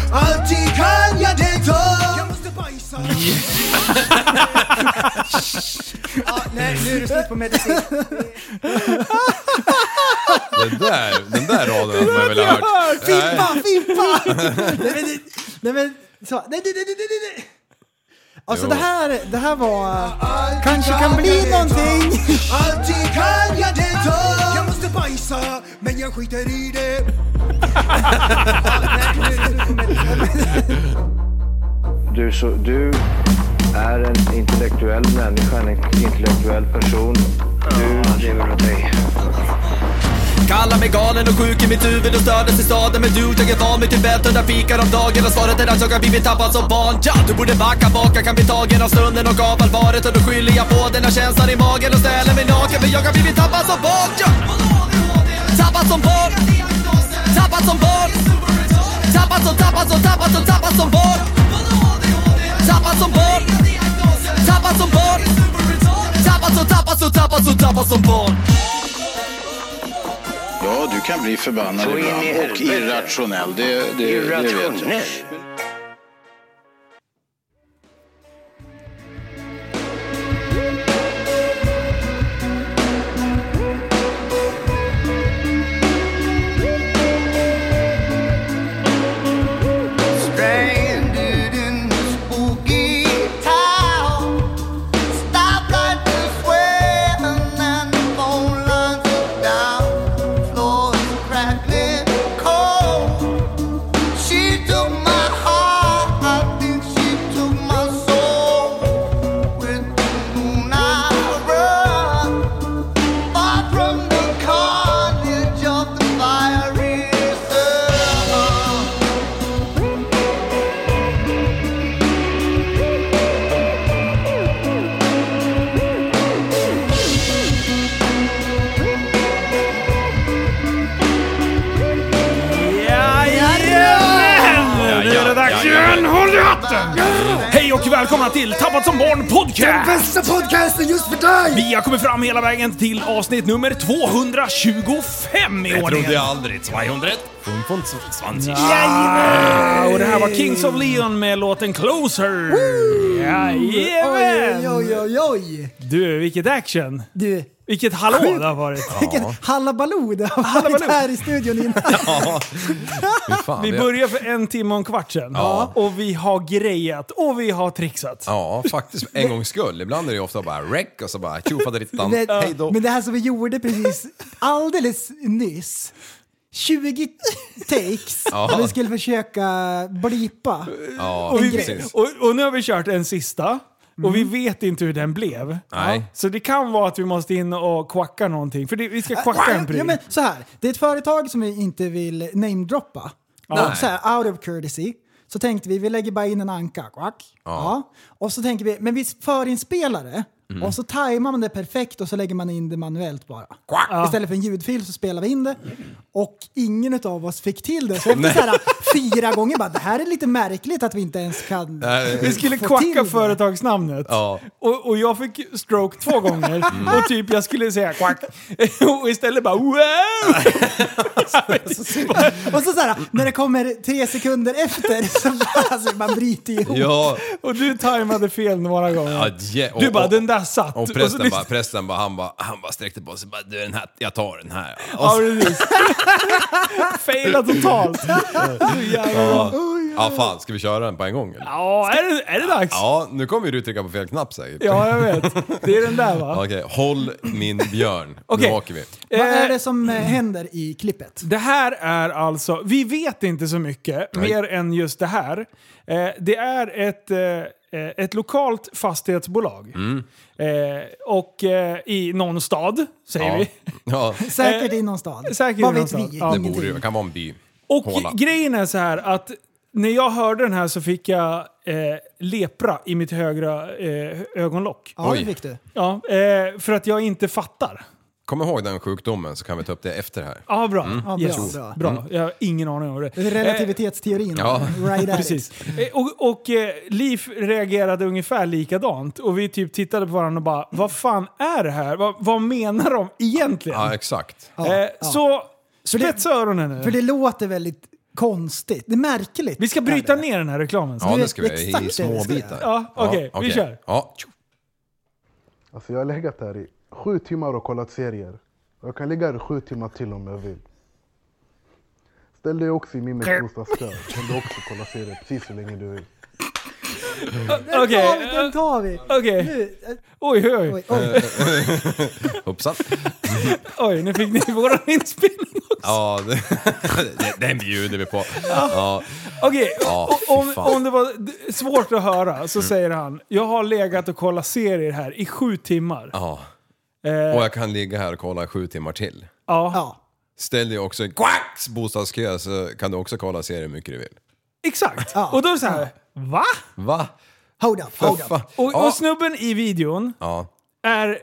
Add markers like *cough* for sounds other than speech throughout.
*laughs* Ja, nej, nu är det slut på medicin. Den där, den där raden hade man väl ha hört. Nej. Fimpa, fimpa! nej men, det- nej men, så, nej, nej, nej, nej, nej, nej. Alltså Jo. det här, det här var, kanske kan bli någonting. Alltid kan jag det ta Jag måste bajsa, men jag skiter i det Du, så, du är en intellektuell människa, en intellektuell person. Du lever av dig. Kallar mig galen och sjuk i mitt huvud och stördes i staden Men du, jag är van vid Tibet och där fikar om dagen Och svaret är att jag har blivit tappad som barn ja! Du borde backa bak, jag kan bli tagen av stunden och av allvaret Och då skyller jag på den här känslan i magen och ställer mig naken För jag har blivit tappad som barn ja! Tappad som barn Tappad som barn Tappad som, tappad som, tappad som, tappad som barn Tappad som barn Tappad som barn Tappad som, tappad som, tappad som, tappad som barn Ja, du kan bli förbannad Så in i ibland och helvete. irrationell. Det, det, det vet jag. Irrationell. Stranded in this spooky town Stoplight is waving and the phone lines are down Floor is crackling cold She took my heart, I think she took my soul With the moon I run Far from the carnage of the fiery sun Jajamän! Nu är det dags igen! Håll i hatten! Hej och välkomna till Tappat som barn podcast! Bästa podcasten just för dig! Vi har kommit fram hela vägen till avsnitt nummer 225 i Det trodde jag ordningen. aldrig. 200. 25. Ah, och det här var Kings of Leon med låten Closer. Oj, Jajamän! oj, oj, oj. Du, vilket action! Du, Vilket hallå det har varit. vilken hallabaloo det har varit Hallabaloo. här i studion innan. *laughs* Vi börjar för en timme och en kvart sedan. Ja. Och vi har grejat och vi har trixat. Ja, faktiskt. En gångs skull. Ibland är det ju ofta bara räck och så bara tjofaderittan. *laughs* Men, Hej då. men det här som vi gjorde precis alldeles nyss. 20 takes Ja. och vi skulle försöka blipa. Ja, Och, vi, precis. Mm. och, och nu har vi kört en sista. Och vi vet inte hur den blev. Nej. Så det kan vara att vi måste in och quacka någonting. För det, vi Äh, ska quacka en pryl. Ja, men så här. Det är ett företag som vi inte vill namedroppa. Och Så här, out of courtesy. Så tänkte vi, vi lägger bara in en anka. Quack. Ja. Och så tänker vi, men vi förinspelar det. Och så tajmar man det perfekt och så lägger man in det manuellt bara. Ja. Istället för en ljudfil så spelar vi in det. Och ingen av oss fick till det. Så efter så här, fyra gånger bara, det här är lite märkligt att vi inte ens kan... Nej. vi skulle få till quacka det. företagsnamnet. Ja. Mm. Och, och jag fick stroke *laughs* två gånger. Och typ jag skulle säga quack. *laughs* och istället bara wow! Och så, så här, när det kommer tre sekunder efter så bara, alltså, man bryter ihop. Ja, Och du tajmade fel några gånger. ja, je- och- du bara, och- den där satt. Och Och så prästen bara, lyssnade- prästen bara, han bara, han bara sträckte på sig bara, du den här, jag tar den här. Och Ja, så, precis. *laughs* *laughs* Faila totalt. Så jävla bra. ja fan, ska vi köra den på en gång eller? Ja, är det, är det dags? Ja, nu kommer ju du trycka på fel knapp säkert. Ja, jag vet. Det är den *laughs* där va? Okej, håll min björn. Okej. Nu åker vi. Vad Eh, är det som eh, händer i klippet? Det här är alltså, vi vet inte så mycket mer än just det här. Eh, det är ett, eh, eh, ett lokalt fastighetsbolag. Mm. Eh, och eh, i någon stad, säger Ja. vi. *laughs* Ja, Säkert Eh, i någon stad. säkert Vad i någon vet stad. vi? Ja. det Ingenting. borde ju, det kan vara en by. Och Håla. grejen är så här att när jag hörde den här så fick jag eh, lepra i mitt högra eh, ögonlock. Ja, det Oj. fick du. Ja, eh, för att jag inte fattar. Kom ihåg den sjukdomen så kan vi ta upp det efter här. Ja, bra. Mm. Ja, bra, yes. bra. Jag har ingen aning om det. Relativitetsteorin. Ja. Right at *laughs* Precis. It. Eh, Och, och eh, Liv reagerade ungefär likadant och vi typ tittade på varandra och bara vad fan är det här? Vad, vad menar de egentligen? Ja, exakt. Ja, eh, ja. Så spetsa öronen nu. För det låter väldigt konstigt. Det är märkligt. Vi ska bryta är det. ner den här reklamen. Ja, Det är det ska vi göra. exakt I det vi små ska bitar. göra. Ja, okej, vi kör. Ja. Alltså jag har legat här i sju timmar och kollat serier. Jag kan ligga här i sju timmar till om jag vill. Ställ dig också i min bostadskö. Kan du också kolla serier precis så länge du vill. Den tar vi, Okej, den tar vi. okej. Nu, eh, Oj, oj, oj. oj, Eh. oj. Hoppsan. Oj, nu fick ni våran *laughs* inspelning också. Ja, det, *laughs* den bjuder vi på. Ja. Okej, Ja, o- fy om, fan. Mm. om det var d- svårt att höra så säger han Jag har legat och kollat serier här i sju timmar. ja. Eh, Och jag kan ligga här och kolla sju timmar till. ja, Ja. Ställ dig också i Quacks bostadskö så kan du också kolla serier hur mycket du vill. exakt. Ja. Och då är det så här, va? Va? Hold up, För hold up. fan. Och, Ja. och snubben i videon Ja. är,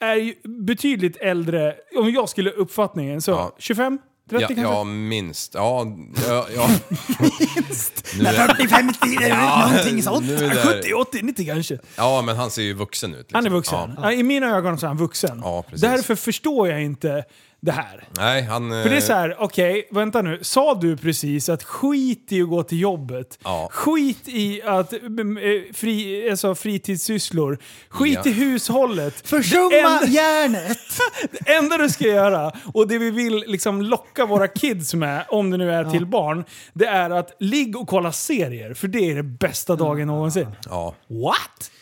är ju betydligt äldre, om jag skulle uppfattningen, så Ja. 25? 30 Ja, kanske? ja, minst. Ja, ja, *laughs* ja. Nu är, 40, 50, Ja, någonting sånt. nu är det- 70, 80, 90 kanske. ja, men han ser ju vuxen ut. Liksom. Han är vuxen. Ja. Ja. I mina ögon så är han vuxen. Ja, precis. Därför förstår jag inte det här. Nej, han... För det är så här, okej, vänta nu. Sa du precis att skit i att gå till jobbet? Ja. Skit i att mm, eh, fri, alltså fritidssysslor? Skit Ja. i hushållet? Försumma En- järnet. Det *laughs* enda du ska göra, och det vi vill liksom locka våra kids med, om det nu är till barn, det är att ligg och kolla serier, för det är det bästa dagen någonsin. Ja. What? eh,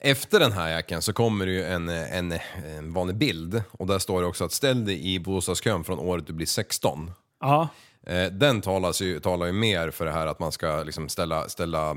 Efter den här jackan så kommer det ju en, en, en vanlig bild och där står det också att ställ dig i bostadskön från året du blir 16. Ja. Eh, den talas ju, talar ju mer för det här att man ska liksom ställa, ställa,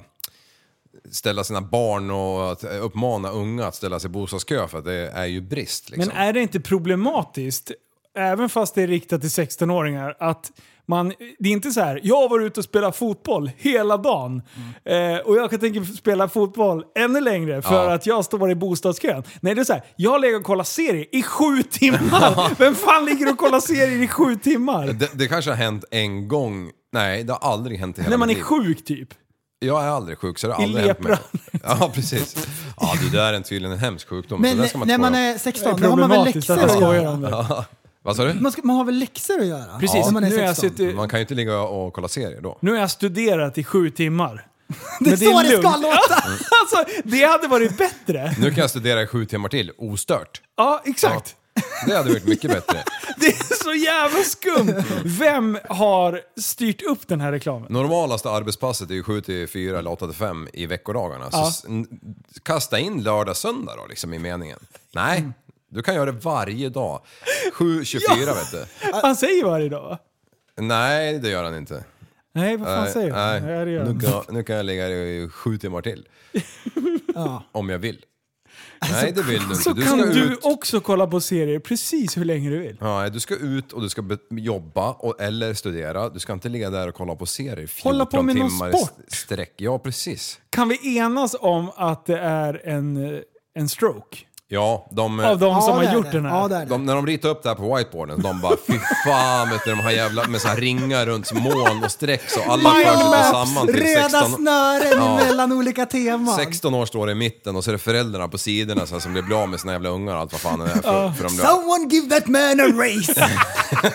ställa sina barn och att uppmana unga att ställa sig i bostadskö för att det är ju brist. Liksom. Men är det inte problematiskt, även fast det är riktat till 16-åringar, att man, det är inte så här, jag var ute och spelade fotboll hela dagen eh, och jag kan tänka spela fotboll ännu längre för Ja. att jag står i bostadskön. Nej, det är så här, jag har legat och kollat serier i sju timmar! Vem fan ligger och kollar serier i sju timmar? det, det kanske har hänt en gång, nej det har aldrig hänt i hela När man mitt är liv. sjuk typ. Jag är aldrig sjuk så det har I aldrig hänt mig. lepra. *laughs* Ja precis. Ja det där är en, tydligen en hemsk sjukdom. Men så där ska man när inte man kolla är 16, då har man väl läxor att man att skojar göra? om det. Vad sa du? Man, ska, man har väl läxor att göra? Precis, om man är nu, har jag 16. suttit, Man kan ju inte ligga och kolla serier då. nu har jag studerat i sju timmar. Det är så det ska lugnt. låta! Alltså, det hade varit bättre! Nu kan jag studera i sju timmar till, ostört. Ja, exakt. Det hade varit mycket bättre. Det är så jävla skumt! Vem har styrt upp den här reklamen? Normalaste arbetspasset är ju 7 till 4 eller 8 till 5 i veckodagarna. Så Ja. s- n- kasta in lördag, söndag då liksom i meningen. Nej, Mm. du kan göra det varje dag. 7, 24 vet du. Ah. Han säger varje dag va? Nej, det gör han inte. Nej, vad fan Nej, säger han? nej. Ja, det gör nu, han. kan, nu kan jag ligga här i sju timmar *laughs* till. Om jag vill. Nej, det vill du inte. Alltså, Så Du kan ska du ut. också kolla på serier precis hur länge du vill. Ja, nej, du ska ut och du ska be- jobba och, eller studera. Du ska inte ligga där och kolla på serier 14 Hålla på med någon timmar i sport. st- sträck. Ja, precis. Kan vi enas om att det är en, eh, en stroke? Ja, de, Av de Ja, som det är har gjort det. den här? Ja, det är det. de, när de ritar upp det här på whiteboarden, de bara fy fan vet du, de här jävla med så här ringar runt moln och streck så alla för sig tillsammans till röda 16, snören Ja. mellan olika teman. 16 år står det i mitten och så är det föräldrarna på sidorna så här, som blir bra med sina jävla ungar och allt vad fan det är för, för de blir, Someone give that man a *laughs* race!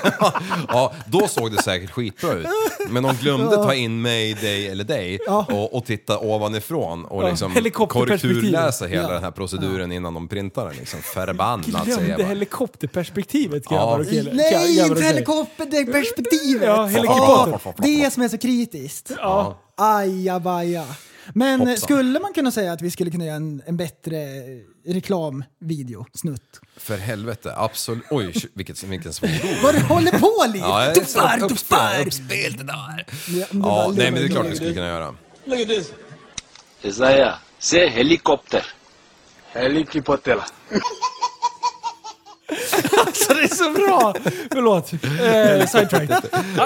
Ja, då såg det säkert skitbra ut. Men de glömde ta in mig, dig eller dig och, och titta ovanifrån och Ja, liksom helikopterperspektivet. korrekturläsa hela den här proceduren innan de printar den. Liksom. Förbannat säger jag Glömde bara. helikopterperspektivet grabbar och killar. Nej, Grabbar och inte tjejer. helikopterperspektivet! Ja, helikopter. Ja, det som är så kritiskt. Ja. Ajabaja. Men eh, Hoppsan. skulle man kunna säga att vi skulle kunna göra en, en bättre reklamvideo, snutt? För helvete, absolut. Oj, sh- vilket, vilken *laughs* svordom. Vad du håller på Liv! Ja, det är så- Dopar, upp- dopar! Uppspel det där. Ja, men det Ja, bara nej men det är lugnar klart ner vi skulle kunna göra. Isaiah, say helicopter. Helicopter. Så det är så bra! Förlåt. *laughs* Eh, sidetracked.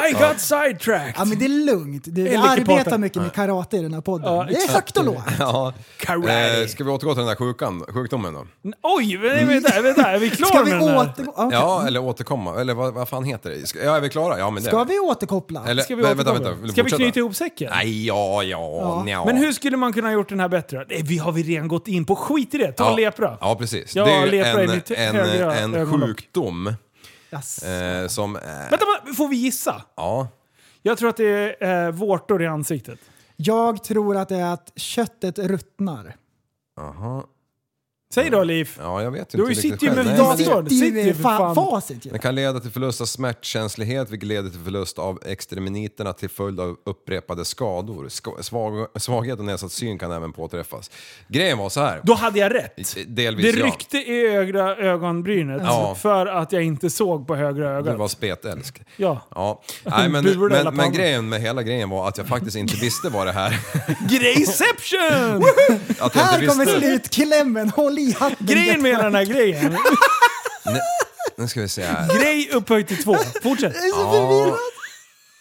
I got sidetracked! Ja men det är lugnt. Du, vi Helikopter. arbetar mycket med karate i den här podden. Ja, det är högt och lågt. Ja. Karate. Eh, ska vi återgå till den där sjukan, sjukdomen då? Oj, vä- vänta, vänta, är vi Ska klara vi med den här? återgå? okej. Ja, eller återkomma, eller vad, vad fan heter det? Ska, ja, är vi klara? Ja, men det Ska vi återkoppla? Eller, Ska vi, vänta, vänta, återkomma? vänta. Vill du Ska vi fortsätta? knyta ihop säcken? Nej, ja, ja, ja. Men hur skulle man kunna ha gjort den här bättre? Nej, vi har vi redan gått in på. Skit i det, ta ja, lepra. Ja, precis. Jag det är har ju lepra i en, mitt en, högra en ögonlock. sjukdom Yes. eh, som... Eh, Vänta, bara, får vi gissa? ja. Jag tror att det är eh, vårtor i ansiktet. Jag tror att det är att köttet ruttnar. Aha. Säg då Liv. Ja, jag vet inte Du har ju riktigt sitter ju själv. med Nej, datorn. men det- Det är Sitter ju ju för fa- fan. facit ju. Den kan leda till förlust av smärtkänslighet, vilket leder till förlust av extremiteterna till följd av upprepade skador. Sk- Svag, svaghet och nedsatt syn kan även påträffas. Grejen var så här. Då hade jag rätt. Det Delvis ryckte i högra ögonbrynet Ja. för att jag inte såg på högra ja. Du ögat. var spetälsk. Ja. Ja. Nej, men, Burda hela men, men pannan. grejen med hela grejen var att jag faktiskt inte visste vad det här... *laughs* Grejception! Att jag Här inte kommer visste. slutklämmen, håll i hatten. Grejen med den här grejen. Nu ska vi se här. Grej upphöjt till två. Fortsätt. Ja.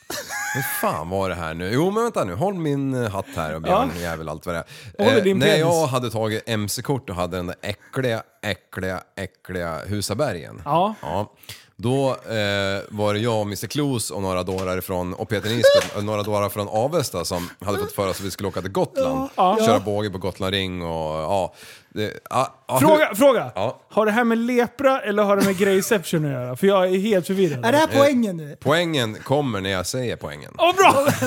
*laughs* Hur fan var det här nu? Jo men vänta nu, håll min eh, hatt här och Björn jävel allt vad det Håller är. Eh, din när penis. jag hade tagit MC-kort och hade den där äckliga, äckliga, äckliga Husabergen. Ja. Då eh, var det jag, Mr Klos och några dårar från, och Peter Nisbet, och några dårar från Avesta som hade fått för oss att vi skulle åka till Gotland. Köra båge på Gotland Ring och ja. Det, ah, ja, ja, Fråga, fråga. Ja. Har det här med lepra eller har det med grejception att göra? För jag är helt förvirrad. Är det här poängen nu? Poängen kommer när jag säger poängen. Åh bra! *laughs*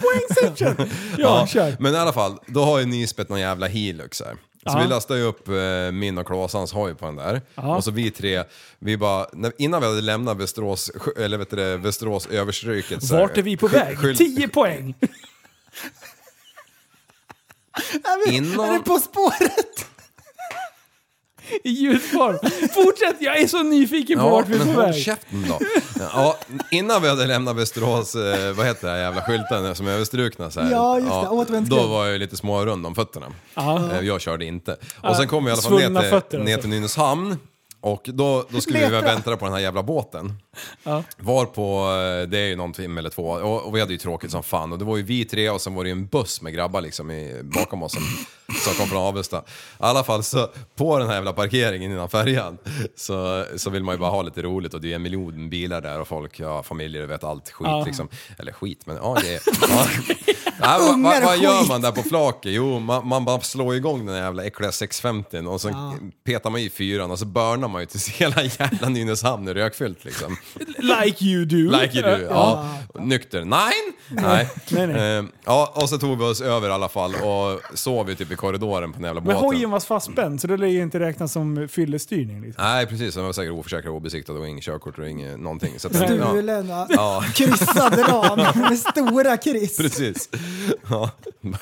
Poängception! Ja, kör. Men i alla fall, då har ju Nisbet någon jävla Hilux här. Så Ja. vi lastade ju upp eh, min och Klasans hoj på den där. Ja. Och så vi tre, vi bara, när, innan vi hade lämnat Västerås, sjö- eller vet du det, Västerås överstryket. så här, Vart är vi på skyl- väg? skyl- 10 poäng. Är, vi, Inom- är det På spåret? I ljudform. Fortsätt, jag är så nyfiken på Ja, vart vi är men på håll väg. käften då. Ja, innan vi hade lämnat Västerås, eh, vad heter det här jävla skylten som är överstrukna så här. Ja, just det. Återvändsgränd. Då var jag ju lite smårund om fötterna. Eh, Jag körde inte. Ja, Och sen kom vi i alla fall svullna ner till, fötter ner alltså. till Nynäshamn. Och då, då skulle vi Leta. väl vänta på den här jävla båten. Var på, eh, det är ju någon timme eller två, och, och vi hade ju tråkigt som fan. Och det var ju vi tre och sen var det ju en buss med grabbar liksom i, bakom oss som, som kom från Avesta. I alla fall så, på den här jävla parkeringen innan färjan så, så vill man ju bara ha lite roligt och det är ju en miljon bilar där och folk, ja familjer och vet allt skit liksom. Eller skit, men ja det är... Ja. Nej, vad, vad, vad gör man där på flaket? Jo, man, man bara slår igång den här jävla äckliga 650 och så petar man i fyran och så börnar man ju tills hela jävla Nynäshamn är rökfyllt liksom. Like you do. Like you *laughs* do. Ja. Nykter? Nein! Nej. Nej, nej. Ehm, Ja, och så tog vi oss över i alla fall och sov ju typ i korridoren på den jävla Men båten. hojen var fastspänd, så det lär ju inte räknas som fyllestyrning. Liksom. Nej precis, den var säkert oförsäkrad och obesiktad och inget körkort och inget någonting. Så att, ja, Stulen va? Kryssad ram med stora kryss. precis. Ja. *laughs* Nej,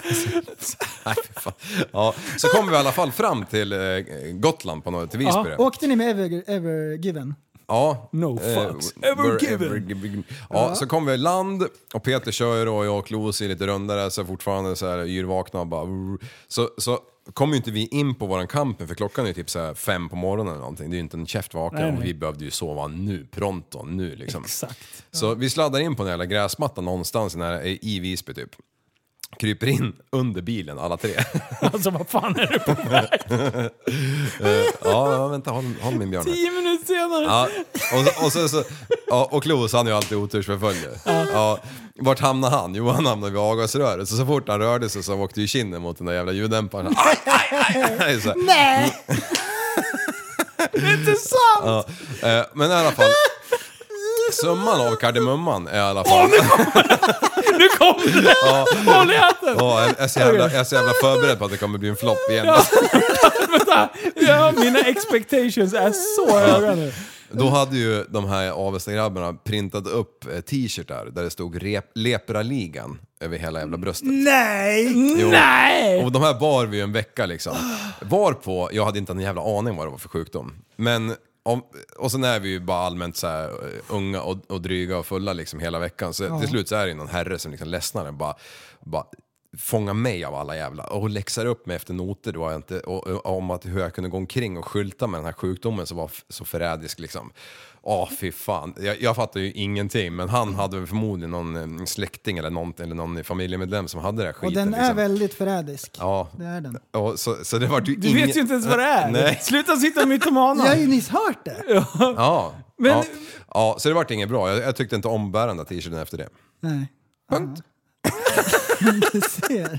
fy fan. ja. Så kom vi i alla fall fram till eh, Gotland på något, till Visby. då. Åkte ni med Ever, Evergiven? Ja. No Eh, fucks we're ever given. given. Ja, så kom vi i land och Peter kör ju då och jag och Klos är lite rundare så fortfarande så här yrvakna och bara... vrr. Så, så kom ju inte vi in på våran camping för klockan är ju typ så här fem på morgonen eller någonting. Det är ju inte en käft Nej, vaken nej. och vi behövde ju sova nu, pronto, nu liksom. Exakt. Så vi sladdar in på den jävla gräsmattan någonstans nära, i Visby typ. Kryper in under bilen alla tre. Alltså vad fan är det på ja, ja, vänta, håll, håll min björn här. 10 minuter senare? Ja, och, så- och, sen så, ja, och Klos han är ju alltid otursförföljd. Ja, vart hamnade han? Jo, han hamnade vid avgasröret. Så, så fort han rörde sig så åkte ju kinden mot den där jävla ljuddämparen. Aj, aj, aj, aj, så här. Nej! Inte sant! Ja, eh, men i alla fall, summan av kardemumman är i alla fall... Nu kom det! Håll i hatten! Ja, jag, är så jävla, jag är så jävla förberedd på att det kommer bli en flopp igen. *laughs* Ja, mina expectations är så höga nu. Då hade ju de här Avestagrabbarna printat upp eh, t-shirtar där det stod rep, Lepraligan över hela jävla bröstet. Nej! Jo. Nej! Och de här bar vi ju en vecka liksom. Varpå, jag hade inte en jävla aning vad det var för sjukdom. Men, om, och sen är vi ju bara allmänt så här, eh, unga och, och dryga och fulla liksom hela veckan. Så till slut så är det ju någon herre som liksom ledsnar och bara, bara fångar mig av alla jävla och läxar upp mig efter noter då jag inte, och, och, om att hur jag kunde gå omkring och skylta med den här sjukdomen som var f- så förrädisk liksom. Ja, fy fan. Jag, jag fattar ju ingenting, men han hade väl förmodligen någon eh, släkting eller, någonting, eller någon familjemedlem som hade den här skiten. Och den är liksom. väldigt förrädisk. Ja. Det är den. Ja, så, så det vart ju Du ingen... vet ju inte ens vad det är. Nej. Sluta sitta och mytomana. Jag har ju nyss hört det. Ja. Men- Ja. ja, så det vart inget bra. Jag, jag tyckte inte om bärande t-shirten efter det. Nej. Punkt. Du ser.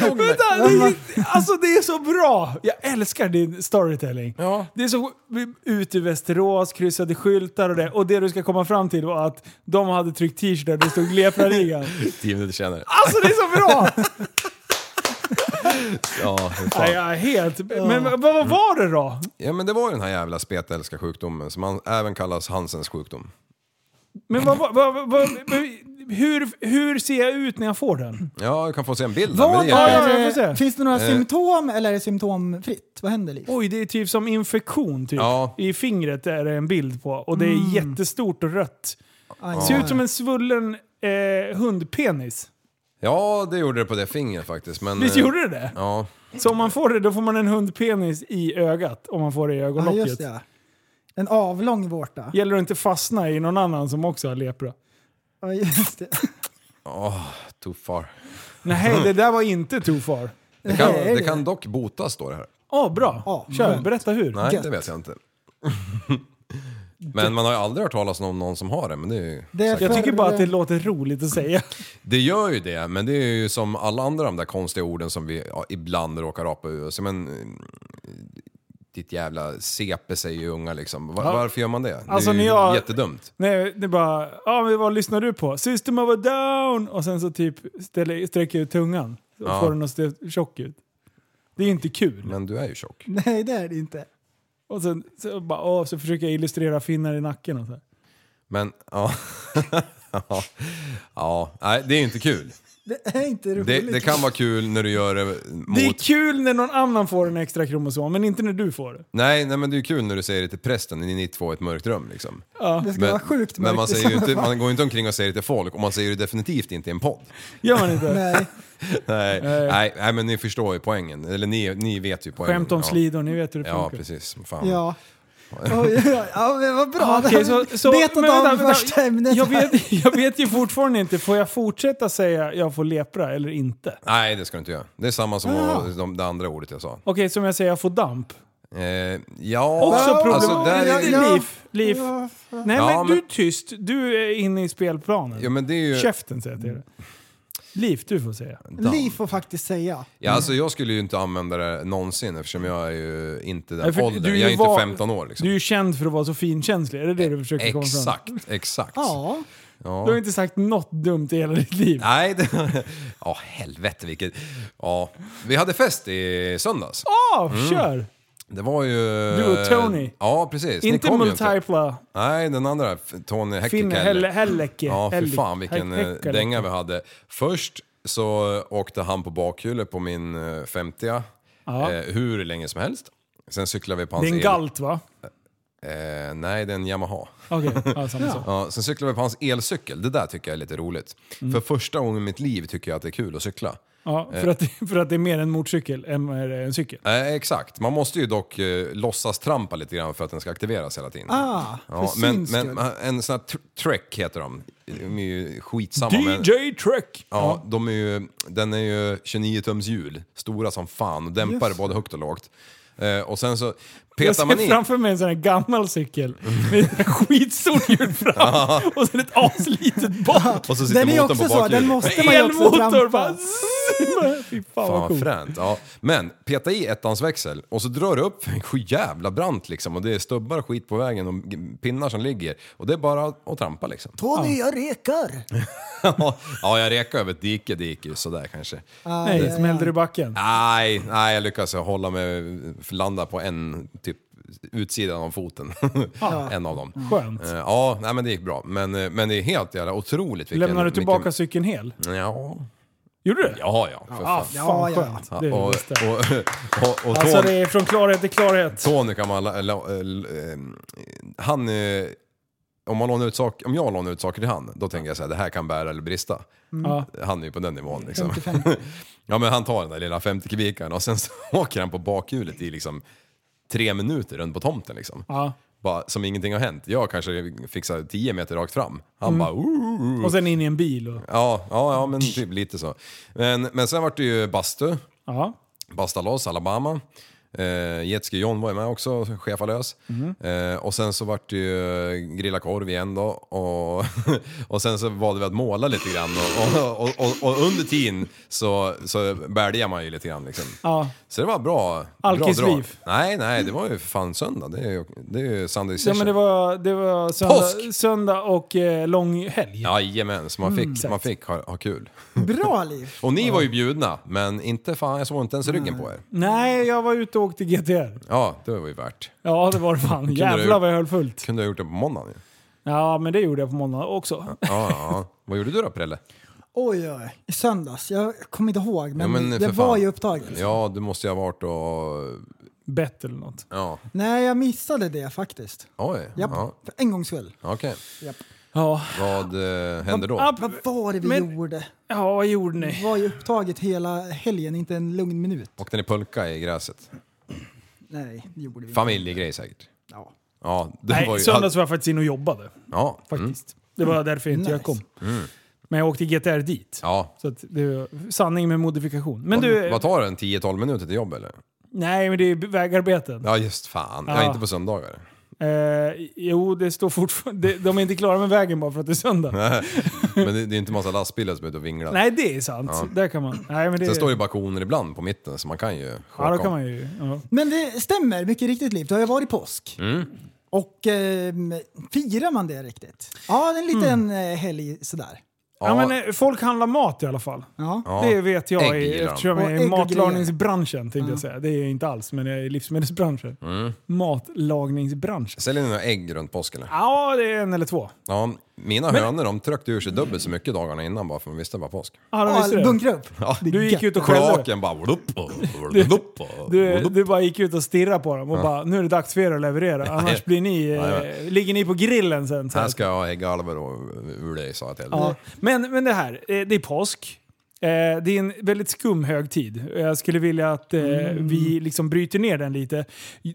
Vänta, det, är- alltså det är så bra! Jag älskar din storytelling. Ja. Det är så ut i Västerås, kryssade skyltar och det. Och det du ska komma fram till var att de hade tryckt t-shirtar där det stod Lepraligan. Tio minuter senare. *laughs* Alltså det är så bra! Ja, hur Nej, fan. jag är helt... Men vad, vad var det då? ja, men det var ju den här jävla spetälska sjukdomen som an- även kallas Hansens sjukdom. Men vad, vad, vad, vad, hur, hur ser jag ut när jag får den? Ja, du kan få se en bild. där, Vad men det är- ja, jag får är se. det, finns det några Eh. symptom eller är det symptomfritt? Vad händer liksom? Oj, det är typ som infektion typ. Ja. I fingret är det en bild på och det är jättestort och rött. Aj, Ser aj, ut som en svullen eh, hundpenis. ja, det gjorde det på det fingret faktiskt. Men, Visst eh, gjorde det det? Ja. Så om man får det, då får man en hundpenis i ögat. Om man får det i aj. Ja, ögonlocket. just det. ja. En avlång vårta. Gäller det att inte fastna i någon annan som också har lepra. Ja, just det. *laughs* Too far. Nej, Mm. det där var inte too far. Det kan, Nej, det kan dock botas står det här. Åh, bra. Ja, Kör, skönt. berätta hur. Nej, Gött. det vet jag inte. *laughs* men man har ju aldrig hört talas om någon som har det. Men det, är ju Det är säkert- Jag tycker bara att det För- eh, låter roligt att säga. det gör ju det, men det är ju som alla andra de där konstiga orden som vi ja, ibland råkar apa ur oss. Men, mm, ditt jävla CP säger ju unga liksom. Var, Varför gör man det? Alltså, det är när ju jag- jättedumt. Nej, det är bara, ja men vad lyssnar du på? System of a down! Och sen så typ ställer, sträcker jag ut tungan. Så Ja. får den att se tjock ut. Det är inte kul. Men du är ju tjock. Nej, det är det inte. Och sen så, bara, åh, så försöker jag illustrera finnar i nacken och så här. Men ja... *laughs* ja, ja, nej det är ju inte kul. Det är inte roligt. Det, det kan vara kul när du gör det mot... Det är kul när någon annan får en extra kromosom, men inte när du får det. Nej, nej men det är ju kul när du säger det till prästen i ni två i ett mörkt rum liksom. Det ska Men, vara sjukt men man, mörkt i säger ju sådana *laughs* inte, fall. man går ju inte omkring och säger det till folk och man säger det definitivt inte i en podd. Gör man inte? Nej, Nej, nej, nej men ni förstår ju poängen. Eller ni, ni vet ju poängen. Skämt om slidor, ni vet hur det Ja, ja funkar. precis. Fan. *laughs* ja. Oj, ja, ja, men vad bra. Ah, Okej, så, så, Betat men vänta, av vänta. första ämnet. *laughs* *laughs* Jag vet, jag vet ju fortfarande inte, får jag fortsätta säga jag får lepra eller inte? Nej, det ska du inte göra. Det är samma som Jaha. de, det andra ordet jag sa. Okej, som jag säger, jag får damp. Eh, ja, Också problem. alltså, där är, Ja. Liv, liv. Nej Ja, men du är men- tyst, du är inne i spelplanen. ja, men det är ju... Käften säger jag till dig. Liv, du får säga. Li får faktiskt säga. Ja, alltså jag skulle ju inte använda det någonsin eftersom jag är ju inte den Nej, för åldern. du är ju jag är va- inte 15 år liksom. Du är ju känd för att vara så finkänslig, är det det du försöker komma fram till? Exakt, exakt. Ja. Du har inte sagt något dumt i hela ditt liv. Nej, det... *laughs* Ja, helvete vilket... Ja. Vi hade fest i söndags. Ja, Mm. kör! Det var ju... Du och Tony. Ja, precis. Ni Inte kom ju inte. multipla Nej, den andra. F- Tony finne, helle, Häckekeller. helleke. Ja, fy helle- fan vilken eh, häckekeller. dänga vi hade. Först så eh, åkte han på bakhjulet på min eh, 50 Ja. eh, hur länge som helst. Sen cyklade vi på hans Det är en el- galt va? Eh, nej, det är en Yamaha. Okej, ja, samma sak. Ja, sen cyklade vi på hans elcykel. Det där tycker jag är lite roligt. Mm. För första gången i mitt liv tycker jag att det är kul att cykla. Ja, för, att, för att det är mer en motorcykel än vad det är en cykel. Eh, exakt. Man måste ju dock eh, låtsas trampa lite grann för att den ska aktiveras hela tiden. Ah, ja, för men, syns men skull. en sån här tr- Trek heter de. De är ju skitsamma. men- DJ Trek! Ja, de är ju, den är ju 29 tums hjul, stora som fan och dämpar både högt och lågt. Eh, och sen så Jag petar man ser i... framför mig en sån här gammal cykel med ett skitstort hjul fram och sen ett aslitet *laughs* bak. Och så sitter Den är motorn också på så, bakhjulet. den måste man ju också Elmotor bara... trampa. zzz. Fy fan Fan vad vad coolt. fränt. Ja. Men peta i ettans växel och så drar du upp en jävla brant liksom och det är stubbar och skit på vägen och g- pinnar som ligger. Och det är bara att trampa liksom. Tony, jag rekar. *laughs* ja, jag rekar över ett dike, det gick ju sådär kanske. Nej, smällde du i backen? Nej, nej, jag lyckas hålla mig, landa på en typ utsidan av *laughs* foten. en av dem. Mm. Skönt. Eh, Ja, nej, men det gick bra. Men, eh, men det är helt jävla otroligt. vilken- Lämnade du tillbaka vilken- cykeln hel? Ja, Gjorde du det? ja, ja. För Ah, fan. fan Ja, ja, ja. skönt. Ja, Det är det och, bästa. och, och, och Alltså Tony, det är från klarhet till klarhet. Tony kan man... la- la- la- eh, han... eh, Om, man lånar ut sak, om jag lånar ut saker till han, då tänker jag så här, det här kan bära eller brista. Ja. Han är ju på den nivån liksom. *laughs* ja men han tar den där lilla 50 kubikaren och sen så *laughs* åker han på bakhjulet i liksom tre minuter runt på tomten liksom. Ja. Bara, som ingenting har hänt. Jag kanske fixar 10 meter rakt fram. Han bara... "Ooh." Och sen in i en bil. Och, Ja, ja, ja, men typ lite så. Men, men sen vart det ju bastu. ja. Bastalos, Alabama. Eh, Jetski John var ju med också, chefalös. Eh, och sen så vart det ju eh, grilla korv igen då. Och, *laughs* och sen så valde vi att måla lite grann. Och, och, och, och, och under tiden så, så bälgar man ju lite grann liksom. Ja. Så det var bra. Alkisliv. bra drag. Nej, nej, det var ju för fan söndag. Det är ju, det är ju Sunday Ja session. men det var, det var söndag, Påsk! söndag och eh, lång helg. Jajamän, så man fick, exakt. man fick ha, ha kul. Bra liv! Och ni var ju bjudna, men inte fan, jag såg inte ens ryggen på er. Nej, jag var ute och åkte GTR. Ja, det var ju värt. Ja det var det fan. Jävlar vad jag höll fullt. Kunde ha gjort det på måndagen ju. Ja men det gjorde jag på måndag också. Ja, ja. Vad gjorde du då Prelle? Oj, oj, i söndags. Jag kommer inte ihåg, men, Ja, men för det fan. var ju upptaget. liksom. Ja, du måste ju ha varit och... Bett eller något. Ja, Nej, jag missade det faktiskt. oj. Japp, Ja, för en gångs skull. Okej. Ja. Vad eh, hände då? Ja, Vad var det vi Men- gjorde? ja vad gjorde ni? Det var ju upptaget hela helgen, inte en lugn minut. Åkte ni pulka i gräset? Nej, det gjorde vi inte. Familjegrej säkert? Ja. Ja, det var Nej, ju... söndags var jag faktiskt inne och jobbade. Ja, mm. Faktiskt. Det var därför inte jag Nice. kom. Men jag åkte GTR dit. ja. Så att det var sanning med modifikation. Men du, Vad tar det, en 10-12 minuter till jobb eller? nej men det är vägarbeten. Ja, just fan. Ja, Ja. inte på söndagar. Eh, jo, det står fortfarande... De, de är inte klara med vägen bara för att det är söndag. Nej, Men det, det är inte massa lastbilar som är ute och vinglar. det är sant. Där kan man... Nej, men det, Sen står det balkoner ibland på mitten så man kan ju Ja, då om. kan man ju... Ja. Men det stämmer, mycket riktigt liv. Det har ju varit påsk. Och ehm, firar man det riktigt? Ja, det är en liten eh, helg sådär. Ja. men eh, folk handlar mat i alla fall. Ja. Det vet jag Ägg i, gillar de. eftersom jag Och är ägg i och matlagningsbranschen tänkte jag säga. Det är jag inte alls, men jag är i livsmedelsbranschen. Mm. Matlagningsbranschen. Säljer ni några ägg runt påsken? eller? Ja, det är en eller två. Ja, mina hönor de tryckte ur sig dubbelt så mycket dagarna innan bara för de visste det var påsk. Ja, de Ja, visste det. bunkra upp. Ja. Du gick ut och skällde. Kloaken bara... *laughs* vlupp, vlupp, Du- vlupp. Du, du bara gick ut och stirrade på dem och bara nu är det dags för er att leverera annars blir ni, Ja, eh, ligger ni på grillen sen. Så här. Här ska jag ha ägghalvor och ur dig sa jag till Ja. Men, men det här, eh, det är påsk. Eh, Det är en väldigt skum högtid. Jag skulle vilja att eh, Mm. vi liksom bryter ner den lite.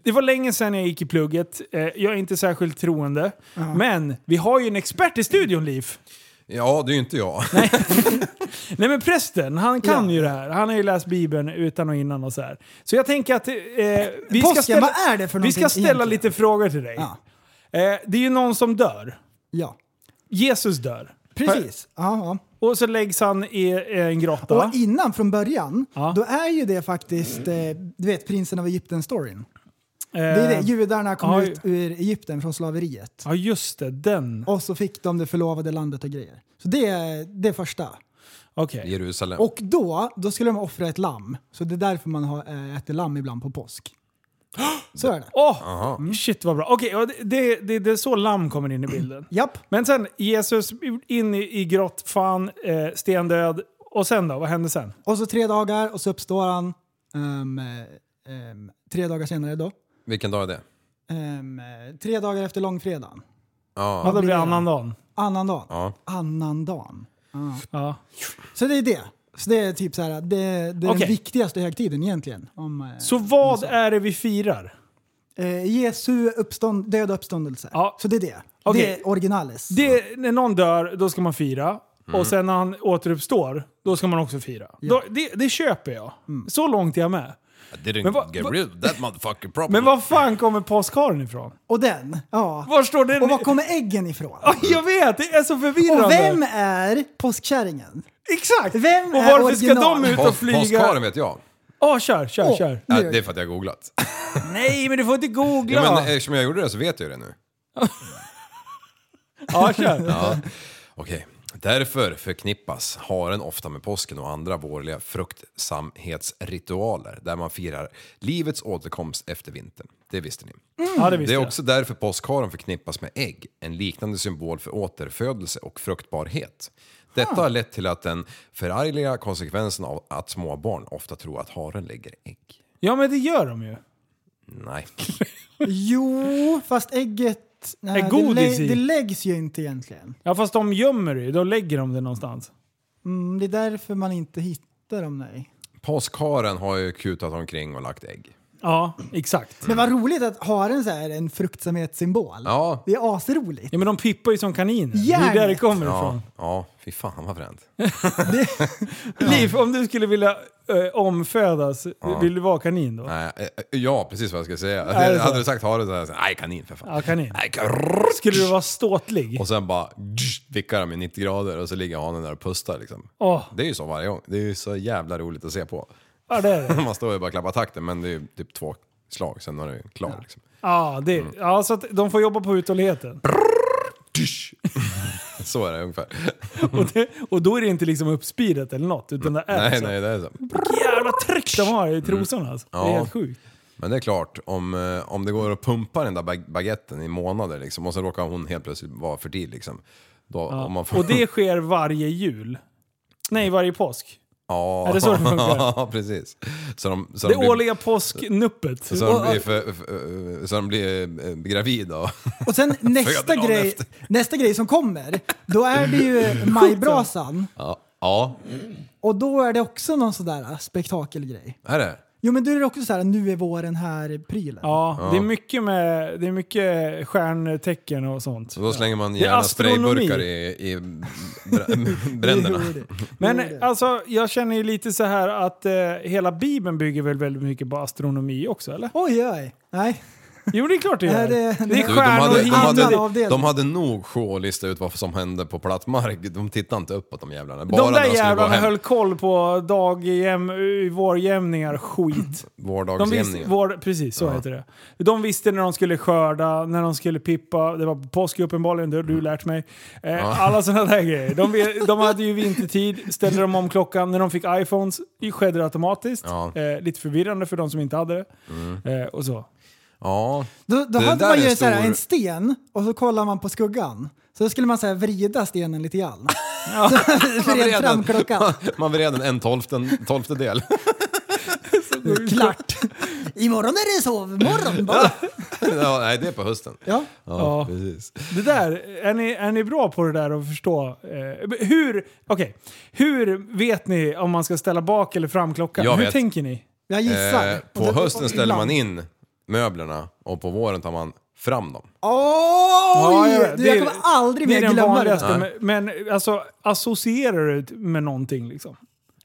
Det var länge sedan jag gick i plugget. Eh, jag är inte särskilt troende. Men vi har ju en expert i studion, Liv. Ja, det är ju inte *laughs* jag. Nej men prästen, han kan ju det här. Han har ju läst Bibeln utan och innan och så här. Så jag tänker att eh, vi, ska Påsken, ställa, vad är det för vi ska någonting ställa egentligen? lite frågor till dig. Ja. Eh, det är ju någon som dör. Ja, Jesus dör. precis. Ja, Och så läggs han i eh, en grotta. ja. Och innan, från början, Ja. då är ju det faktiskt, eh, du vet, prinsen av Egypten-storyn. Eh, Det är det, judarna kom ja, ut ur Egypten från slaveriet. Ja just det, den. Och så fick de det förlovade landet och grejer. Så det är det första. Okej. Jerusalem. Och då, då skulle de offra ett lamm. Så det är därför man har, eh, äter lamm ibland på påsk. Så är det. Åh! Mm. shit vad bra. Okej, ja, det, det, det, det är så lamm kommer in i bilden. Japp. Men sen, Jesus in i, i grottfan, eh, stendöd. Och sen då? Vad hände sen? Och så tre dagar och så uppstår han ehm, eh, ehm, tre dagar senare då. Vilken dag är det? Ehm, eh, tre dagar efter långfredagen. Ja, Ja, det blir blir det. annandagen. Annandagen. Ja. Annandagen. Ja. Så det är det. Så det är typ så här, det, det är Okej. den viktigaste högtiden egentligen. Om, eh, Så vad är det vi firar? eh, Jesu uppstånd, död och uppståndelse. Ja. Så det är det. Okej. Det är originalis. Det, när någon dör, då ska man fira. Och sen när han återuppstår, då ska man också fira. Då, det, det köper jag. Så långt är jag med. I didn't Men vad- get vad- rid of that motherfucker problem. Men var fan kommer påskharen ifrån? Och den, ja. Var står den? Och var kommer äggen ifrån? Ja, *laughs* Jag vet, det är så förvirrande! Och vem är påskkärringen? Exakt! Vem och är varför ska original? de ut och Pås- Påskharen flyga? vet jag. Ja, kör, kör, Åh. kör. Ja, Nu. det är för att jag har googlat. Nej, men du får inte googla! Ja, Ja, men eh, eftersom jag gjorde det så vet jag ju det nu. *laughs* kör. Okej. Därför förknippas haren ofta med påsken och andra vårliga fruktsamhetsritualer där man firar livets återkomst efter vintern. Det visste ni. Ja, det Det visste är jag. också därför påskharen förknippas med ägg, en liknande symbol för återfödelse och fruktbarhet. Detta har lett till att den förargliga konsekvensen av att småbarn ofta tror att haren lägger ägg. Ja, men det gör de ju. Nej. Jo, fast ägget... Nej, Är det, godis i? det läggs ju inte egentligen. Ja, fast de gömmer det ju. Då lägger de det någonstans. Mm, det är därför man inte hittar dem, nej. Påskharen har ju kutat omkring och lagt ägg. Ja, exakt. Men vad roligt att haren så här är en fruktsamhetssymbol. Ja. Det är asroligt. Ja, men de pippar ju som kaniner. Det är där det Järnet. kommer Ja, ifrån. ja fy fan vad fränt. Liv, om du skulle vilja eh, omfödas. Vill du vara kanin då? Nej, eh, ja, precis vad jag skulle säga. är det så? hade du sagt hare så hade jag sagt nej kanin för fan. Ja, kanin. Nej, grrr. Skulle du vara ståtlig? Och sen bara dsch, vickar de i 90 grader och så ligger hanen där och pustar liksom. Åh, Det är ju så varje gång. Det är ju så jävla roligt att se på. *laughs* ja, det är det. Man står ju bara och klappar takten men det är ju typ två slag sen är det klar liksom. *laughs* Ja, det är, ja, så att de får jobba på uthålligheten. Dsch. Så är det *laughs* ungefär. Och, det, och då är det inte liksom uppspirat eller något, utan det är Nej, så. nej, det är så. Jävla tryck de har i trosorna alltså. Det är Mm. Ja. helt sjukt. Men det är klart, om, eh, om det går att pumpa den där bag- baguetten i månader liksom, och så råkar hon helt plötsligt vara för tidig liksom. Då, om man får, Och det sker varje jul. Nej, varje påsk. *laughs* ja, är det så det funkar? *laughs* Ja, precis. Så de, så Det de blir, årliga påsknuppet. så de blir, för, för, så de blir eh, gravida. *laughs* och- Och sen nästa *laughs* Föder någon grej, efter. nästa grej som kommer, då är *laughs* det ju majbrasan. Ja, ja, Och då är det också någon sådär spektakelgrej. är det? Jo men då är det också såhär, nu är våren här-prylen. Ja, det är mycket med det är mycket stjärntecken och sånt. Så då slänger man är gärna astronomi. sprayburkar i, i br- *laughs* bränderna. Jo, det- jo, Men det. alltså, jag känner ju lite så här att eh, hela Bibeln bygger väl väldigt mycket på astronomi också, eller? Oj, oj. Nej. Jo, det är klart det Nej, gör. det- det- Det, är Du, Du, de, stjärnor hade, de, hit och dit. annan hade, avdelning. de hade nog show att lista ut vad som hände på platt mark. De tittade inte uppåt de jävlarna. Bara när De där de skulle gå jävlarna hem. höll koll på dagjäm, vårjämningar, skit. De visste, Vardagsjämningar. vår, precis, så heter det. De visste när de skulle skörda, när de skulle pippa. Det var på påsk uppenbarligen, det har Mm. du lärt mig. Eh, Alla *laughs* sådana där grejer. De, ve- de hade ju vintertid, ställde de om klockan. När de fick iPhones skedde det automatiskt. Ja. Mm. Eh, lite förvirrande för de som inte hade det. Eh, och så. Ja. Då, då Det hade där man är ju en såhär, stor- en sten och så kollar man på skuggan. Så då skulle man såhär, vrida stenen lite *laughs* grann. Så *laughs* vred fram klockan. *laughs* Man vred en, en tolften, tolftedel. *laughs* Klart. Imorgon är det sovmorgon bara. ja, nej, det är på hösten. Ja. *laughs* Ja. precis. Det där, är ni, är ni bra på det där att förstå? Eh, hur, okej. hur vet ni om man ska ställa bak eller fram klockan? Jag hur vet. tänker ni? Jag gissar. Eh, Och på så- och- hösten och ställer man ibland. in möblerna och på våren tar man fram dem. Ja, Oj! jag jag, vet. du, Det jag är- kommer aldrig Det är mer den glömma det. vanligaste. Men, men alltså, associerar du det med någonting liksom?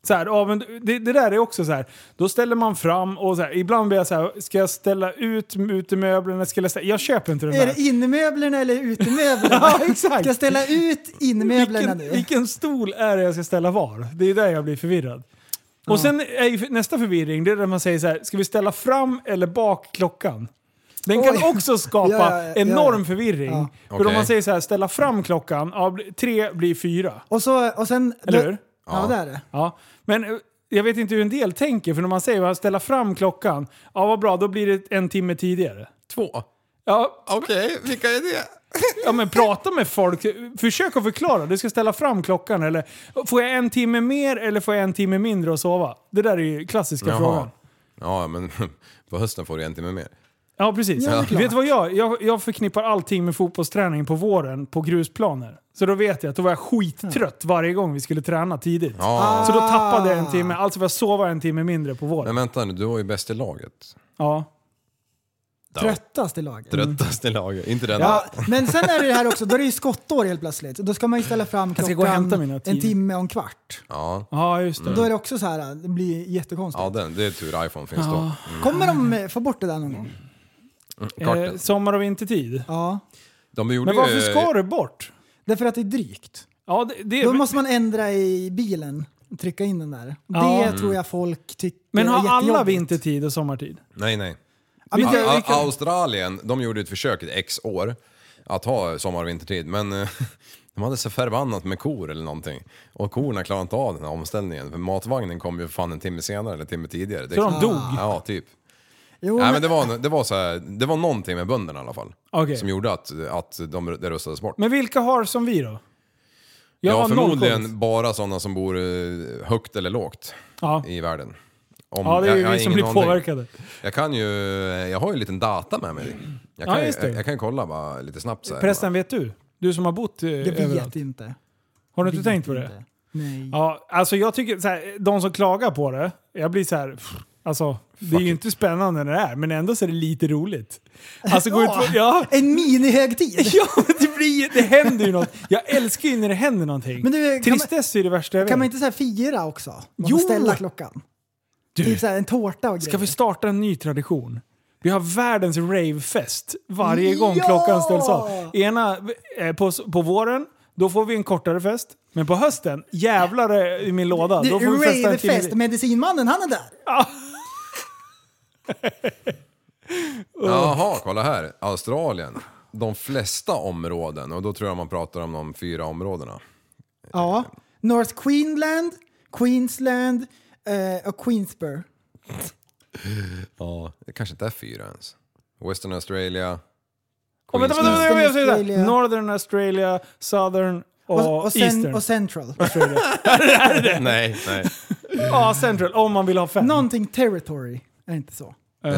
Så här, ja, men det, det där är också så här. då ställer man fram och så här, ibland blir jag så här, ska jag ställa ut utemöblerna? Ska jag, ställa, jag köper inte den Är där. det innemöblerna eller utemöblerna? *laughs* Ja, exakt. Ska jag ställa ut innemöblerna vilken, nu? vilken stol är det jag ska ställa var? Det är där jag blir förvirrad. Och sen är ju nästa förvirring, det är när man säger så här, ska vi ställa fram eller bak klockan? Den kan Oj. också *laughs* skapa Ja, ja, ja, enorm ja. förvirring. Ja. För om Okej. man säger så här, ställa fram klockan, ja, bli- tre blir fyra. Och, så, och sen... Eller hur? Ja, det är det. Ja. Men eh, jag vet inte hur en del tänker, för när man säger att ställa fram klockan, ja vad bra, då blir det en timme tidigare. Två? Ja, Okej, vilka är det? ja men prata med folk, försök att förklara. Du ska ställa fram klockan, eller får jag en timme mer eller får jag en timme mindre att sova? Det där är ju klassiska frågan. Ja, men *laughs* på hösten får du en timme mer. Ja, precis. det är klart. Vet du vad jag, jag... Jag förknippar allting med fotbollsträning på våren på grusplaner. Så då vet jag att då var jag skittrött varje gång vi skulle träna tidigt. Ja. Så då tappade jag en timme, alltså får jag sova en timme mindre på våren. Men vänta nu, du var ju bäst i laget. Ja. Tröttast i laget. Mm. Mm. Tröttaste laget, inte den Ja, men sen är det här också, då är det ju skottår helt plötsligt. Då ska man ju ställa fram Jag klockan ska gå och hämta mina en tid. timme och en kvart. ja. Ja, just det. Då är det också så här, det blir jättekonstigt. Mm. ja, den. Det är tur iPhone finns då. Mm. Kommer de eh, få bort det där någon gång? Karten. Eh, sommar och vintertid. Ja. De gjorde Men varför ju- ska du bort? Därför att det är drygt. Ja, det, det, Då måste man ändra i bilen. Trycka in den där. Ja. Det tror jag folk tycker men är har alla jättejobbigt. vintertid och sommartid? Nej, *laughs* nej. Ja, men A- det, A- Australien, de gjorde ett försök i x år att ha sommar och vintertid, men eh, *laughs* de hade så förbannat med kor eller någonting. Och korna klarade inte av den här omställningen, för matvagnen kom ju fan en timme senare eller en timme tidigare. Det- Så de dog? Ja, typ. jo, Nej, men, men det var, det var, så här, det var någonting med bönderna i alla fall, Okej. som gjorde att, att de, det röstades bort. Men vilka har som vi då? Jag ja, har noll koll. förmodligen bara sådana som bor eh, högt eller lågt Ja. i världen. Om- ja, det Mm, är jag- ju jag har vi som ingen blir aning. påverkade. Jag kan ju, jag har ju en liten data med mig. Jag Ja, kan, ju- just det. jag, jag kan ju kolla bara lite snabbt så här. Förresten, vet du? Du som har bott eh, jag överallt. vet inte. Har du inte Vet tänkt på det? inte. Nej. Ja, alltså jag tycker så här, de som klagar på det, jag blir så här, pff, alltså det är ju inte spännande när det är, men ändå så är det lite roligt. *laughs* Alltså gå ut på, ja, En minihögtid! *laughs* ja men det, blir, det händer ju något. Jag älskar ju när det händer någonting. Men du, kan man- Tristess är ju det värsta jag vet. Kan man inte så här fira också? Man Jo. får ställa klockan. Typ såhär en tårta och grejer. Ska vi starta en ny tradition? Vi har världens ravefest varje gång klockan ställs av. Ena eh, på, på våren, då får vi en kortare fest. Men på hösten, jävlar eh, i min låda. Du, Då får vi festa en timme Ravefest, till. medicinmannen han är där. uh. Jaha, kolla här. Australien. De flesta områden, och då tror jag man pratar om de fyra områdena. Ja. North Queensland, Queensland eh, och Queensborough. Ja. Det kanske inte är fyra ens. Western Australia. Och vänta, vänta, Queensland. vänta, vänta, vänta. Australia. Northern Australia, Southern och, Och, och, Eastern. sen, och Central. *laughs* *laughs* Nej, nej. ja, Central. Om man vill ha fem. Någonting territory. Är det inte så? Eh,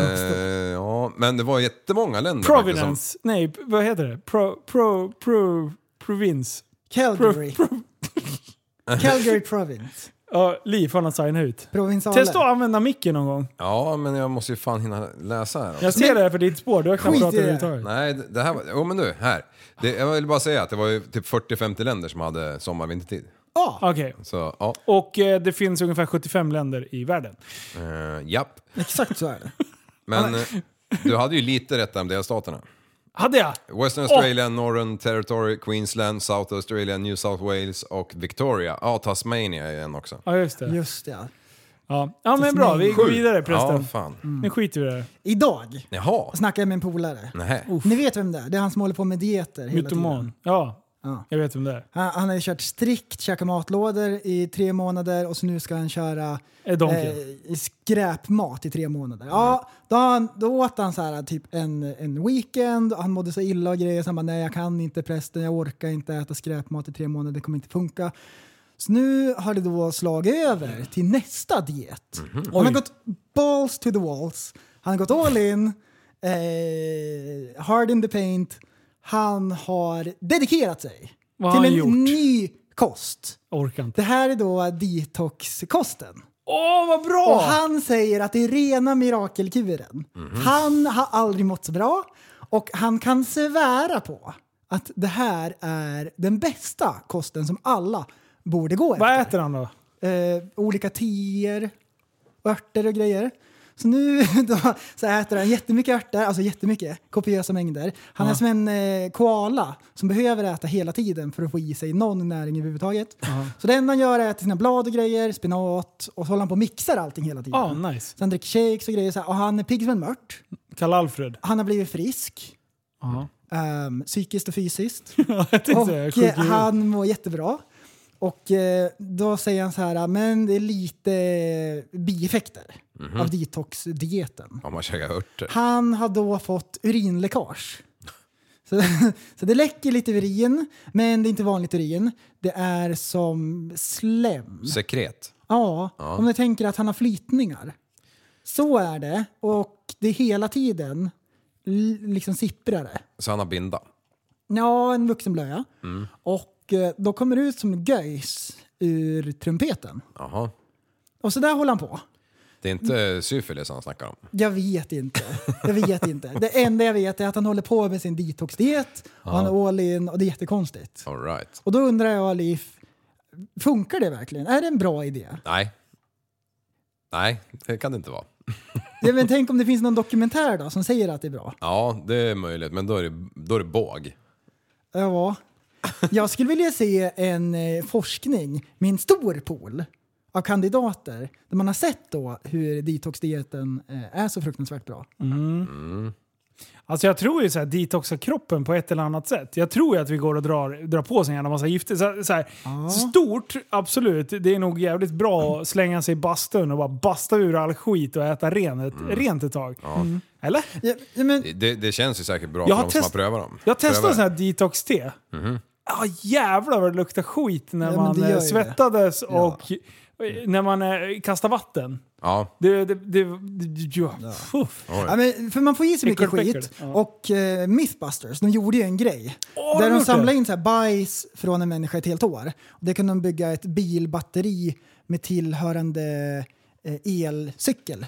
ja, men det var jättemånga länder faktiskt som- Providence. Nej, p- vad heter det? Pro, pro, pro, province. Calgary. Calgary Province. Ja, Liv han har signat ut. Provinsalen. Testa att använda micken någon gång. Ja, men jag måste ju fan hinna läsa här också. Jag ser det här för ditt spår, du har knappt Alltså, Skit i pratat det. överhuvudtaget. Nej, det det här var... Jo men du, här. Det, jag vill bara säga att det var ju typ 40-50 länder som hade sommar-vintertid. Okej. Så ja, Och eh, det finns ungefär 75 länder i världen. eh, japp. Exakt så är det. Men eh, du hade ju lite rätt om delstaterna. Hade jag? Western Australia, Northern Territory, Queensland, South Australia, New South Wales och Victoria. Ja, Tasmania är en också. Ja, just det. Just det. ja. Ja, ja men bra. Vi går Sju. vidare Mm. Ja, prästen. fan. Nu skiter vi i det här. Idag Jaha. snackade jag med en polare. Nej. Oh. Ni vet vem det är? Det är han som håller på med dieter hela tiden. Mytoman. Ja, Ja. jag vet vem det är. Han, han har ju kört strikt, käkat matlådor i tre månader och så nu ska han köra Eh, Donken. eh, skräpmat i tre månader. Ja, då, har han, då åt han så här, typ en, en weekend och han mådde så illa och grejer. Så han bara, nej jag kan inte prästen, jag orkar inte äta skräpmat i tre månader, det kommer inte funka. Så nu har det då slagit över till nästa diet. Han har gått balls to the walls, han har gått all in, eh, hard in the paint. Han har dedikerat sig Vad har till han en gjort? ny kost. Jag orkar inte. Det här är då detoxkosten. Åh, Mhm. vad bra! Och han säger att det är rena mirakelkuren. Han har aldrig mått så bra och han kan svära på att det här är den bästa kosten som alla borde gå efter. Vad äter han då? Eh, olika teer, örter och grejer. Så nu *laughs* då, så äter han jättemycket örter, alltså jättemycket, kopiösa mängder. Han är som en eh, koala som behöver äta hela tiden för att få i sig någon näring överhuvudtaget. Så det enda han gör är att äta sina blad och grejer, spenat och så håller han på och mixar allting hela tiden. Ja, Ah, nice. Så han dricker shakes och grejer så här, och han är pigg som en mört. Karl-Alfred. Han har blivit frisk, Ja. ehm, psykiskt och fysiskt. *laughs* jag tänkte *laughs* Och säga, eh, sjuk i huvudet. han mår jättebra. Och eh, då säger han så här, men det är lite bieffekter Mhm. av detoxdieten. Ja, man käkar örter. Han har då fått urinläckage. *laughs* Så, så det läcker lite urin, men det är inte vanligt urin. Det är som slem. Sekret. Ja, om ni tänker att han har flytningar. Så är det, och det är hela tiden l- liksom sipprar det. Så han har binda. Ja, en vuxenblöja. Och eh, då kommer det ut som göjs ur trumpeten. Jaha. Och så där håller han på. Det är inte syfilis han snackar om. Jag vet inte. Jag vet inte. Det enda jag vet är att han håller på med sin detoxdiet och han är all in och det är jättekonstigt. All right. Och då undrar jag, Liv, funkar det verkligen? Är det en bra idé? Nej. Nej, det kan det inte vara. Ja, men tänk om det finns någon dokumentär då som säger att det är bra? Ja, det är möjligt, men då är det, då är det båg. Ja. Jag skulle vilja se en eh, forskning med en stor pool av kandidater där man har sett då hur detoxdieten eh, är så fruktansvärt bra. Alltså jag tror ju såhär detoxa kroppen på ett eller annat sätt. Jag tror ju att vi går och drar, drar på oss en jävla massa gifter. Så, så här, Stort, absolut. Det är nog jävligt bra att slänga sig i bastun och bara basta ur all skit och äta renet, rent ett tag. Mm. Eller? Ja, ja, men, Det- Det, det känns ju säkert bra Jag för har de som test- har prövat dem. Jag testade Prövar. sån här detox-te. Mm. Ah, jävlar vad det luktar skit när Ja, men man det gör eh, ju det. svettades och eh, när man eh, kastar vatten. Ja, Det... det, det, det ja. Fuff. ja, men, för man får i sig mycket Äckelpäckel. skit. Ja. Och eh, Mythbusters, de gjorde ju en grej. har där de de gjort samlade det? in så här bajs från en människa ett helt år. Och det kunde de bygga ett bilbatteri med tillhörande eh, elcykel.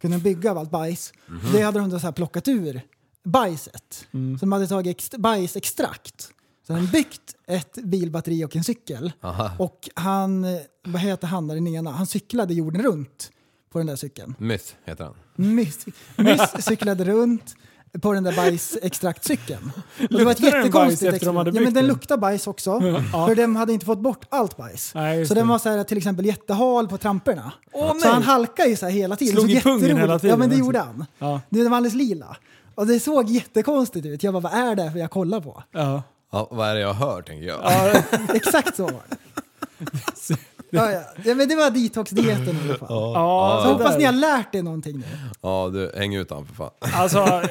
Kunde de bygga av allt bajs. Det hade de då så här plockat ur bajset. Mm. Så de hade tagit ext- bajsextrakt. Så han byggt ett bilbatteri och en cykel. Och han, eh, vad heter han där den ena, han cyklade jorden runt på den där cykeln. Myth heter han. Myss, Myss cyklade runt på den där bajsextraktcykeln. Och Det var ett Luktade den bajs jättekonstigt efter de experiment. hade Ja, men byggt den den? luktar bajs också. För den hade inte fått bort allt bajs. Nej, just så den det. var så här, till exempel jättehal på tramporna. Åh, så nej. han halkade ju så här hela tiden. Slog Det i såg pungen jätteroligt. hela tiden Ja men det också. gjorde han. Ja. Du, Den var alldeles lila. Och det såg jättekonstigt ut. Jag bara, vad är det för jag kollar på? Ja. Ja, vad är det jag hör tänker jag. Exakt så *laughs* var det. Ja, ja. ja, men det var detoxdieten i alla fall. Ja, Så det hoppas där. ni har lärt er någonting nu. Ja, du, häng ut han för fan. *laughs* Alltså,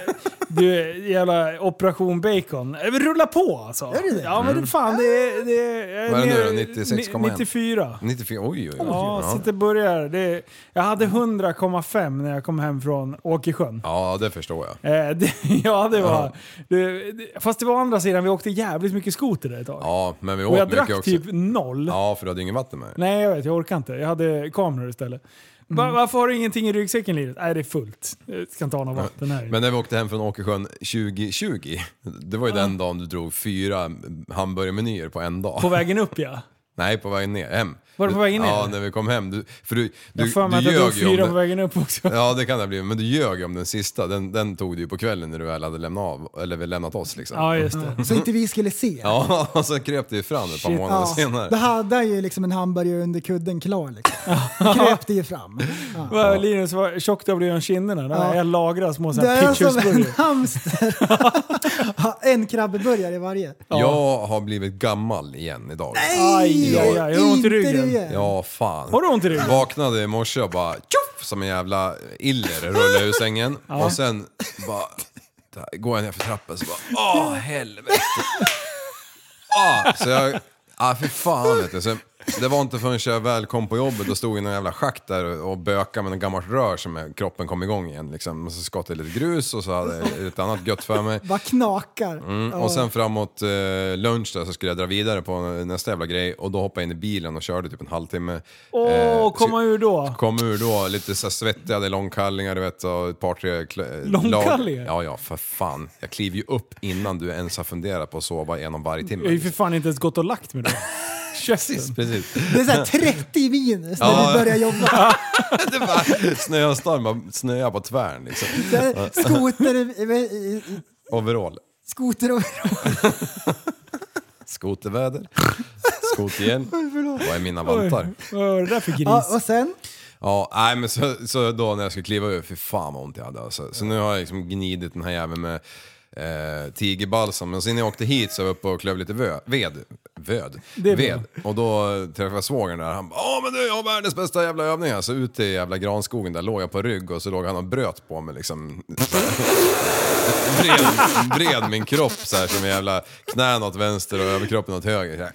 du jävla operation bacon. Eh, men Rulla på alltså. Är det Mm. det? Ja men det fan det är... Det är Vad är det nu då? ner- 96,1? 94. 94, oj oj oj. Ja, Ja, så det börjar. Det är, jag hade 100,5 när jag kom hem från Åkersjön. ja det förstår jag. Eh, *laughs* det, ja, det var... Det, det, fast det var å andra sidan, vi åkte jävligt mycket skoter där ett tag. Ja, men vi Och jag åt mycket drack också. typ noll. Ja, för du hade ju inget vatten med. Nej, jag vet. Jag orkar inte. Jag hade kameror istället. Va- Mm. varför har du ingenting i ryggsäcken, Liret? Nej, det är fullt. Jag ska inte ha något vatten här. Men när vi åkte hem från Åkersjön 2020, det var ju den dagen du drog fyra hamburgermenyer på en dag. På vägen upp ja. Nej, på vägen ner. Hem. Var det på vägen ner? Ja, när vi kom hem. Du, för du, Jag du, har för mig att du jag drog ljög ju om fyra på den. vägen upp också. Ja, det kan det bli. Men du ljög ju om den sista. Den, den tog du ju på kvällen när du väl hade lämnat, av, eller väl lämnat oss liksom. Ja, just det. Så inte vi skulle se. Ja, *laughs* och så kröp det ju fram ett par Shit. månader Ja, då senare. hade han ju liksom en hamburgare under kudden klar. Liksom. Då kröp det ju fram. Ja. *laughs* Vad, Linus, vad tjockt du har blivit om kinderna. Ja. Ja. alltså, Jag lagrar små Det är som en pitchersburgare. hamster. *laughs* Ja, en krabbeburgare i varje. Jag har blivit gammal igen idag. Aj, aj, aj. Har du ont i Inte ryggen? det igen. Ja, fan. Har du ont i ryggen? Vaknade i morse och bara tjoff som en jävla iller rullade ur sängen. Och sen bara där, går jag ner för trappen så bara åh helvete. ah, så jag, ah fy fan vet du. Så det var inte förrän jag väl kom på jobbet och stod i någon jävla schakt där och och bökade med något gammalt rör som jag- kroppen kom igång igen liksom. Och så skottade jag lite grus och så hade jag lite annat gött för mig. Vad knakar. Mm, Och sen framåt eh, lunch där så skulle jag dra vidare på nästa jävla grej och då hoppade jag in i bilen och körde typ en halvtimme. Åh, Eh, komma så- ur då. Kom ur då, lite så här svettig, jag hade långkallingar du vet och ett par tre... kl- eh, Långkallingar? lag- Ja, ja för fan. Jag kliver ju upp innan du ens har funderat på att sova genom varje timme. Jag har ju för fan inte ens gått och lagt mig då. Käften. Precis. *laughs* Det är såhär 30 minus när Ja. vi börjar *laughs* jobba. Det var snöstorm, bara snöa på tvären liksom. Så här, Skoter, eh, eh, Overall. skoter och... Skoterväder. Skoterhjälm. Vad är mina vantar? Vad var det där för gris? Ja, och sen? Ja, nej men så, så då när jag skulle kliva ur, för fan vad ont jag hade alltså. Så nu har jag liksom gnidit den här jäveln med eh, tigerbalsam. Men sen när jag åkte hit så var jag uppe och klöv lite vö, ved. Vöd? Det är bra. ved. Och då eh, träffade jag svågern där. Han bara “Åh men du, jag har världens bästa jävla övning här." Så ute i jävla granskogen där låg jag på rygg och så låg han och bröt på mig liksom. *laughs* bred, bred min kropp så här som en jävla knän åt vänster och överkroppen åt höger. Så här.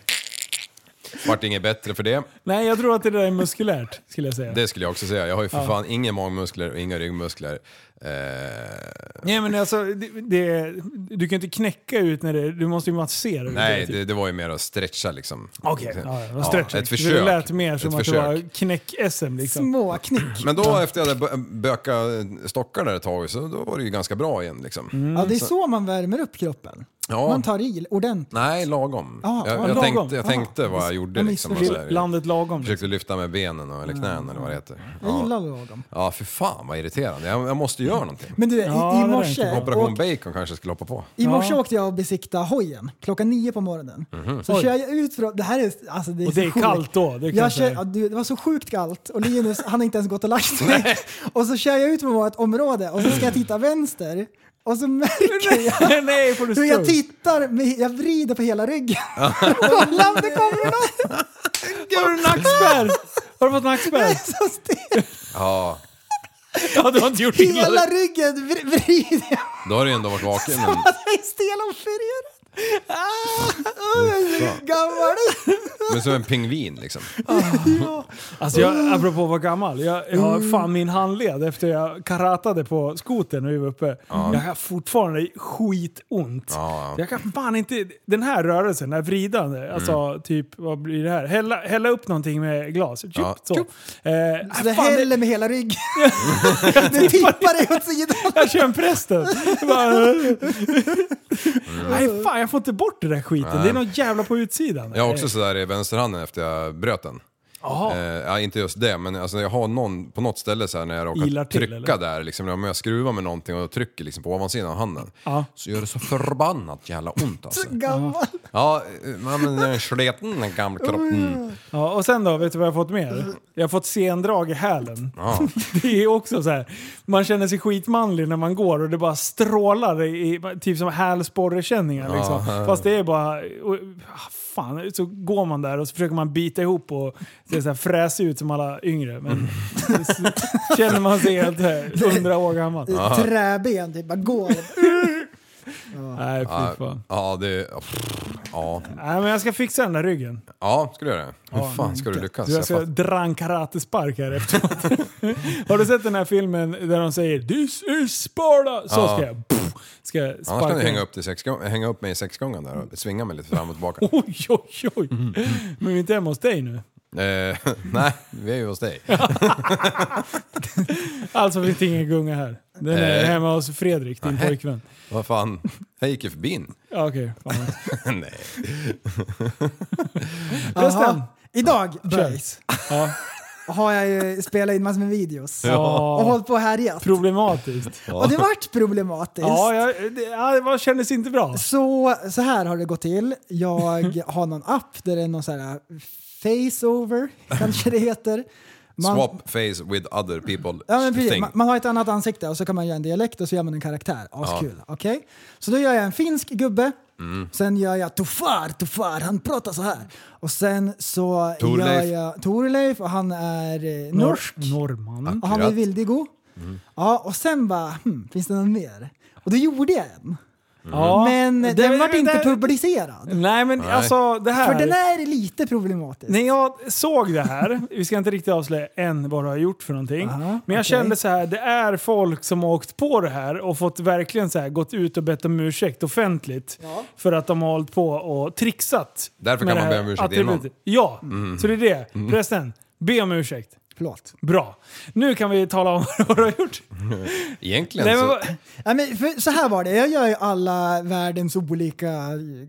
Vart inget bättre för det. Nej, jag tror att det där är muskulärt, skulle jag säga. Det skulle jag också säga. Jag har ju för fan inga magmuskler och inga ryggmuskler. Eh, Nej, men alltså, det, det, du kan ju inte knäcka ut när det... Du måste ju massera. ut nej, det, typ. det, det var ju mer att stretcha liksom. Okej, ja, ja, Ja, stretching. ett Det försök. lät mer som Ett att försök. det var knäck-SM liksom. Småknick. Men då efter jag hade bö- bökat stockar där ett tag så då var det ju ganska bra igen liksom. Mm. Ja, det är så man värmer upp kroppen. Ja. Man tar i ordentligt. Nej, lagom. Ah, jag, jag, ah, lagom. Tänkte, jag Ah. tänkte vad jag gjorde Jag liksom. Och missförstod. så här. Landet lagom. Försökte lyfta med benen och, eller knän eller vad det heter. Jag Ja, gillar lagom. ja för fan vad irriterande. Jag, jag måste göra någonting. Men du, Ja, i, det i där är morse... inte Operation Bacon kanske jag skulle hoppa på. I morse åkte jag och besiktade hojen klockan nio på morgonen. Så Mhm. Oj. kör jag ut från... Det här är, alltså det är, Och det så är sjukt. kallt då, det kan jag jag kör, säga. ja, du, det var så sjukt kallt och Linus han har inte ens gått och lagt sig. och så kör jag ut från vårt område och så ska jag titta vänster och så märker jag liksom. *laughs* nej, får du hur jag stroke? tittar, med, jag vrider på hela ryggen. *laughs* Kolla om det kommer någon! Har du nackspärr? Har du fått Jag är nackspärr? *laughs* så stel. Ja, Ja, du har inte gjort illa Hela dig. ryggen vri- vrider jag. då har du ändå varit vaken. Som att jag är stel och förvirrad. Ah, oh, jag är så gammal. Men som en pingvin liksom. Alltså jag, Ah. apropå att vara gammal, jag, jag har Mm. fan min handled efter jag karatade på skoten när vi var uppe. Jag har fortfarande skitont. Ja, Mm. ja. Jag kan fan inte, den här rörelsen, den här vridande, alltså typ vad blir det här? Hälla, hälla upp någonting med glas. Tjup, Ja. så. Eh, Så äh, det fan, det, häller med hela *laughs* ryggen. det tippar dig åt sidan. jag kör *laughs* en prästen. Jag bara, Nej fan jag får inte bort den där skiten, det är något jävla på utsidan. Eh, Jag har också sådär i vänsterhanden efter jag bröt den. Eh, ja, inte just det, men alltså, jag har någon på något ställe så här, när jag Ilar råkar till, trycka eller? där, liksom, om jag skruvar med någonting och trycker liksom, på ovansidan av handen, Ja. så gör det så förbannat jävla ont alltså. Gammal. Ja, eh, man använder den sleten, den gamla kroppen. Ja, och sen då, vet du vad jag har fått mer? Jag har fått sendrag i hälen. Ja. Det är också så här. man känner sig skitmanlig när man går och det bara strålar i, i- typ som hälsporrekänningar. Liksom. Fast det är bara... Och, ah, fan, så går man där och så försöker man bita ihop och se så här fräs ut som alla yngre. Men så *laughs* känner man sig helt så här, hundra år gammal. Träben, typ bara går. Nej, fy fan. Ja, det... Ja, Nej, men jag ska fixa den där ryggen. ja ska du göra det? Hur fan ska du lyckas? Du, alltså, Alltså, jag Jag ska fattar. dra en karatespark här efteråt. *laughs* Har du sett den här filmen där de säger “This is Sparta”? Så ska jag, pff, ska jag Annars sparka. kan du hänga upp, till sex, gång- hänga upp mig i sexgången där och svinga mig lite fram och tillbaka. *laughs* Oj, oj, oj. Men vi är inte hemma hos dig nu. Eh, *laughs* nej, vi är ju hos dig. Alltså finns det ingen gunga här. Den är Eh. hemma hos Fredrik, din Nej. pojkvän. Vad fan, jag gick ju förbi en. *laughs* *laughs* Ja, Okej, fan. Nej. Förresten. Idag, Kör. boys, Ja. har jag ju spelat in massor med videos. Och Ja. hållit på och härjat. Problematiskt. Och det vart problematiskt. Ja, jag, det, ja, det var, kändes inte bra. Så, så här har det gått till. Jag har någon app där det är någon så här face-over, kanske det heter. Man- Swap face with other people Ja, men precis. thing. Man, man har ett annat ansikte och så kan man göra en dialekt och så gör man en karaktär. Askul. Okej? Så då gör jag en finsk gubbe. Mm. Sen gör jag Tofar, Tofar, han pratar så här. Och sen så gör Torleif. jag Torleif och han är eh, norsk. Norsk. Mm. Norrman. Och han var Akkurat. Vildigo. Ja, och sen bara, hmm, finns det någon mer? Och då gjorde jag en. Ja. Men den vart inte där- publicerad. Nej, men alltså det här. För den är lite problematisk. När jag såg det *laughs* här, vi ska inte riktigt avslöja än vad du har gjort för någonting, Aha, men jag okej. kände så här, det är folk som har åkt på det här och fått verkligen så här, gått ut och bett om ursäkt offentligt för att de har hållit på och trixat. Därför med kan man det här be om ursäkt innan. Mm. attributet. Ja, så det är det. Förresten, be om ursäkt. Förlåt. Bra. Nu kan vi tala om *laughs* vad du har gjort. Egentligen Nej, men, så... vad- Ja, men för så här var det, jag gör ju alla världens olika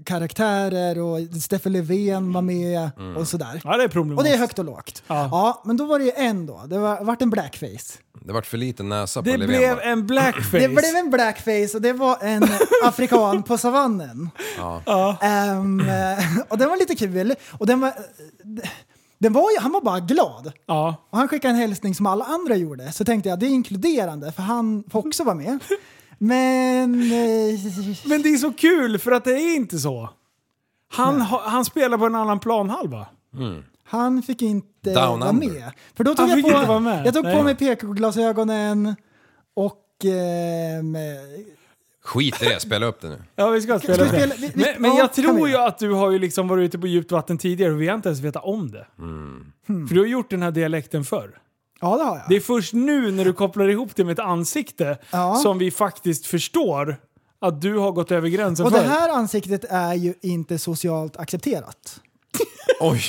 karaktärer och Stefan Löfven var med och sådär. ja, det är problematiskt. Och det är högt och lågt. Ja. Ja. men då var det ju en då. Det var, vart en blackface. Det vart för liten näsa på Det Löfven, blev va? en blackface. Det blev en blackface och det var en afrikan på savannen. Ehm, och den var lite kul. Och den var, den var, ju- han var bara glad. Ja. Och han skickade en hälsning som alla andra gjorde. Så tänkte jag det är inkluderande för han får också vara med. Men... eh, Men det är så kul för att det är inte så. Han, ha- han spelar på en annan planhalva. Han fick inte Down vara under. med. För då Han tog jag fick på, inte vara med. Jag tog Nej. på mig PK-glasögonen och... ehm, Skit i det, spela upp det nu. Ja, vi ska spela Ska vi det. spela- vi- vi- men men ja, jag kan tror vi. ju att du har ju liksom varit ute på djupt vatten tidigare och vi har inte ens vetat om det. För du har gjort den här dialekten förr. ja, det har jag. Det är först nu när du kopplar ihop det med ett ansikte Ja. som vi faktiskt förstår att du har gått över gränsen och förr. det här ansiktet är ju inte socialt accepterat. *laughs* Oj!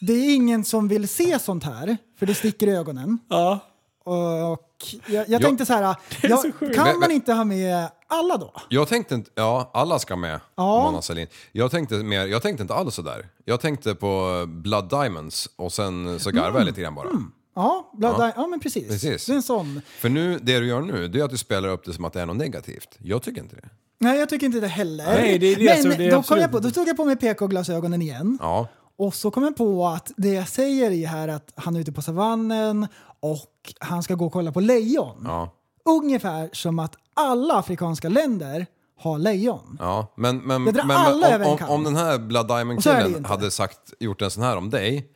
Det är ingen som vill se sånt här, för det sticker i ögonen. Ja. Och jag, jag tänkte så *laughs* här, jag, så sjukt. kan Men- man men- inte ha med alla då? Jag tänkte inte... Ja, alla ska med. Ja. Mona Sahlin. Jag tänkte, mer, jag tänkte inte alls sådär. Jag tänkte på Blood Diamonds och sen så garvade Mm. jag lite grann bara. Ja, bla, ja. ja men precis. Precis. Det är en sån. För nu, det du gör nu, det är att du spelar upp det som att det är något negativt. Jag tycker inte det. Nej, jag tycker inte det heller. Nej, det är det, så men det är då, kom absolut jag på, inte. då tog jag på mig PK-glasögonen igen. Ja. Och så kom jag på att det jag säger är här att han är ute på savannen och han ska gå och kolla på lejon. Ja. Ungefär som att alla afrikanska länder har lejon. Ja, men, men, Det men, drar men alla om, över en om, kam. om den här Blood Och så är det ju Diamond-killen inte. Mm. hade sagt, gjort en sån här om dig,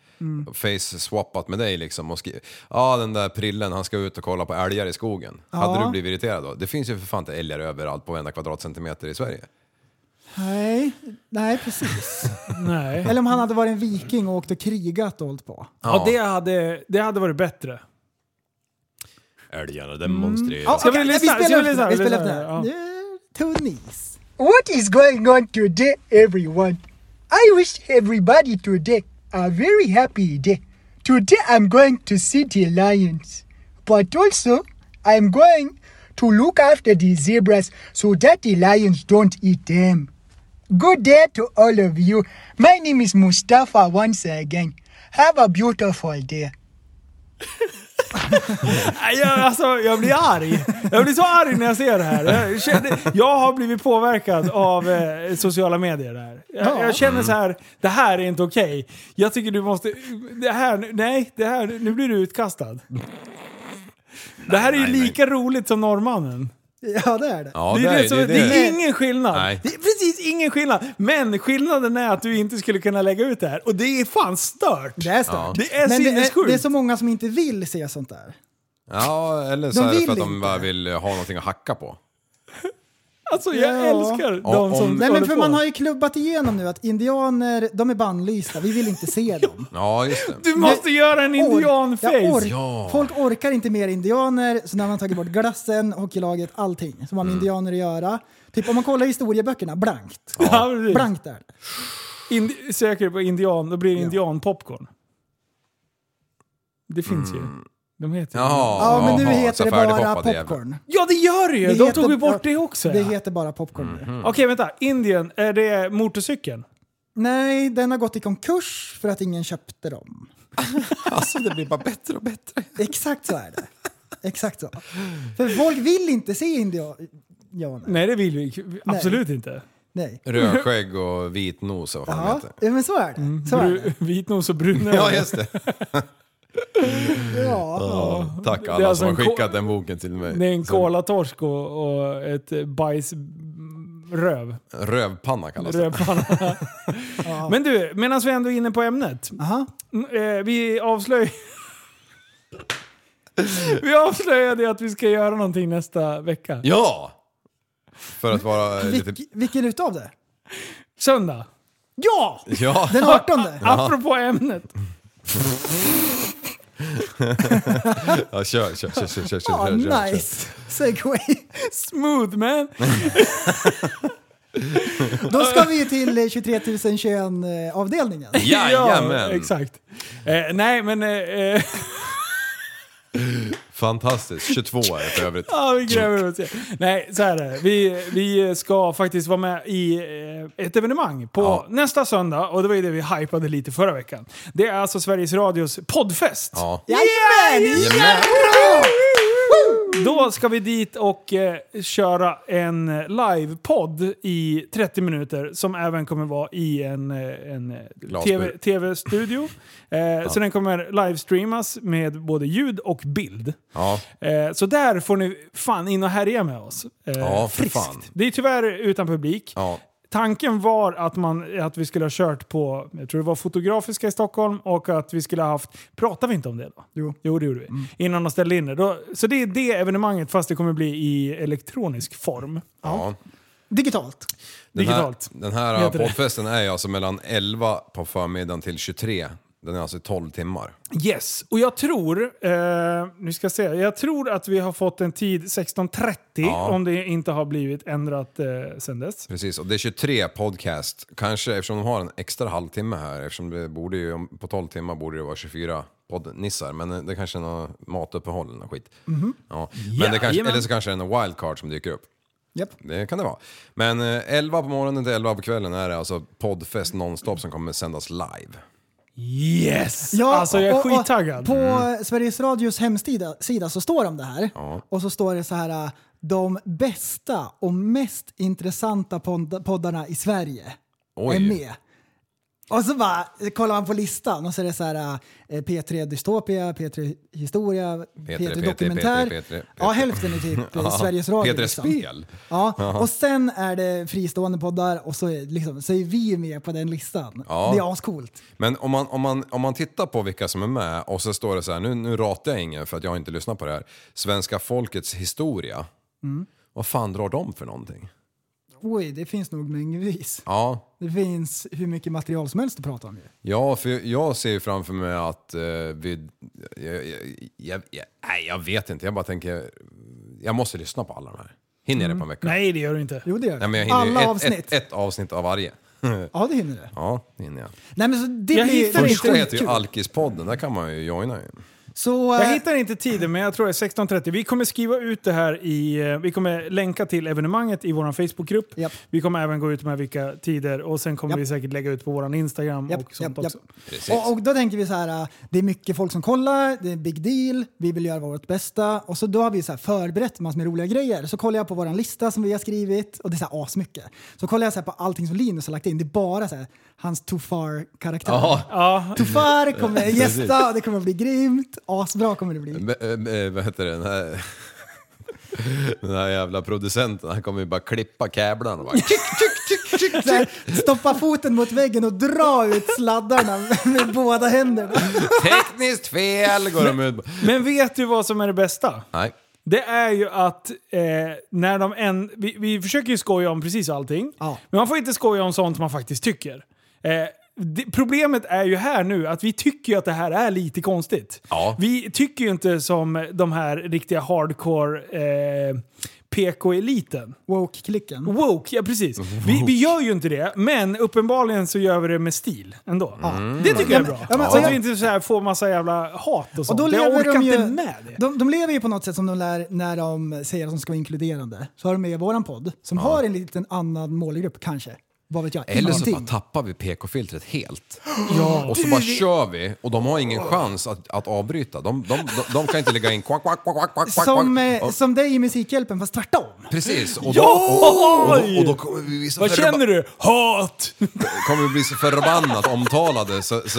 face-swappat med dig liksom och skrivit ja den där prillen han ska ut och kolla på älgar i skogen. Hade du blivit irriterad då? Det finns ju för fan inte älgar överallt på varenda kvadratcentimeter i Sverige. Nej, nej precis. Nej. *laughs* Eller om han hade varit en viking och åkt och krigat och hållit på. Ja, det, hade, det hade varit bättre. Älgarna Mm. demonstrerar. Ska vi Okej, lyssna? Vi Ska spelar vi upp den här, vi lyssna? spelar upp den här. Ja. Nu är det Tunis. What is going on today, everyone? I wish everybody today a very happy day. Today I'm going to see the lions, but also I'm going to look after the zebras so that the lions don't eat them. Good day to all of you. My name is Mustafa once again. Have a beautiful day. Nej, Jag, alltså, jag blir arg. Jag blir så arg när jag ser det här. Jag, känner, jag har blivit påverkad av eh, sociala medier. Där. Jag, jag känner så Mm. här, det här är inte okej. Jag tycker du måste... Det här, nej, det här, nu blir du utkastad. Det här är ju nej, nej. lika roligt som norrmannen. Ja, det är det. Ja, det, är det, som, det, är ingen skillnad. Nej. Det är precis ingen skillnad. Men skillnaden är att du inte skulle kunna lägga ut det här. Och det är fan stört. Det är stört. Det är Men det är, sinnessjukt. det är så många som inte vill se sånt där. Ja, eller så De är det vill för att de inte. bara vill ha någonting att hacka på. Alltså jag Ja. älskar de som om- Nej håller men för på. man har ju klubbat igenom nu att indianer, de är bannlysta, vi vill inte se *laughs* dem. Ja, just det. Du måste göra en Ork- indianface! Jag ork- Ja. Folk orkar inte mer indianer, så när man har tagit bort glassen, hockeylaget, allting som har med indianer att göra. Typ om man kollar historieböckerna, blankt. *laughs* Ja, precis. Blankt där. Indi- söker på indian, då blir det indianpopcorn. Det finns ju. De heter ju Mm. Jaha, Ja, men nu jaha, heter så det bara färdighoppat jävel. popcorn. Ja, det gör det ju! Det De heter- tog ju bort ja, det också. Det ja. heter bara popcorn nu. Okej, vänta. Indien, är det motorcykeln? Nej, den har gått i konkurs för att ingen köpte dem. *laughs* Alltså det blir bara bättre och bättre. Exakt så är det. Exakt så. För folk vill inte se indianer. Nej, det vill vi absolut inte. Nej. Rödskägg och vit nos och vad fan Ja, heter. ja, men så är Mm. det. Så är det. *laughs* Bru- Vitnos och bruna. Ja, just det. Ja. Ja, Tack Det är alla alltså som har en ko- skickat den boken till mig. det är en Som kolatorsk och, och ett eh, bajs... mm, Röv. Rövpanna kallas det. *laughs* Rövpanna. Men du, medan vi ändå är inne på ämnet. Aha. Mm, Eh, vi avslöjar... *laughs* vi avslöjade ju att vi ska göra någonting nästa vecka. Ja! För att *laughs* vara lite... Vilk, vilken utav det? Söndag. Ja! Ja! Den 18. Apropå ämnet. ja kör, kör, kör, kör, kör, Ja, kör, kör, kör. nice segway. *laughs* Smooth man. Då ska vi ju till eh, 23 021 avdelningen. Jajamän! exakt. Eh, nej, men... eh, Eh, *laughs* Fantastiskt. 22 är det för övrigt. ja, vi gräver oss igen. Nej, så här är det. Vi, vi ska faktiskt vara med i eh, ett evenemang på Ja. nästa söndag. Och det var ju det vi hypade lite förra veckan. Det är alltså Sveriges Radios poddfest. *laughs* Ja. Jajamän! Jajamän! Då ska vi dit och eh, köra en eh, livepodd i 30 minuter som även kommer vara i en, eh, en eh, Glasbur. *laughs* TV, tv-studio. Eh, Så den kommer livestreamas med både ljud och bild. Ja. Eh, så där får ni fan in och härja med oss. Eh, Ja, för fan. Det är tyvärr utan publik. Ja. Tanken var att, man, att vi skulle ha kört på, jag tror det var Fotografiska i Stockholm och att vi skulle ha haft, pratade vi inte om det då? Jo. Mm. Jo det gjorde vi. Innan de ställde in det. Då, så det är det evenemanget fast det kommer bli i elektronisk form. ja. Digitalt. Den här, Digitalt. den här Heter det. poddfesten är ju alltså mellan 11 på förmiddagen till 23. Den är alltså 12 timmar. Yes, och jag tror, eh, nu ska jag säga, jag tror att vi har fått en tid 16.30 Ja. om det inte har blivit ändrat eh, sen dess. Precis, och det är 23 podcast. Kanske eftersom de har en extra halvtimme här, eftersom det borde ju, om- på 12 timmar borde det vara 24 poddnissar. Men eh, det kanske är något matuppehåll eller något skit. Ja. Men det kanske, Jajamän. eller så kanske det är en wildcard som dyker upp. Japp. Det kan det vara. Men eh, 11 på morgonen till 11 på kvällen är det alltså poddfest nonstop som kommer sändas live. Yes! alltså jag är och- och skittaggad. Mm. På Sveriges Radios hemsida sida så står de där. Och så står det så här eh, de bästa och mest intressanta podd- poddarna i Sverige Oj. är med. Och så bara eh, kollar man på listan och så är det så här eh, P3 Dystopia, P3 Historia, P3, P3, Dokumentär. P3, P3. Ja, hälften är *laughs* typ eh, Sveriges Radio. P3 Spel. *laughs* Ja, och sen är det fristående poddar och så är, liksom, så är vi med på den listan. Ja. Det är ascoolt. Men om man, om, man, om man tittar på vilka som är med och så står det så här, nu, nu ratar jag ingen för att jag har inte lyssnat på det här. Svenska folkets historia. Vad fan drar de för någonting? Oj, det finns nog mängdvis. Ja, Det finns hur mycket material som helst att prata om ju. ja för jag ser ju framför mig att eh, vi... Jag, jag, jag, jag, nej, jag vet inte. Jag bara tänker, jag måste lyssna på alla de här. Hinner jag det på en vecka? Nej det gör du inte. Jo, det gör nej men jag det. hinner ju Mm. Alla ett, avsnitt. Ett, ett avsnitt av varje. Ja, det hinner du. Ja, det hinner jag. Nej, men så det Jag blir hittar det är Första skitkul. heter ju Alkispodden, där kan man ju joina ju. Så... Jag eh, hittar inte tiden, men jag tror det är 16.30. Vi kommer skriva ut det här i... eh, Vi kommer länka till evenemanget i vår Facebookgrupp. Japp. Vi kommer även gå ut med vilka tider och sen kommer Japp. vi säkert lägga ut på vår Instagram Japp, och sånt japp, japp. också. Precis. Och, och då tänker vi så här, äh, det är mycket folk som kollar, det är en big deal, vi vill göra vårt bästa. Och så då har vi så här förberett massor med roliga grejer. Så kollar jag på vår lista som vi har skrivit och det är så här asmycket. Så kollar jag så här på allting som Linus har lagt in, det är bara så här, hans too far-karaktär. Ja, Too far *laughs* kommer Precis. gästa och det kommer bli grymt. Asbra kommer det bli. B- eh, vad heter det? Den här, *laughs* den här jävla producenten, han kommer ju bara klippa käblarna. Bara, "Tick, tick, tick, tick." Så här, stoppa foten mot väggen och dra ut sladdarna med båda händerna. Tekniskt fel går de ut men vet du vad som är det bästa? Nej. Det är ju att eh, när de än... Vi, vi försöker ju skoja om precis allting. Ja. Men man får inte skoja om sånt man faktiskt tycker. Eh, det, problemet är ju här nu att vi tycker ju att det här är lite konstigt. Ja. Vi tycker ju inte som de här riktiga hardcore eh, PK-eliten. Woke-klicken. Woke, ja precis. Vi, vi gör ju inte det, men uppenbarligen så gör vi det med stil ändå. Det tycker jag är bra. Ja, men- så och att jag- vi inte så här får massa jävla hat och sånt. då jag lever orkar de ju- inte med det. De, de lever ju på något sätt som de lär när de säger att de ska vara inkluderande. Så har de med våran podd som har en liten annan målgrupp kanske. Vad vet jag? Eller så Ingenting. bara tappar vi PK-filtret helt. och så bara kör vi och de har ingen chans att, att avbryta. De, de, de, de kan inte lägga in kvack, kvack, kvack, kvack, kvack, som, kvack. eh, Och- som dig i Musikhjälpen fast tvärtom. Precis, och då, och, och, då, och då kommer vi bli så Vad förba- känner du? Hat! kommer vi bli så förbannat omtalade så, så,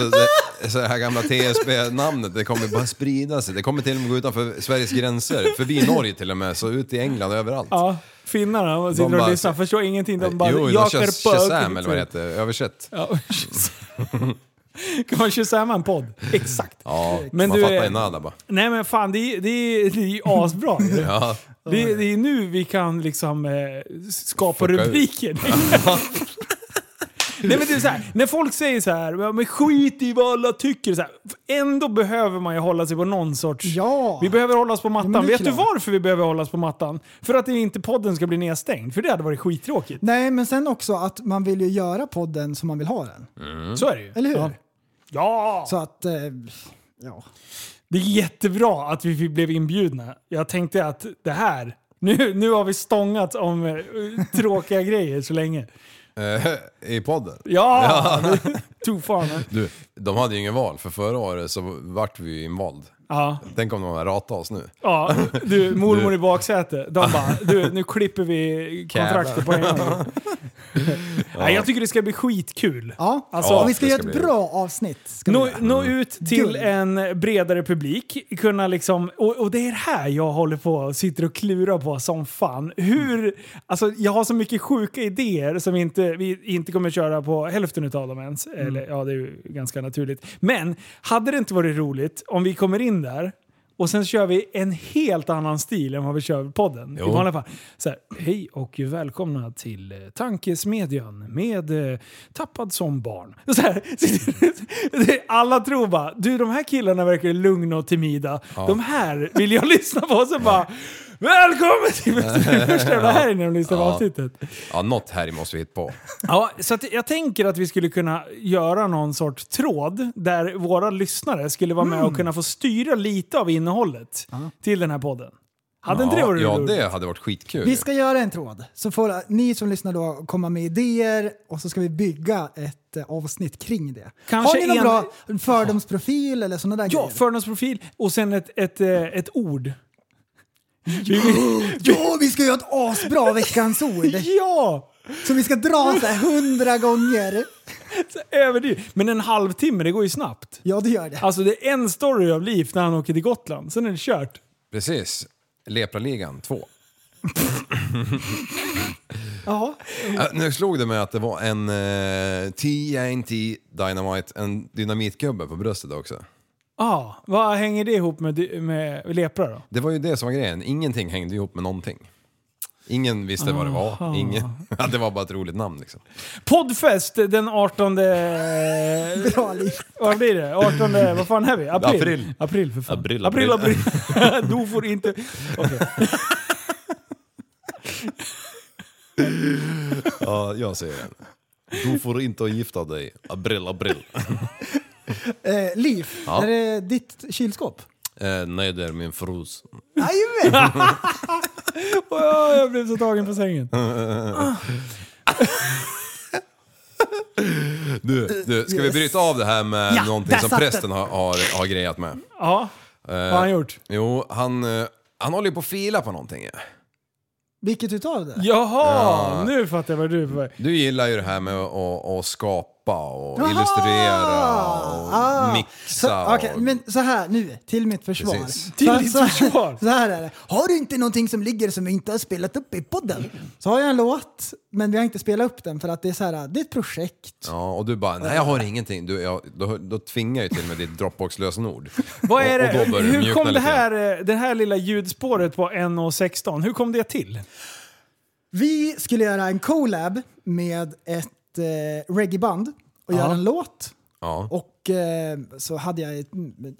det, så det här gamla TSB-namnet det kommer bara sprida sig. Det kommer till och med gå utanför Sveriges gränser, förbi Norge till och med, så ut i England och överallt. Ja, finnarna de sitter De bara- och lyssnar, förstår ingenting. De bara jo, de jakar kör på- Shazam eller vad det heter, översätt. Ja, Shazam. *laughs* kan man Shazama en podd? Exakt. Ja, Men man du, fattar eh, ju nada bara. Nej men fan, det är, det är, det är ju asbra ju. *laughs* Ja. Det, är- det är nu vi kan liksom eh, skapa Fucka ut. *laughs* rubriker. Nej men det är så här, när folk säger så här, "Ja, men skit i vad alla tycker. Så här, ändå behöver man ju hålla sig på någon sorts... Ja. Vi behöver hålla oss på men mattan. det är Vet du klart. varför vi behöver hålla oss på mattan? För att inte podden ska bli nedstängd, för det hade varit skittråkigt. Nej, men sen också att man vill ju göra podden som man vill ha den. Så är det ju. Eller hur? Ja. ja. Så att... Eh, ja. Det är jättebra att vi blev inbjudna. Jag tänkte att det här, nu, nu har vi stångat om eh, tråkiga *laughs* grejer så länge. Eh, I podden. Ja! *laughs* Too far man. Du, de hade ju ingen val, för förra året så vart vi ju invald. Ja, Tänk om de hade ratat oss nu. ja, du, mormor i baksätet. De bara, du, nu klipper vi kontraktet på en *laughs* gång. Nej, jag tycker det ska bli skitkul. ja. Alltså, och vi ska det göra ska ett bli- bra avsnitt. Ska vi Nå, göra. nå ut till Guld. en bredare publik. Kunna liksom, och, och det är det här jag håller på och sitter och klurar på som fan. Hur, alltså, jag har så mycket sjuka idéer som inte, vi inte kommer köra på hälften utav dem ens. Mm. Eller, ja, det är ju ganska naturligt. Men hade det inte varit roligt om vi kommer in där och sen kör vi en helt annan stil än vad vi kör i podden. I Jo. vanliga fall. Så här, Hej och välkomna till eh, Tankesmedjan med eh, Tappad som barn. *laughs* Och Så här, det är- alla tror bara, du de här killarna verkar lugna och timida. De här vill jag *laughs* lyssna på. Och så bara, välkommen till *laughs* det första jävla här när de lyssnar *laughs* på Ja. avsnittet. Ja, något här måste vi hitta på. Ja, så att jag tänker att vi skulle kunna göra någon sorts tråd där våra lyssnare skulle vara med och kunna få styra lite av innehållet till den här podden. Hade inte det Ja, varit ja, roligt? det hade varit skitkul. Vi ska göra en tråd, så får ni som lyssnar då komma med idéer och så ska vi bygga ett eh, avsnitt kring det. Kanske Har ni någon en- bra fördomsprofil eller sådana där Ja, grejer? fördomsprofil och sen ett, ett, eh, ett ord. *laughs* Ja, vi ska göra ett asbra veckans ord Ja! som vi ska dra så här hundra gånger. Överdriv. Men en halvtimme, det går ju snabbt. Ja, det gör det. Alltså det är en story av liv när han åker till Gotland, sen är det kört. Precis. Lepraligan 2. Ja. Äh, nu slog det mig att det var en eh, TNT Dynamite, en dynamitgubbe på bröstet också. Ah, vad hänger det ihop med, med lepra då? Det var ju det som var grejen, ingenting hängde ihop med någonting. Ingen visste vad det var, Ingen. *laughs* Ja, det var bara ett roligt namn liksom. Poddfest den *laughs* 18... Bra liv. Vad blir det? 18... Vad fan är vi? April? April. April för fan. April, april. april. april. *laughs* du får inte... Okej. Ja, jag säger den. Du får inte gifta dig. Abrill, abrill. Eh, liv, är det ditt kylskåp? *laughs* Eh, nej, det är min frus. *laughs* Jajamän! Ja, jag blev så tagen på sängen. Du, du, ska vi bryta av det här med Ja, någonting där som satt prästen har, har, har grejat med? Ja, vad har han gjort? Jo, han, eh, han håller ju på att fila på någonting. ja. Vilket utav det? Jaha, nu fattar jag vad du är på väg. Du gillar ju det här med att, att, att skapa och Jaha! illustrera och Ah. mixa. Så, okej, och, men så här nu, till mitt försvar. Precis. Till Så- ditt så, försvar. Så här är det. Har du inte någonting som ligger som vi inte har spelat upp i podden? Så har jag en låt, men vi har inte spelat upp den för att det är så här, det är ett projekt. Ja, och du bara, nej jag har ingenting. Du, jag, då, då tvingar jag ju till med ditt *laughs* Dropbox-lösenord. Vad är Och, och då det? börjar du Hur mjukna kom det lite grann. här, eh, det här lilla ljudspåret på 1.16, hur kom det till? Vi skulle göra en collab med ett eh, reggaeband och göra en låt. Ja. Och eh, så hade jag ett,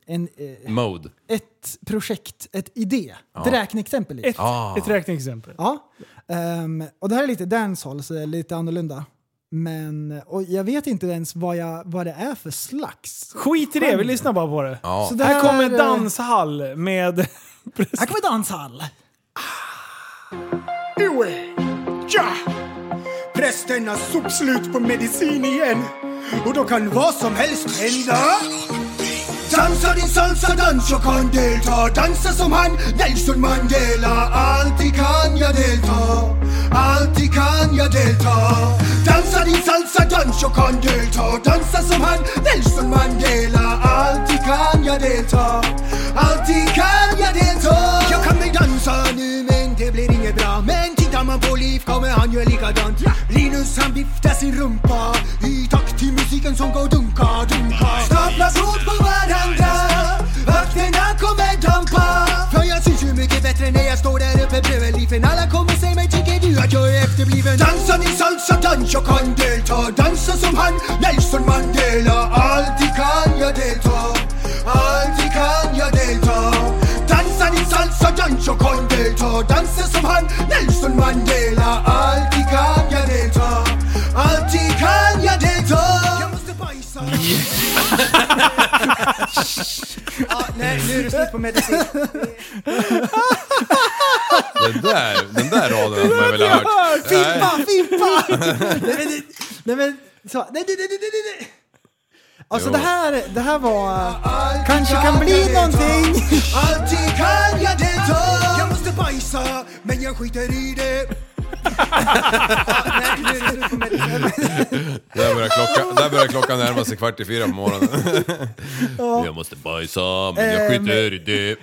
en, eh, Mode. ett projekt, ett idé, ett räkneexempel. i. Ett, Ah. ett räkneexempel. Ja. Ehm, och det här är lite dancehall, så det är lite annorlunda. Men, och jag vet inte ens vad, jag, vad det är för slags. Skit i det, vi lyssnar bara på det. Ja. Så Här, kommer eh, danshall med... Här kommer danshall! Ue, ja! Prästen har sopslut på medicin igen och då kan vad som helst hända. Dansa din salsa dans, jag kan delta. Dansa som han, Nelson Mandela. Alltid kan jag delta, alltid kan jag delta. Dansa din salsa dans, jag kan delta. Dansa som han, Nelson Mandela. Alltid kan jag delta, alltid kan jag delta. Jag kan väl dansa nu men det blir inget bra. Men tittar man på Liv kommer han göra likadant. Linus han viftar sin rumpa i takt till musiken som går dunka, dunka. Stapla blod på varandra, vakterna kommer dampa. För jag syns ju mycket bättre när jag står där uppe bredvid Liven. Alla kommer säga mig, tycker du att jag är efterbliven? Dansa din salsa dans, jag kan delta. Dansa som han, Nelson Mandela. Alltid kan jag delta, alltid kan jag delta. Dansa din salsa, dans och kon delta Dansa som han, Nelson Mandela Alltid kan jag delta Alltid kan jag delta Jag måste bajsa ah, Nej, nu är det slut på medicin Den där, den där raden hade man väl ha hört. Nej. Fimpa, fimpa! *laughs* nej men, det- nej men, så, nej, nej, nej, nej, nej, nej. Alltså Jo. det här, det här var... Kanske kan bli någonting. Alltid kan jag delta Jag måste bajsa, men jag skiter i det ah, Nej, nu är det slut på medicin Där börjar, klockan, där börjar klockan närma sig kvart i fyra på morgonen. *laughs* Jag måste bajsa, men jag Eh, men- skiter i det.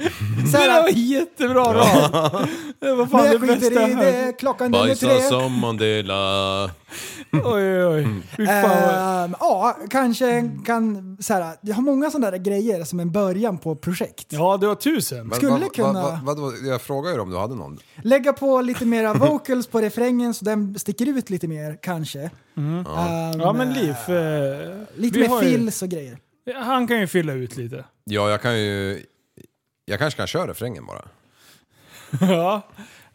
Så Det där här, var jättebra rad! Det var fan men jag det bästa jag skiter i hört. det, klockan nummer Bajsa tre. som Mandela. Oj, oj, oj. Fy fan vad... Ehm, ja, kanske kan... Så här, jag har många sådana där grejer som en början på projekt. Ja, du har tusen. Men Skulle vad- vad- kunna. vad- vadå? jag frågade ju om du hade någon. Lägga på lite mera vocals på refrängen så den sticker ut lite mer kanske. Mm. Ehm, Ja, men Liv. Eh, Lite vi mer har ju- fills och grejer. Han kan ju fylla *laughs* ut lite. Ja, jag kan ju... Jag kanske kan köra refrängen bara. Ja.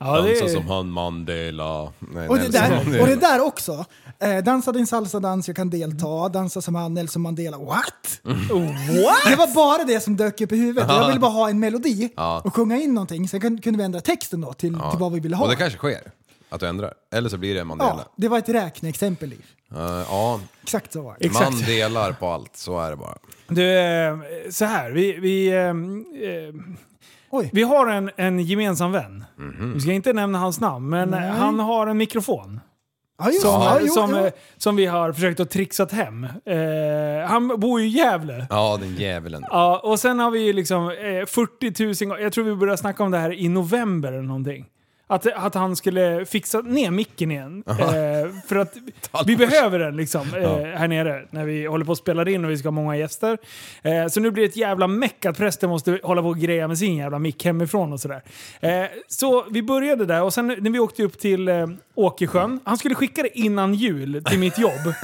Ja, det Dansa är... som han Mandela. Nej, Och det, Nelson där, Mandela. och det där också. Eh, dansa din salsa dans, jag kan delta. Dansa som han, Nelson Mandela. What? Mm. Oh, What? Det var bara det som dök upp i huvudet. Jag ville bara ha en melodi och sjunga in någonting. Sen kun- kunde vi ändra texten då till, till vad vi ville ha. Och det kanske sker. Att du ändrar. Eller så blir det Mandela. ja, det var ett räkneexempel. Liv. Ja, ja Exakt så var det. Exakt. man delar på allt. Så är det bara. Du, eh, så här. Vi, vi, ehm, eh, Oj. vi har en, en gemensam vän. Mhm. Vi ska inte nämna hans namn, men eh, han har en mikrofon. Ja, just, Som, ja, jo, som, jo. eh, som vi har försökt att trixa hem. Eh, han bor ju i Gävle. Ja, den djävulen. Ja, och sen har vi ju liksom eh, 40 000 gånger, jag tror vi började snacka om det här i november eller någonting. Att, att han skulle fixa ner micken igen. Eh, för att vi behöver den liksom eh, här nere när vi håller på att spela in och vi ska ha många gäster. Eh, så nu blir det ett jävla meck att prästen måste hålla på och greja med sin jävla mick hemifrån och sådär. Eh, så vi började där och sen när vi åkte upp till eh, Åkersjön, han skulle skicka det innan jul till mitt jobb.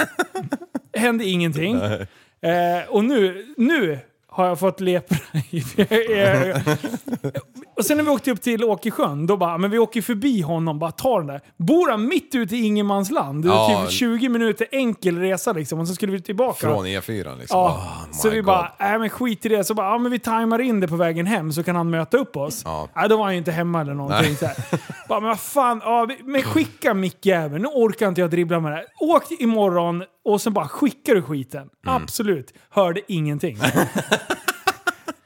Hände ingenting. Eh, och nu, nu har jag fått lepra i. *laughs* och sen när vi åkte upp till Åkersjön, då bara, men vi åker förbi honom, bara tar den där. Bor han mitt ute i ingenmansland? Det är Ja. typ 20 minuter enkel resa liksom, och så skulle vi tillbaka. Från E4 liksom. Ja, Oh, my så vi God. bara, äh, men skit i det. Så bara, ja men vi tajmar in det på vägen hem så kan han möta upp oss. Ja. Äh, då var han ju inte hemma eller någonting. Nej. Så här. Bara, men vad fan, ja, vi- men skicka mickjäveln. Nu orkar inte jag dribbla med det här. Åk imorgon och sen bara skickar du skiten. Mm. Absolut. Hörde *laughs* ingenting.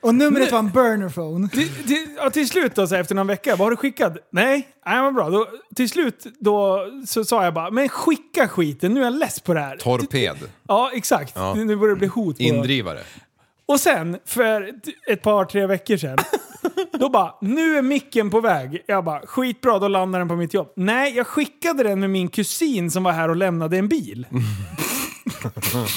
Och numret var en burnerphone. Till- till, ja, till slut då, så här, efter någon vecka, vad har du skickat? Nej, nej vad bra. Då, till slut då så sa jag bara, men skicka skiten, nu är jag less på det här. Torped. Ja, exakt. Ja. Nu börjar det bli hot. På Indrivare. Och sen, för ett- ett par, tre veckor sedan, då bara, nu är micken på väg. Jag bara, skitbra, då landar den på mitt jobb. Nej, jag skickade den med min kusin som var här och lämnade en bil.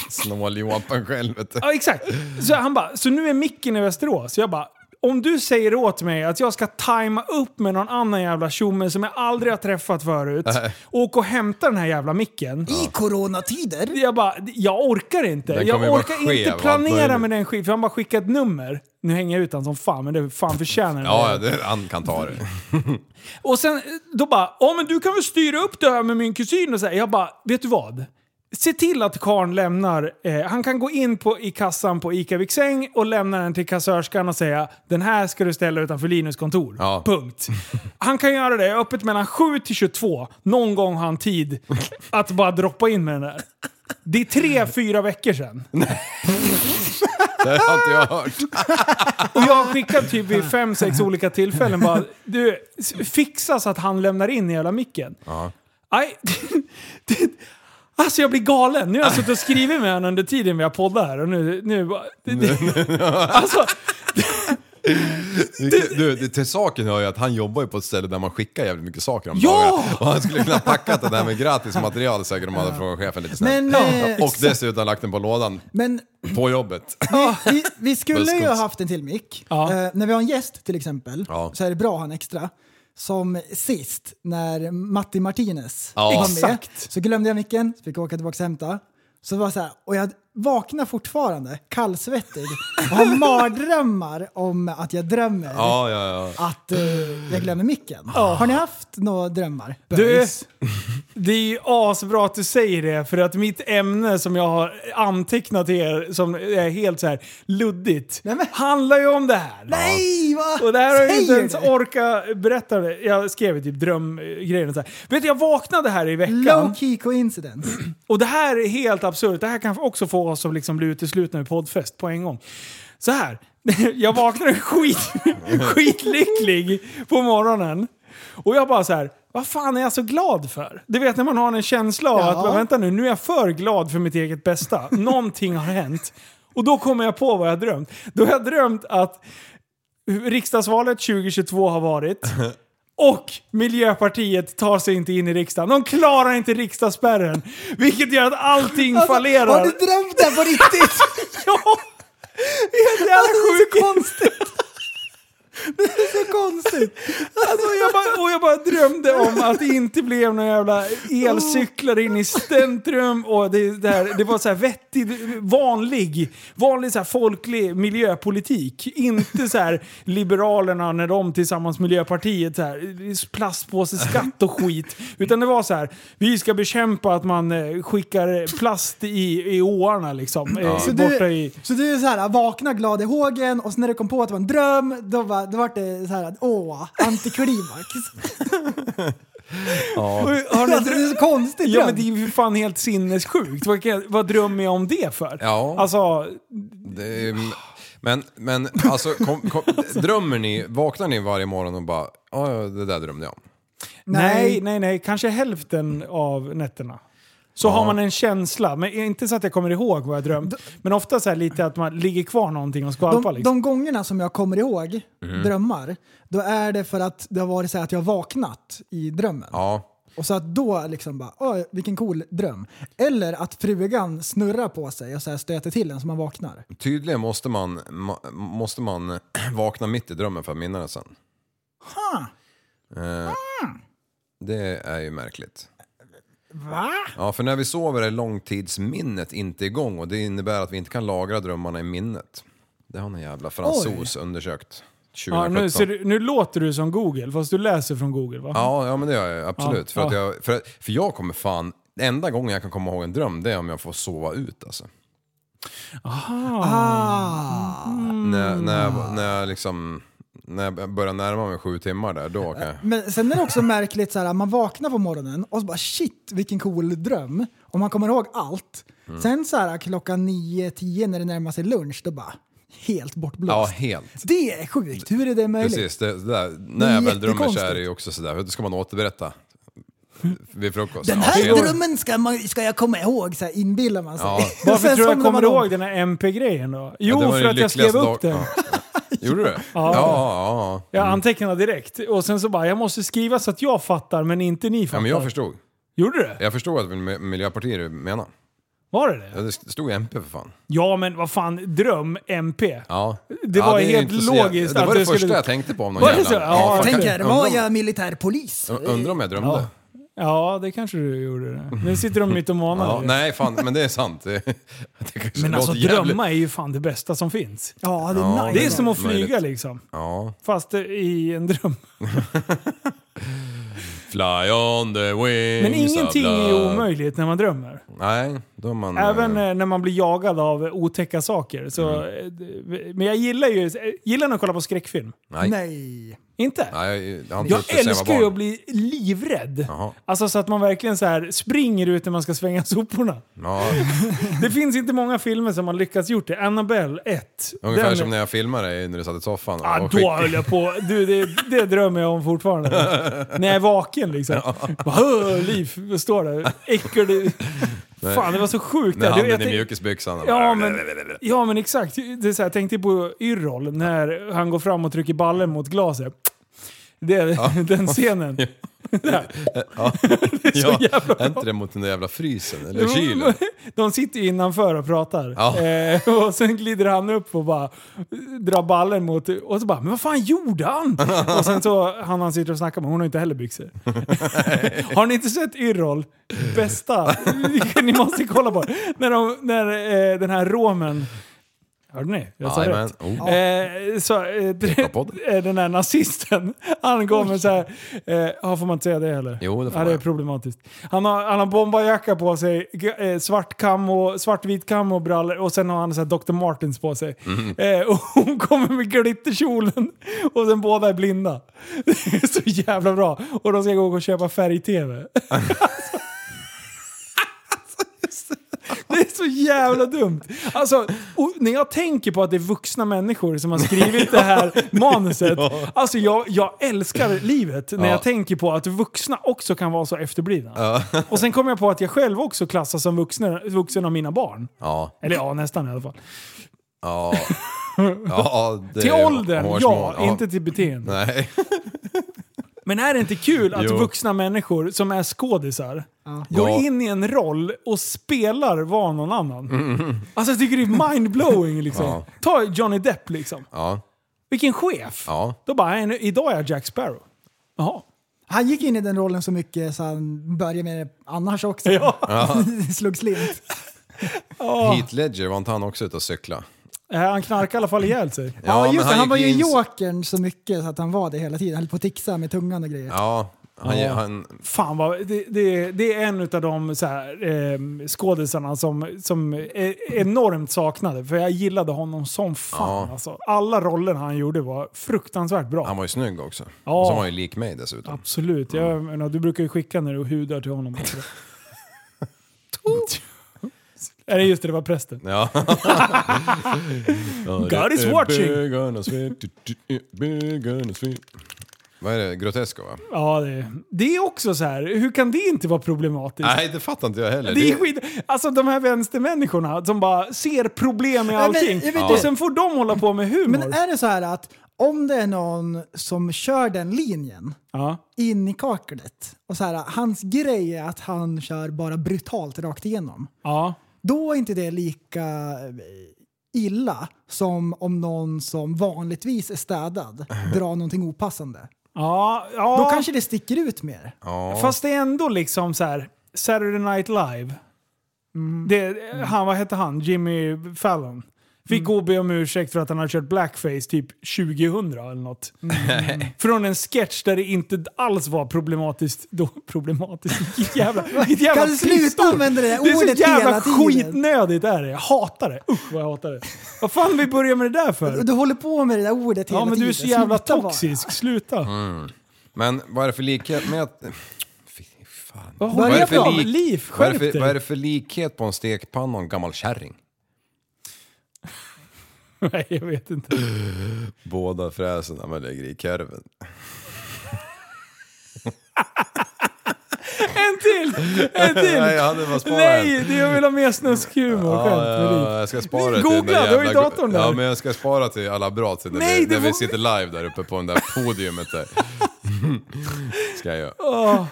Snåljåpen själv vet du. Ja, exakt. Så han bara, så nu är micken i Västerås. Jag bara, om du säger åt mig att jag ska tajma upp med någon annan jävla tjomme som jag aldrig har träffat förut, Nej. och åka och hämta den här jävla micken. I coronatider? Jag bara, jag orkar inte. Den Jag kommer ju vara orkar skev, inte allt planera möjligt. med den skiten, för han bara skickar ett nummer. Nu hänger jag ut honom som fan, men det fan förtjänar den. Ja, ja, det, han kan ta det. Och sen eh, då bara, ja men du kan väl styra upp det här med min kusin och så här. Jag bara, vet du vad? Se till att karln lämnar, eh, han kan gå in på, i kassan på ICA Viksäng och lämna den till kassörskan och säga den här ska du ställa utanför Linus kontor. Ja. Punkt. *laughs* Han kan göra det, öppet mellan 7 till 22. Någon gång har han tid att bara droppa in med den där. Det är tre, fyra veckor sedan. *laughs* Det har inte jag hört. Och jag har skickat typ vid fem, sex olika tillfällen bara, du, s- fixa så att han lämnar in hela micken. Ja. Nej. *laughs* Det- Alltså jag blir galen. Nu har jag suttit och skrivit med honom under tiden vi har poddat här och nu... nu bara- det, det, alltså, Du, du, det- till saken hör ju att han jobbar ju på ett ställe där man skickar jävligt mycket saker om Ja! dagarna. Och han skulle kunna packat det där med gratis material säkert om han hade frågat chefen lite snabbt. Men, eh, och dessutom lagt den på lådan Men på *laughs* jobbet. vi, vi, vi skulle ju Buskons. ha haft en till mick. Ah. Ja. Eh, när vi har en gäst till exempel Ja. så är det bra att ha en extra. Som sist när Matti Martinez Ja. var med. Exakt. Så glömde jag micken, så fick jag åka tillbaka och hämta. Så det var så här, och jag vaknar fortfarande kallsvettig och har mardrömmar om att jag drömmer Ja, ja, ja. att eh, jag glömmer micken. Har ni haft några drömmar? Ah. du, Böjs. det är ju asbra att du säger det för att mitt ämne som jag har antecknat till er som är helt så här luddigt Nej, men- handlar ju om det här. Nej, vad Och det här har jag inte säger ens du? orkat berätta. det. Jag skrev ju typ drömgrejen och så här. Vet du, jag vaknade här i veckan. Low key coincidence. Och det här är helt absurt. Det här kan också få oss att liksom bli uteslutna ur poddfest på en gång. Så här. *laughs* Jag vaknade skit, *laughs* skitlycklig på morgonen. Och jag bara så här. Vad fan är jag så glad för? Du vet när man har en känsla av Ja. att "Men vänta nu, nu är jag för glad för mitt eget bästa. Någonting har hänt. Och då kommer jag på vad jag drömt. Då har jag drömt att riksdagsvalet 2022 *laughs* har varit. Och Miljöpartiet tar sig inte in i riksdagen. De klarar inte riksdagsspärren. Vilket gör att allting fallerar. Alltså, Har du drömt det på *laughs* riktigt? Ja! Helt jävla sjukt! konstigt. Det är så konstigt. Alltså, jag bara, och jag bara drömde om att det inte blev några jävla elcyklar in i centrum. Och det, det, här, det var så här vettig, vanlig, vanlig så här folklig miljöpolitik. Inte så här Liberalerna när de tillsammans med Miljöpartiet så här, plastpåseskatt och skit. Utan det var så här, vi ska bekämpa att man eh, skickar plast i, i åarna liksom. Eh, Så borta du, i... så du är så här, vakna glad i hågen och sen när du kom på att det var en dröm, då, var, då var det så här, åh, *laughs* antiklimax. Har ni Alltså, det är så konstigt. Ja dröm. men det är ju för fan helt sinnessjukt. Vad, kan- vad drömmer jag om det för? Ja. Alltså, Det, är- men, men alltså, kom, kom, drömmer ni, vaknar ni varje morgon och bara ja, ja, det där drömde jag om. nej, nej, nej. Kanske hälften av nätterna. Så har man en känsla, men inte så att jag kommer ihåg vad jag drömt. Men ofta så här lite att man ligger kvar någonting och skvalpar De, liksom. Mm. de gångerna som jag kommer ihåg drömmar, då är det för att det har varit så här att jag har vaknat i drömmen. Ja. Och så att då liksom bara, åh, vilken cool dröm. Eller att frugan snurrar på sig och så här stöter till en så man vaknar. Mm. Tydligen måste man, ma- måste man vakna mitt i drömmen för att minnas den sen. Ha, Eh, det är ju märkligt. va? Ja, för när vi sover är långtidsminnet inte igång och det innebär att vi inte kan lagra drömmarna i minnet. Det har någon jävla fransos undersökt. 2017. Ja, nu, ser du, nu låter du som Google, fast du läser från Google va? Ja, ja men det gör jag ju, absolut. Ja, för, Att ja. jag, för, att- för jag kommer fan... Enda gången jag kan komma ihåg en dröm, det är om jag får sova ut alltså. Ah. Mm. När, när, jag, var- när jag liksom... När jag börjar närma mig sju timmar där, då Äh, kan jag... Men sen är det också märkligt så här, man vaknar på morgonen och så bara shit vilken cool dröm. Och man kommer ihåg allt. Mm. Sen så här klockan 9-10 när det närmar sig lunch, då bara helt Ja, bortblåst. helt. det är sjukt, hur är det möjligt? Precis, det, det där. Det när är jag väl drömmer så är jättekonstigt. det ju också sådär, då ska man *laughs* återberätta vid frukost. Den Ja, här senare. drömmen ska, man, ska jag komma ihåg, så här inbillar man sig. Ja. Varför Sen tror somnar jag man kommer om. ihåg den här MP-grejen då? Jo, det var för den att jag skrev lyckligaste upp dag- den. Ja. Gjorde du det? *laughs* Ja, Ja. ja, ja. Jag antecknade direkt. Och sen så bara, jag måste skriva så att jag fattar, men inte ni fattar. ja men jag förstod. Gjorde du det? Jag förstod att mil- Miljöpartiet du menar. Var det det? Ja, Det stod ju MP för fan. Ja, men vad fan, dröm MP. Ja. Det ja, var är helt inte så jä- logiskt Det att var det du första skulle- jag tänkte på om någon Var det jävla... så? Ja, Jag fuck tänker, it. var Undrar- jag militärpolis? Undrar om jag drömde. Ja. Ja, det kanske du gjorde. Det. Nu sitter de mitt och manar Ja, dig. nej, fan, men det är sant. Det, det kanske Men alltså låter jävligt- drömma är ju fan det bästa som finns. Ja, det är Ja, nice. Det är som att flyga Möjligt. liksom. Ja. Fast eh, i en dröm. Fly on the wings Men ingenting of är ju love. omöjligt när man drömmer. Nej, då är man... Även eh, eh, när man blir jagad av eh, otäcka saker. Så, Mm. eh, d- Men jag gillar ju... eh, Gillar ni att kolla på skräckfilm? nej. Nej. Inte? Nej, han Jag tyckte sen var älskar ju barn. att bli livrädd. Jaha. Alltså så att man verkligen så här springer ut när man ska svänga *laughs* soporna. Ja, Det finns inte många filmer som har lyckats gjort det. Annabelle 1. ungefär den- som när jag filmade dig när du satt i soffan. och Ah, skick- då höll jag på. Du, det, det drömmer jag om fortfarande. när jag är vaken liksom. Bara, "Åh, Liv står där. Äcklig. Fan, det var så *laughs* sjukt. Med där. Du, jag handen i tänk- mjukisbyxan. Ja men, ja men exakt. Det är så här, jag tänkte på Yrrol när han går fram och trycker ballen mot glaset. Det, Den scenen. *laughs* det är så jävla Är inte det mot den där jävla frysen? Eller kylen? De sitter ju innanför och pratar. Ja. Eh, och sen glider han upp och bara drar ballen mot... Och så bara, men vad fan gjorde han? och sen så han han sitter och snackar med, hon har inte heller byxor. har ni inte sett Yrrol? Bästa! ni måste kolla på det. När, de, när eh, den här romen... Hörde ni? Jag sa Jajamän. rätt. Oh. Eh, så, eh, podd. eh, den där nazisten, han går med så här, eh, ja, får man inte säga det heller? Jo, det får ja, det man. är problematiskt. Han har, han har bombajacka på sig, g- eh, svart kam och, svartvit kam och brallor och sen har han så här Dr. Martens på sig. Mhm. Eh, och hon kommer med glitterkjolen och sen båda är blinda. *laughs* Det är så jävla bra. Och de ska gå och köpa färg-tv. Det är så jävla dumt. Alltså, och när jag tänker på att det är vuxna människor som har skrivit det här manuset. Alltså jag, jag älskar livet när jag tänker på att vuxna också kan vara så efterblivna. Och sen kom jag på att jag själv också klassas som vuxna, vuxen av mina barn. Ja. Eller ja, nästan i alla fall. Ja. ja det Till är ju åldern, hårsmån. ja. Inte till beteende. Nej. Men är det inte kul att Jo. vuxna människor som är skådisar går Ja. in i en roll och spelar var någon annan? Alltså jag tycker det är *laughs* mindblowing liksom. Mm, Ja. Ta Johnny Depp liksom. Ja. Vilken chef! Ja. Då bara, "Nej, nu- idag är jag Jack Sparrow. Jaha. Han gick in i den rollen så mycket så han började med det annars också. Ja. *laughs* Slog slint. Ah. Heath Ledger, var inte han också ute och cykla? Eh, Han knarkar i alla fall ihjäl sig. Ja, just det. Han gick var ju in- jokern så mycket så att han var det hela tiden. Han höll på att tixa med tungan och grejer. Ja. Han, han, Fan vad, det, det, det är en av de så här, eh, skådisarna som, som är enormt saknade. För jag gillade honom som fan. Ja. Alltså, alla roller han gjorde var fruktansvärt bra. han var ju snygg också. Ja. Och så var han ju lik mig dessutom. Absolut. Jag, menar, du brukar ju skicka när du hudar till honom. *laughs* också. Är det just det, det var prästen. *laughs* Ja. God is watching! Big on a sweet, du- du- big on a sweet. Vad är det? Grotesco va? Ja, det, det är också så här. hur kan det inte vara problematiskt? Nej, det fattar inte jag heller. Det är skit. Alltså de här vänstermänniskorna som bara ser problem i men allting. jag vet och det. sen får de hålla på med humor. Men äh- är det så här att om det är någon som kör den linjen ja. in i kaklet och så här, hans grej är att han kör bara brutalt rakt igenom. Ja. Då är inte det lika eh, illa som om någon som vanligtvis är *laughs* städad drar någonting opassande. Ja, ja. Då kanske det sticker ut mer. Ja. Fast det är ändå liksom så här. Mm. Saturday Night Live. Det, han, vad hette han? Jimmy Fallon. Mm. Fick OB om ursäkt för att han hade kört blackface typ 2000 eller något. Mm. *laughs* Från en sketch där det inte alls var problematiskt. Då, problematiskt? Vilket jävla, vilket jävla Kan du sluta pissord. använda det där Det är ordet så jävla hela tiden? skitnödigt är det. Jag hatar det. Usch vad jag hatar det. Vad fan vi börjar med det där för? Du håller på med det där ordet hela Ja men du är så tiden. jävla Sluta bara. toxisk. Sluta. Mm. Men vad är det för likhet med att... Fy fan. Vad Vad håller är det jag för på med? lik- Liv, vad är det skärp för- Vad är det dig. för likhet på en stekpanna och en gammal kärring? *laughs* Nej jag vet inte. Båda fräserna man lägger i korven. En till! En till! Nej, jag hade bara sparat Nej, en. det jag vill ha mer snuskhumor och skämt med ja, Liv. jag ska spara till Googla, den där du har ju jävla- datorn där. Ja, men jag ska spara till alla bra till när, Nej, vi, det när vi var- sitter live där uppe på den där podiumet *laughs* där. ska jag göra. Åh,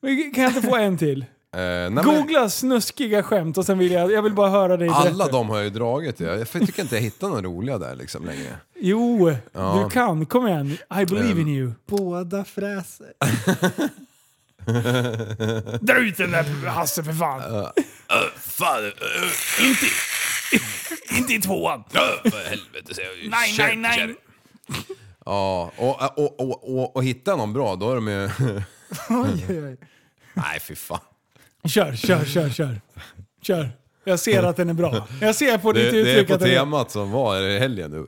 men kan jag inte få en till? Eh, nej, men, Googla snuskiga skämt och sen vill jag, jag vill bara höra dig alla berätta. de har jag ju dragit. Jag, jag tycker inte jag hittar några roliga där liksom längre. Jo, Ja. du kan. Kom igen. I believe in you. Båda fräser. Dra ut den där Hasse för fan. Fan, uh, Inte, inte i tvåan. för helvete säger jag ju. Nej, nej, nej. Ja, och, och, och, och, och hitta någon bra då är de ju... *laughs* Oj, oj, oj. nej, fy fan. Kör, kör, kör, kör. Kör. Jag ser att den är bra. Jag ser på Det, ditt det är uttryck på att den är... temat som var i helgen nu.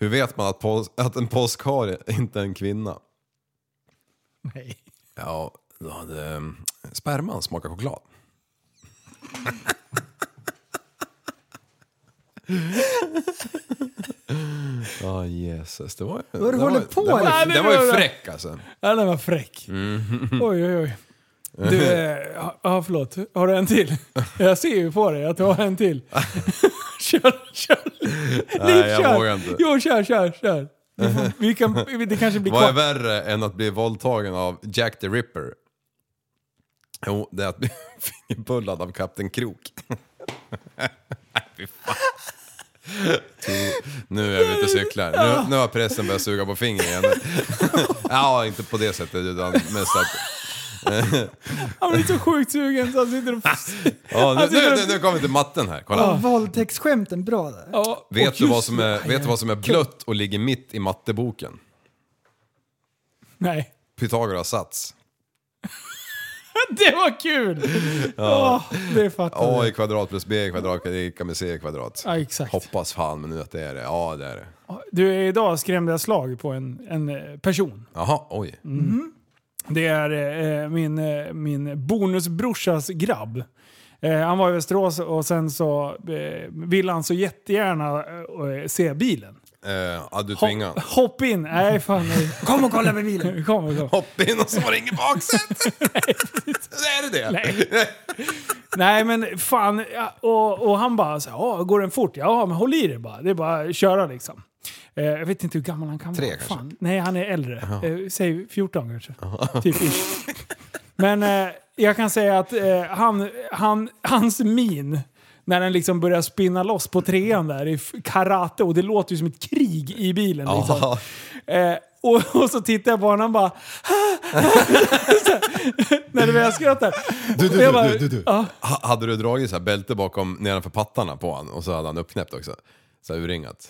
Hur vet man att, pås, att en påskhare inte är en kvinna? Nej. Ja, då hade ehm, sperman smakat choklad. Ja, Jesus. Det var Vad du håller på det var, med. det var, det var ju fräck alltså. Ja, den var fräck. Mm. Oj, oj, oj. Du, eh, ja, ja, förlåt. Har du en till? Jag ser ju på dig att du har *laughs* en till. kör, kör. Nej, Liv, jag kör. vågar inte. Jo, kör, kör, kör. Vi får, *laughs* vi kan, det kanske blir Vad är kvar. värre än att bli våldtagen av Jack the Ripper? Jo, det är att bli *laughs* fingerpullad av Kapten Krok. *laughs* Nej, fy fan. Tu- Nu är vi ute och cyklar. Nu, nu har pressen börjat suga på fingret igen. *laughs* ja, inte på det sättet utan mest att... Han blir så sjukt sugen så han sitter och... Ja, nu, Han sitter nu, och- nu, nu kommer vi till matten här, kolla. Ja, Våldtäktsskämten, bra där. Ja, och Vet, du just- vad som är, vet du vad som är blött och ligger mitt i matteboken? Nej. *laughs* Pythagoras sats. Det var kul! Ja, det fattar A jag. i kvadrat plus B i kvadrat kan lika med C i kvadrat. Ja, exakt. Hoppas fan men nu att det är det. Ja, det är det. Du, idag skrämde jag slag på en, en eh, person. Jaha, oj. Mm. Det är eh, min, eh, min bonusbrorsas grabb. Eh, han var i Västerås och sen så eh, ville han så jättegärna eh, se bilen. Eh, ja, du Ho- tvingade hopp in! Nej, fan nej. Kom och kolla med bilen. Kom, *laughs* kom. Hopp in och så var det ingen *laughs* baksäte! är det det? Nej. Nej men fan, ja, och, och han bara så här, "Ja, går den fort? Ja men håll i det bara, det är bara att köra liksom. Eh, jag vet inte hur gammal han kan Tre vara. kanske? Fan. Nej han är äldre, eh, säg 14 kanske. Typ ish. Men eh, jag kan säga att eh, han, han, hans min när den liksom börjar spinna loss på trean där i f- karate och det låter ju som ett krig i bilen. Liksom. Ja. Eh, och, och så tittar jag på honom och bara... *laughs* Så här, när du väl skrattar. Du, du, Och jag bara, du, du, du. Ja, Ha- Hade du dragit så här bälte bakom nedanför pattarna på han och så hade han uppknäppt också? Så här urringat.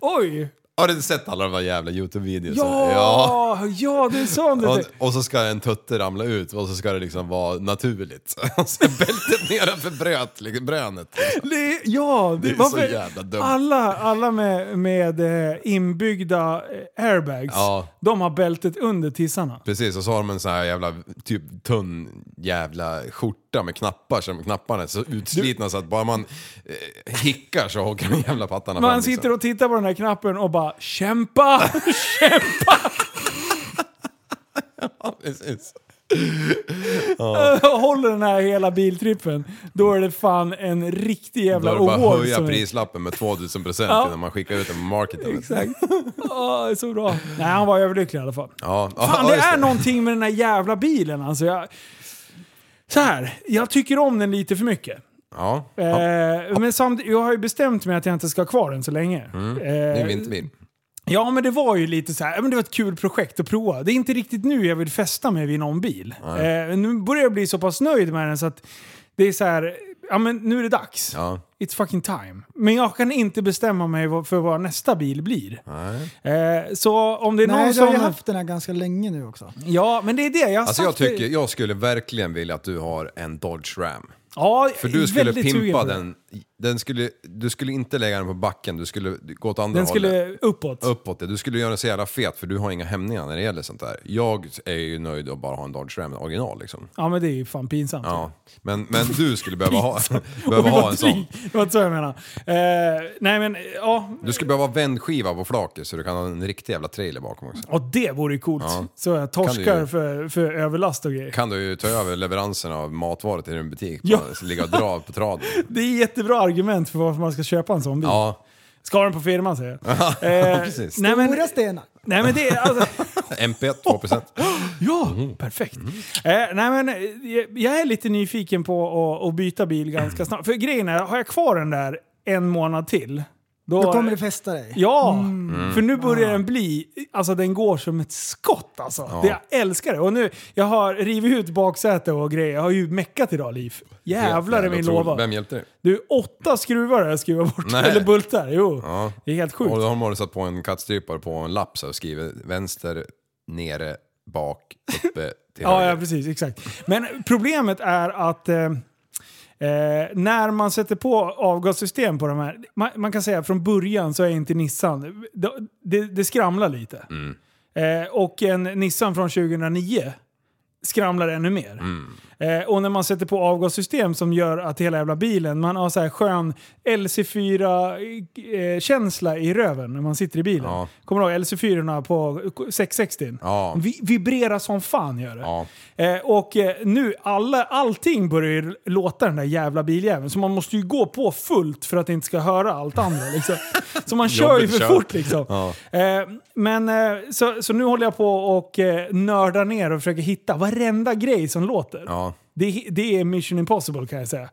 oj! Har du sett alla de där jävla Youtube-videorna? Ja, ja. det är sånt. Och, och så ska en tutte ramla ut och så ska det liksom vara naturligt. *laughs* Och så är bältet nedanför bröt, liksom, brönet. Liksom. Det, ja, Det är så varför- jävla dumt. Alla, alla med, med eh, inbyggda eh, airbags, Ja. de har bältet under tissarna. Precis, och så har de en sån här jävla typ tunn jävla skjorta med knappar som knapparna är så utslitna så att bara man eh, hickar så åker de jävla pattarna fram. liksom. Man sitter och tittar på den här knappen och bara *laughs* kämpa, kämpa! och... Precis. Håller den här hela biltrippen, då är det fan en riktig Då jävla är det bara att award. höja som är- prislappen med 2000 procent Ja. innan man skickar ut den på marketen. Exakt. *laughs* Åh, det är så bra. Nej, han var överlycklig i alla fall. Ja. Fan, Ja, det just är det. någonting med den här jävla bilen alltså. Jag, så här, jag tycker om den lite för mycket. Ja. Eh, men samt, jag har ju bestämt mig att jag inte ska ha kvar den så länge. Eh, Det är en vinterbil. Ja, men det var ju lite så här, ja, men det var ett kul projekt att prova. Det är inte riktigt nu jag vill fästa mig vid någon bil. Eh, nu börjar jag bli så pass nöjd med den så att det är så här, ja, men nu är det dags. It's fucking time. Men jag kan inte bestämma mig vad- för vad nästa bil blir. Eh, så om det är någon Nej, du som... har ju haft den här ganska länge nu också. Ja, men det är det. Jag har Alltså jag sagt tycker, det. jag skulle verkligen vilja att du har en Dodge Ram. Ja, För du skulle väldigt sugen pimpa på det. den, den skulle, du skulle inte lägga den på backen, du skulle gå åt andra Den hållet. skulle uppåt. Uppåt, ja. du skulle göra den så jävla fet för du har inga hämningar när det gäller sånt där. Jag är ju nöjd att bara ha en Dodge Ram original liksom. Ja, men det är ju fan pinsamt. Ja. Men, men du skulle behöva *laughs* ha, *laughs* behöva Oj, vad ha en sån. dryg. Det var inte så jag menade. Eh, nej, men ja. Du skulle behöva ha vändskiva på flaket så du kan ha en riktig jävla trailer bakom också. Och det vore ju coolt. Ja. Så jag Kan du torskar ju. för, för överlast och grejer. Kan du ju ta över leveransen av matvaror till din butik, Ja. bara ligga och dra på traden. Det är jättebra argument för varför man ska köpa en sån bil. Ja, Ska den på firman säger *laughs* jag. Eh, precis. nej, men, Stora stenar. nej men det är alltså... *laughs* MP 2%. Ja, Mm. perfekt. Eh, nej, men, eh, jag- jag är lite nyfiken på att, att byta bil ganska snabbt. För grejen är, har jag kvar den där en månad till. Då kommer det fästa dig. Ja, för nu börjar den bli, alltså den går som ett skott alltså. Det, jag älskar det. Och nu, jag har rivit ut baksäte och grejer. Jag har ju meckat idag Liv. *laughs* Jävlar Jävla i min otroligt. låda. Vem hjälpte dig? Du, åtta skruvar har jag skruvat bort. Nej. Eller bultar. Jo, Ja. det är helt sjukt. Och då har man satt på en kattstrypare på en lapp så här och skrivit vänster, nere, bak, uppe, till Ja, höger. ja, precis. Exakt. Men problemet är att eh, Eh, när man sätter på avgassystem på de här, man, man kan säga från början så är inte Nissan, det, det, det skramlar lite. Mm. Eh, och en Nissan från 2009 skramlar ännu mer. Mm. Eh, och när man sätter på avgassystem som gör att hela jävla bilen, man har så här skön LC4-känsla i röven när man sitter i bilen. Ja. Kommer du ihåg LC4 på 660? Ja. Vi, vibrerar som fan gör det. Ja. Eh, och eh, nu, alla, allting börjar ju låta den där jävla biljäveln. Så man måste ju gå på fullt för att det inte ska höra allt andra. *laughs* Liksom. Så man kör ju Jobbigt för kört. fort liksom. Ja. Eh, men eh, så, så nu håller jag på och eh, nördar ner och försöker hitta varenda grej som låter. Ja. Det, det är mission impossible kan jag säga.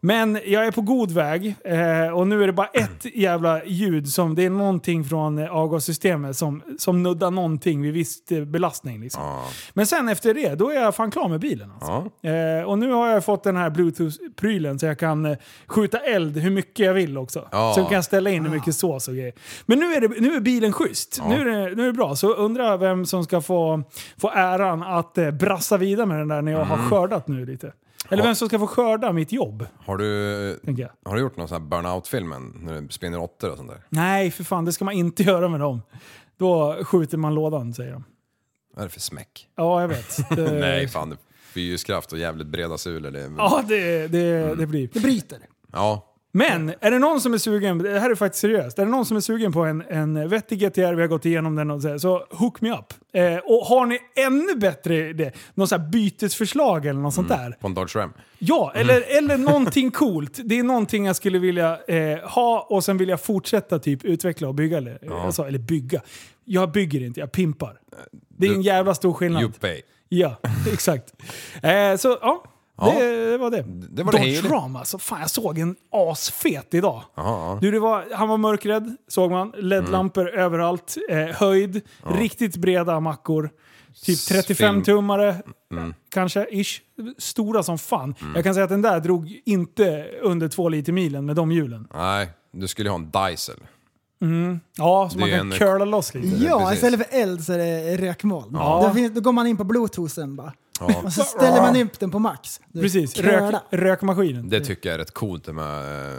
Men jag är på god väg eh, och nu är det bara ett jävla ljud som det är någonting från eh, avgassystemet som, som nuddar någonting vid viss eh, belastning. Liksom. Men sen efter det, då är jag fan klar med bilen. Alltså. Eh, och nu har jag fått den här bluetooth-prylen så jag kan eh, skjuta eld hur mycket jag vill också. Ja. Så jag kan ställa in hur mycket sås och grejer. Men nu är, det, nu är bilen schysst. Nu, är det, nu är det bra. Så undrar jag vem som ska få, få äran att eh, brassa vidare med den där när jag har skördat nu lite. Eller vem som ska få skörda mitt jobb, Har du, tänker jag. har du gjort någon sån här burnout-filmen? När du spinner åttor och sånt där? Nej, för fan, det ska man inte *laughs* göra med dem. Då skjuter man lådan, säger de. Vad är det för smäck? Ja, jag *laughs* vet. Det, Nej, fan. Det fyrhjulskraft och jävligt breda sulor. Det, ja. Eh. Ja, det, det, det blir. Det bryter. ja. Men är det någon som är sugen, det här är faktiskt seriöst, är det någon som är sugen på en, en vettig GTR, vi har gått igenom den och så, här, så hook me up. Eh, och har ni ännu bättre idé, någon sån här bytesförslag eller något sånt där. På en Dodge Ram. Ja, Mm. eller, eller någonting coolt. Det är någonting jag skulle vilja eh, ha och sen vill jag fortsätta typ utveckla och bygga. Eller, alltså, eller bygga. Jag bygger inte, jag pimpar. Det är en jävla stor skillnad. Juppie. Ja, *laughs* exakt. Eh, så ja, Ja. Det, det var det. det var det Dodge hela. Ram alltså. Fan, jag såg en asfet idag. Ja, Mm. Du, det var, han var mörkrädd, såg man. LED-lampor överallt. Eh, höjd. Riktigt breda mackor. Typ Sfin- 35-tummare, Mm, kanske, ish. Stora som fan. Jag kan säga att den där drog inte under två liter milen med de hjulen. Nej, du skulle ju ha en Diesel. Ja, så Det man är kan en- Mm. curla loss lite. Ja, precis. istället för eld så är det rökmoln. Ja. Då, finns, då går man in på bluetoothen bara. *laughs* Ja. Och så ställer man upp den på max. Du, Precis, köra. rök, rökmaskinen. Det tycker jag är rätt coolt det med... eh,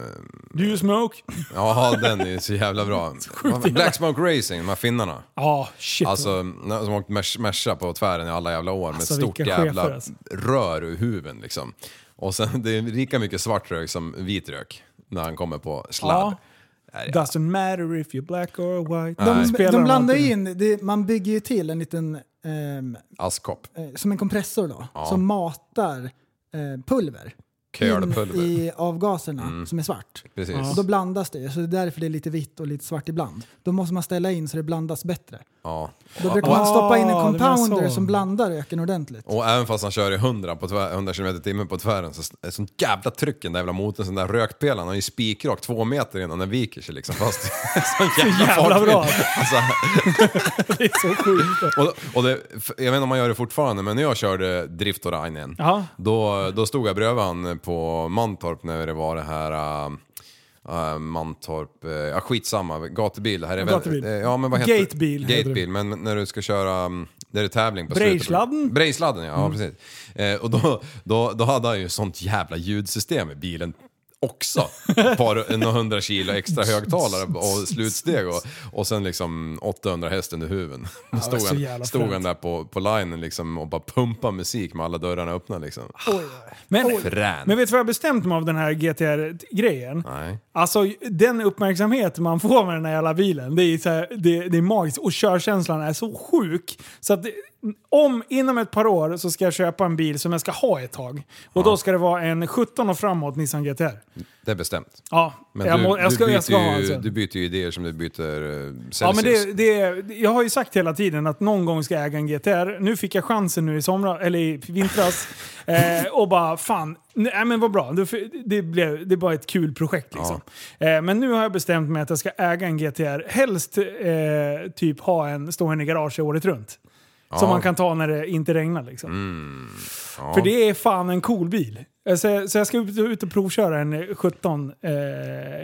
Do you smoke? Ja, den är ju så jävla *laughs* bra. jävla- Black Smoke Racing, de här finnarna. Ja, shit. Alltså, när- som åkt mesh- mesha på tvären i alla jävla år med Alltså, stort vilka chefer, jävla alltså. rör ur huven liksom. Och sen, det är lika mycket svart rök som vit rök när han kommer på sladd. Ja. Doesn't matter if you're black or white. De, Spelar de landar alltid. ju in, det, man bygger ju till en liten, ehm, Askkopp. eh, som en kompressor då, som matar eh, pulver. Curlpulver. In i avgaserna som är svart. Precis. Och då blandas det ju, så det är därför det är lite vitt och lite svart ibland. Då måste man ställa in så det blandas bättre. Ja. Då brukar man stoppa in en compounder som blandar öken ordentligt. Och även fast han kör i 100, på tvär, 100 km i timmen på tvären så är det sånt jävla tryck i den där jävla motorn, så den där rökpelaren, han är ju spikrak två meter innan den viker sig liksom. Fast *laughs* sån jävla, jävla fart. bra. Alltså, *laughs* Det är *laughs* så sjukt. och, och det, jag vet inte om man gör det fortfarande, men när jag körde Drift och Rainen, Ja. då, då stod jag bredvid han på Mantorp när det var det här äh, äh, Mantorp, äh, ja skitsamma, gatubil. Det Här är väl- Gatubil. eh, ja, men vad heter Gatebil heter Gatebil, men men när du ska köra, mm, när det är tävling på Brejsladden? slutet. Brejsladden? ja, Mm. ja precis. Eh, och då, då, då hade han ju sånt jävla ljudsystem i bilen också. Ett Par, några hundra kilo extra högtalare och slutsteg och, och sen liksom 800 häst under huven. Då det är stod, så jävla han, stod fränt. han där på, på linen liksom och bara pumpade musik med alla dörrarna öppna liksom. Men, Frän. men vet du vad jag bestämt mig av den här GTR-grejen? Nej. Alltså den uppmärksamhet man får med den här jävla bilen, det är, så här, det, det är magiskt. Och körkänslan är så sjuk. Så att det, om inom ett par år så ska jag köpa en bil som jag ska ha ett tag. Och då ska det vara en 17 och framåt Nissan GTR. Det är bestämt. Ja, Men jag, du, må, jag ska, du, byter jag ska ha en ju, sån. du byter ju idéer som du byter uh, Celsius. Ja, men det, det, jag har ju sagt hela tiden att någon gång ska jag äga en GTR. Nu fick jag chansen nu i somras, eller i *laughs* vintras. eh, och bara fan, nej men vad bra. Det, det, blev, det var ett kul projekt liksom. Eh, men nu har jag bestämt mig att jag ska äga en GTR. Helst eh, typ ha en stående i garage året runt. Som man kan ta när det inte regnar liksom. Mm, ja. För det är fan en cool bil. Eh, Så, så jag ska ut- ut och provköra en eh, 17 eh,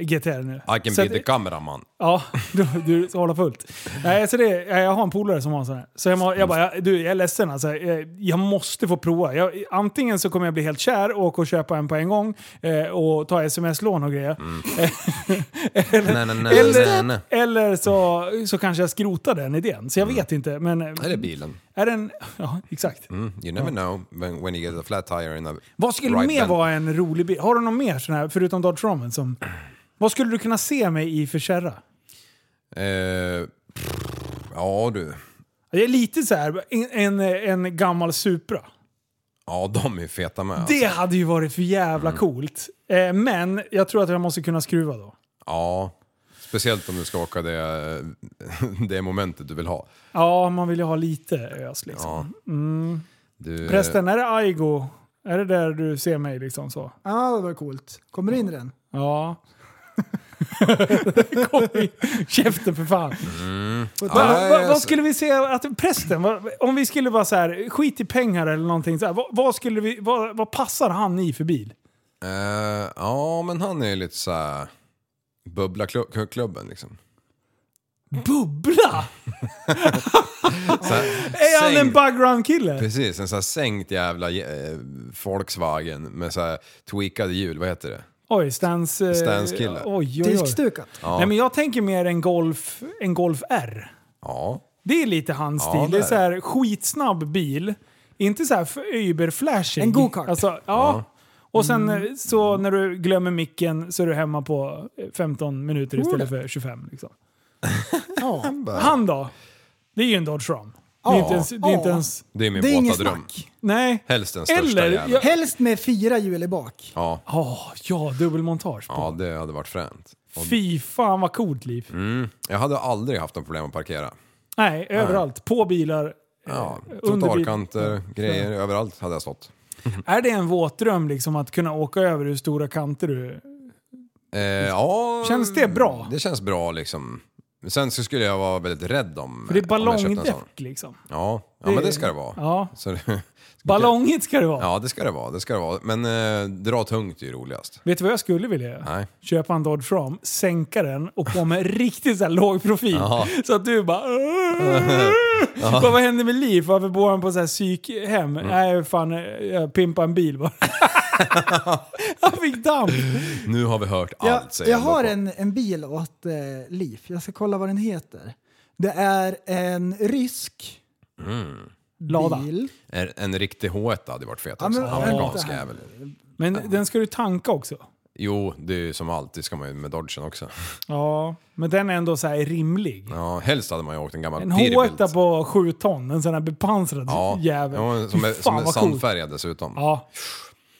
GTR nu. I can Så be att- the cameraman. Ja, *laughs* du, du ska hålla fullt. Nej, så det, jag jag har en polare som har en sån här. Så jag, må, jag bara, jag, du jag är ledsen alltså. Jag, jag måste få prova. Jag, antingen så kommer jag bli helt kär och åka och köpa en på en gång eh, och ta sms-lån och grejer. Nej, nej, Mm. nej, nej, nej. Mm. Eller, eller så, så kanske jag skrotar den idén. Så jag vet inte. Men, eh, Här är bilen. Är den, *laughs* ja, exakt. Mm, you never know when, when you get a flat tire in a Vad skulle right mer bend. vara en rolig bil? Har du någon mer sån här, förutom Dodge Ramen? Som, vad skulle du kunna se mig i för kärra? Eh, pff, ja du. Det är lite så här, en, en, en gammal Supra. Ja, de är feta med. Det hade ju varit för jävla coolt. Eh, men jag tror att jag måste kunna skruva då. Ja. Speciellt om du ska åka det, eh, *laughs* det momentet du vill ha. Ja, man vill ju ha lite ös liksom. Ja. Du, eh, Prästen, är det Aigo? Är det där du ser mig liksom så? Ja, det var coolt. Kommer du in i den? Ja. *laughs* Kom i käften för fan. Va, Ja, va, jag- vad skulle vi säga att prästen, vad- om vi skulle vara så här, skit i pengar eller någonting så här, vad, vad, skulle vi, vad, vad passar han i för bil? eh, ja, men han är ju lite såhär... Bubbla klu- klubben liksom. Bubbla! Så här, Är han sänkt- en bugground-kille? Precis, en sån här sänkt jävla eh, Volkswagen med så här tweakade hjul, vad heter det? Oj, Stans... Eh, Stanskille. Oj, oj, oj. Diskstukat. Nej, men jag tänker mer en Golf, en Golf R. Ja. Det är lite hans Ja, stil. det det är är så här skitsnabb bil. Inte så här för- überflashig. En go-kart. Mm. Alltså, ja. Och sen eh, så när du glömmer micken så är du hemma på eh, 15 minuter istället för 25. Liksom. Ja. Han då? Det är ju en Dodge Ram. Det är inte ens... Det är inte Ja. ens Det är min Det är våta inget dröm. snack. nej. Helst den största Eller- jäveln. jag- Helst med fyra hjul i bak. Ja. Oh, ja, dubbelmontage. på. ja, det hade varit fränt. Fy fan vad coolt liv. Mm. Jag hade aldrig haft något problem att parkera. Nej, överallt. På bilar. Eh, Ja, under bil- trottoarkanter, grejer, överallt hade jag stått. Är det en våtdröm liksom att kunna åka över hur stora kanter du... Eh, ja, Känns det bra? Det känns bra liksom. Sen så skulle jag vara väldigt rädd om... För det är om jag köpte en sån. ballongdäck liksom. Ja, ja men det ska det vara. Ja. Så det- *laughs* Ballongigt ska det vara. Ja, det ska det vara. Det ska det vara. Men eh, dra tungt är ju roligast. Vet du vad jag skulle vilja göra? Nej. Köpa en Dodge Ram, sänka den och på med *laughs* riktigt så här låg profil. Jaha. Så att du bara... Vad, vad händer med Liv? Varför bor han på så här psykhem? Mm. Nej, fan, jag pimpar *laughs* en bil bara. han fick damp. Nu har vi hört Jag, allt, säger jag ändå har på- en, en bil åt eh, Liv. Jag ska kolla vad den heter. Det är en rysk Lada. bil. En, en riktig H1 hade varit fet också. men Amerikansk vänta här. jävel. Men den ska du tanka också. Jo, det är ju som alltid ska man ju med Dodgen också. *laughs* Ja, men den är ändå så här rimlig. Ja, helst hade man ju åkt en gammal En Peterbilt. H1 på 7 ton, en sån här bepansrad Ja, jävel. ja som är, Fy som fan är vad coolt. sandfärgad dessutom. Ja.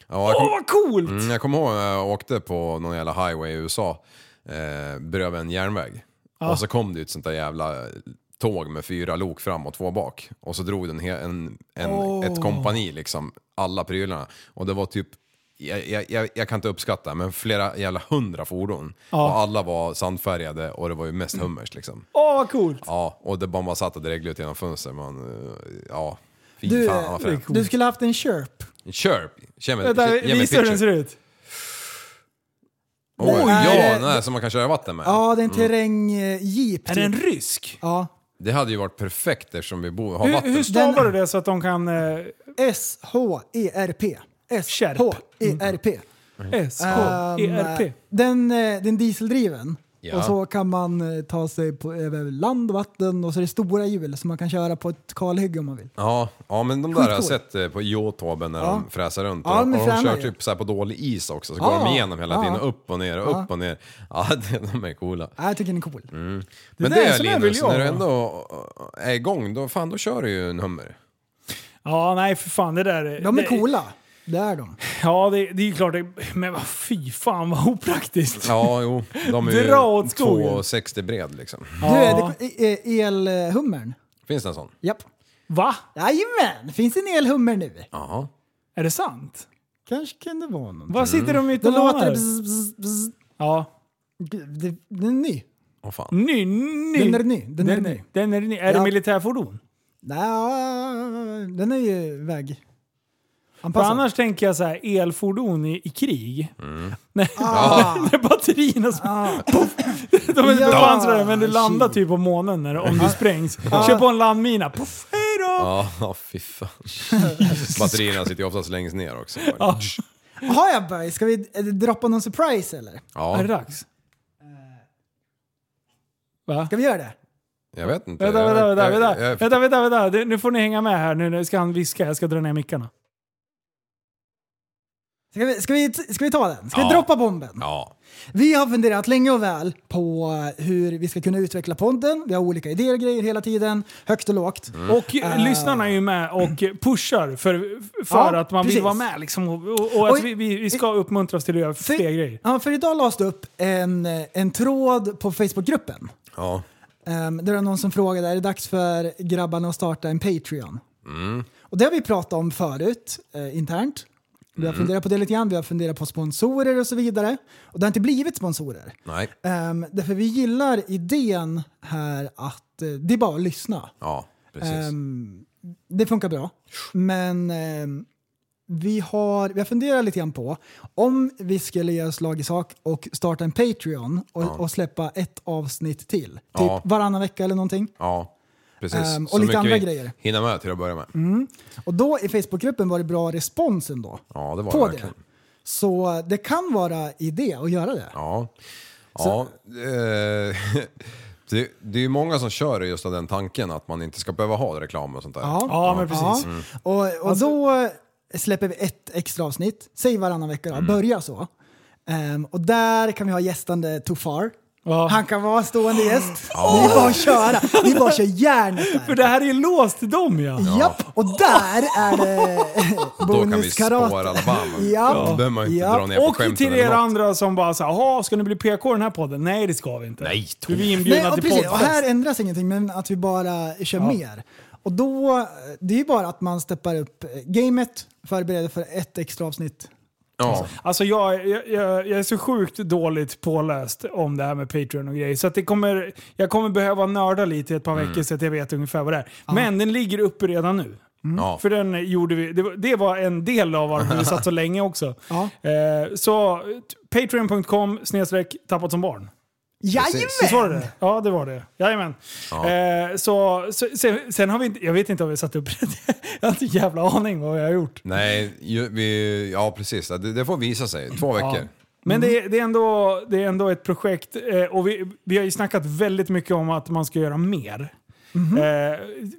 Ja, jag Åh, kom- vad coolt! Mm, jag kommer ihåg när jag åkte på någon jävla highway i USA eh, bredvid en järnväg. Och så kom det ju ett sånt där jävla tåg med fyra lok fram och två bak. Och så drog den he- en, en, ett kompani, liksom, alla prylarna. Och det var typ, jag, jag, jag, jag kan inte uppskatta, men flera jävla hundra fordon. Ja. Och alla var sandfärgade och det var ju mest hummers Mm. liksom. Åh, vad coolt! Ja, och det bara man satt och dreglade ut genom fönstret. Man, eh, ja, fy Du, fan vad fränt. du skulle haft en Sherp. Chirp! Ge mig, Vänta, ge mig visa hur den ser ut. Oj, Nej, ja, det- nej, som man kan köra vatten med. Ja, det är en terrängjeep. Är typ. den rysk? Ja. Det hade ju varit perfekt eftersom vi bor, har Hur, vatten. hur stavar Den- du det så att de kan... Eh, E S-H-E-R-P. S-H-E-R-P. Ehm, S-K-E-R-P? Den, eh, den dieseldriven. Ja. Och så kan man eh, ta sig på, över land och vatten och så är det stora hjul som man kan köra på ett kalhygge om man vill. Ja, ja, men de där har jag Skitcoolt. sett eh, på Youtube när de fräsar runt. Ja, och, men och de fränar kör ju. typ så här på dålig is också, så Ja. Ah, går de igenom hela Ja. tiden. Upp och ner och upp och ner. Ja, *laughs* det- de är coola. Ja, jag tycker den är cool. Mm. men där det, är är som jag vill Linus, jag när du ha. ändå eh, är igång, då, fan, då kör du ju en hummer. Ja, nej för fan det där... De är det- coola. Det är de. Ja, det, det är ju klart. det- Men vad fy fan vad opraktiskt. Ja, jo. De är ju Dra åt skogen. 2,60 bred liksom. Du, är det e- e- elhummern? Finns det en sån? Japp. Va? Jajamän, det finns en elhummer nu. Ja. Är det sant? Kanske kan det vara någon. Vad sitter de i Då låter det... tonaner? Bzz, bzz, bzz. Ja. Det- Den är ny. Åh fan. Ny, ny. Den är ny. Den är ny. Den är ny. Är det Ja. militärfordon? Nej, den är ju väg. För Anpassad. annars tänker jag så här, elfordon i, i krig. Mm. *laughs* När, Ah. *laughs* när batterierna... sp- *laughs* De är Ja. Ah, bepansrade men det landar Shit. Ah. typ på månen när, om du sprängs. Kör på en landmina. Puff, hej då! Ja, ja, *laughs* fy *laughs* fan. Batterierna sitter ju oftast längst ner också. Ja. Jaha ja Berg, ska vi eh, droppa någon surprise eller? Ja, Är det dags? Va? Eh. Ska vi göra det? jag vet inte. Vänta, vänta, Jag- vänta. jag- vänta, jag- vänta, vänta, vänta. Du, nu får ni hänga med här. Nu, nu ska han viska. Jag ska dra ner mickarna. Ska vi, ska vi, t- ska vi ta den? Ska Ja. vi droppa bomben? Ja. Vi har funderat länge och väl på hur vi ska kunna utveckla podden. Vi har olika idéer och grejer hela tiden, högt och lågt. Mm. Och Ah. eh, lyssnarna är ju med och eh, pushar för, för Ja, att man vill precis. vara med liksom, och, och, och att Oj. vi, vi, vi ska uppmuntras till att göra För, fler grejer. ja, för idag lades det upp en, en tråd på Facebookgruppen. ja. Um, det var någon som frågade, är det dags för grabbarna att starta en Patreon? Och det har vi pratat om förut, eh, internt. Vi har funderat på det lite grann, vi har funderat på sponsorer och så vidare. Och det har inte blivit sponsorer. Nej. Ehm, därför vi gillar idén här att eh, det är bara att lyssna. Ja, precis. Ehm, det funkar bra. Men ehm, vi, har, vi har funderat lite grann på om vi skulle göra slag i sak och starta en Patreon och, och släppa ett avsnitt till. Typ Ja. varannan vecka eller någonting. Ja, precis. Ehm, och Så lite mycket andra vi grejer. Hinna med till att börja med. Mm. Och då i Facebookgruppen var det bra respons ändå. Ja, det var på det det. verkligen. Så det kan vara idé att göra det. Ja. ja eh, *laughs* det, det är ju många som kör just av den tanken att man inte ska behöva ha reklam och sånt där. Ja, Mm. Alltså- men precis. Och, och då eh, släpper vi ett extra avsnitt, säg varannan vecka Mm. då, börja så. Ehm, och där kan vi ha gästande Tofar. Ja. Han kan vara stående gäst. Det är bara att köra. Vi bara kör järnet För där. det här är ju låst till dem ja. Japp, och där är *laughs* det Då kan vi bonuskarate. spåra Alabama. Japp. Då behöver man ju inte Ja. dra ner på Och skämten till eller er något. andra som bara såhär, jaha, ska ni bli PK i den här podden? Nej det ska vi inte. Nej, Du är Nej, inbjudna och till precis. Och poddfest. här ändras ingenting, men att vi bara kör mer. Och då, det är ju bara att man steppar upp gamet, förbereder för ett extra avsnitt. Ja. Alltså jag, jag, jag, jag är så sjukt dåligt påläst om det här med Patreon och grejer. Så att det kommer, jag kommer behöva nörda lite i ett par Mm. veckor så att jag vet ungefär vad det är. Men den ligger uppe redan nu. Ja. Mm. För den gjorde vi, det, var- det var en del av varför vi satt så länge också. Ja. Eh, så t- patreon.com snedstreck tappat som barn. Visst var Jajamän! det det? Ja, det var det. Jajamän. Eh, så, så, sen, sen har vi inte, jag vet inte om vi satt upp det. *laughs* Jag har inte en jävla aning vad jag har gjort. Nej, ju, vi, ja precis. Det, det får visa sig. Två veckor. Men Mm. det, är- det, är ändå, det är ändå ett projekt eh, och vi, vi har ju snackat väldigt mycket om att man ska göra mer. Mhm. Eh,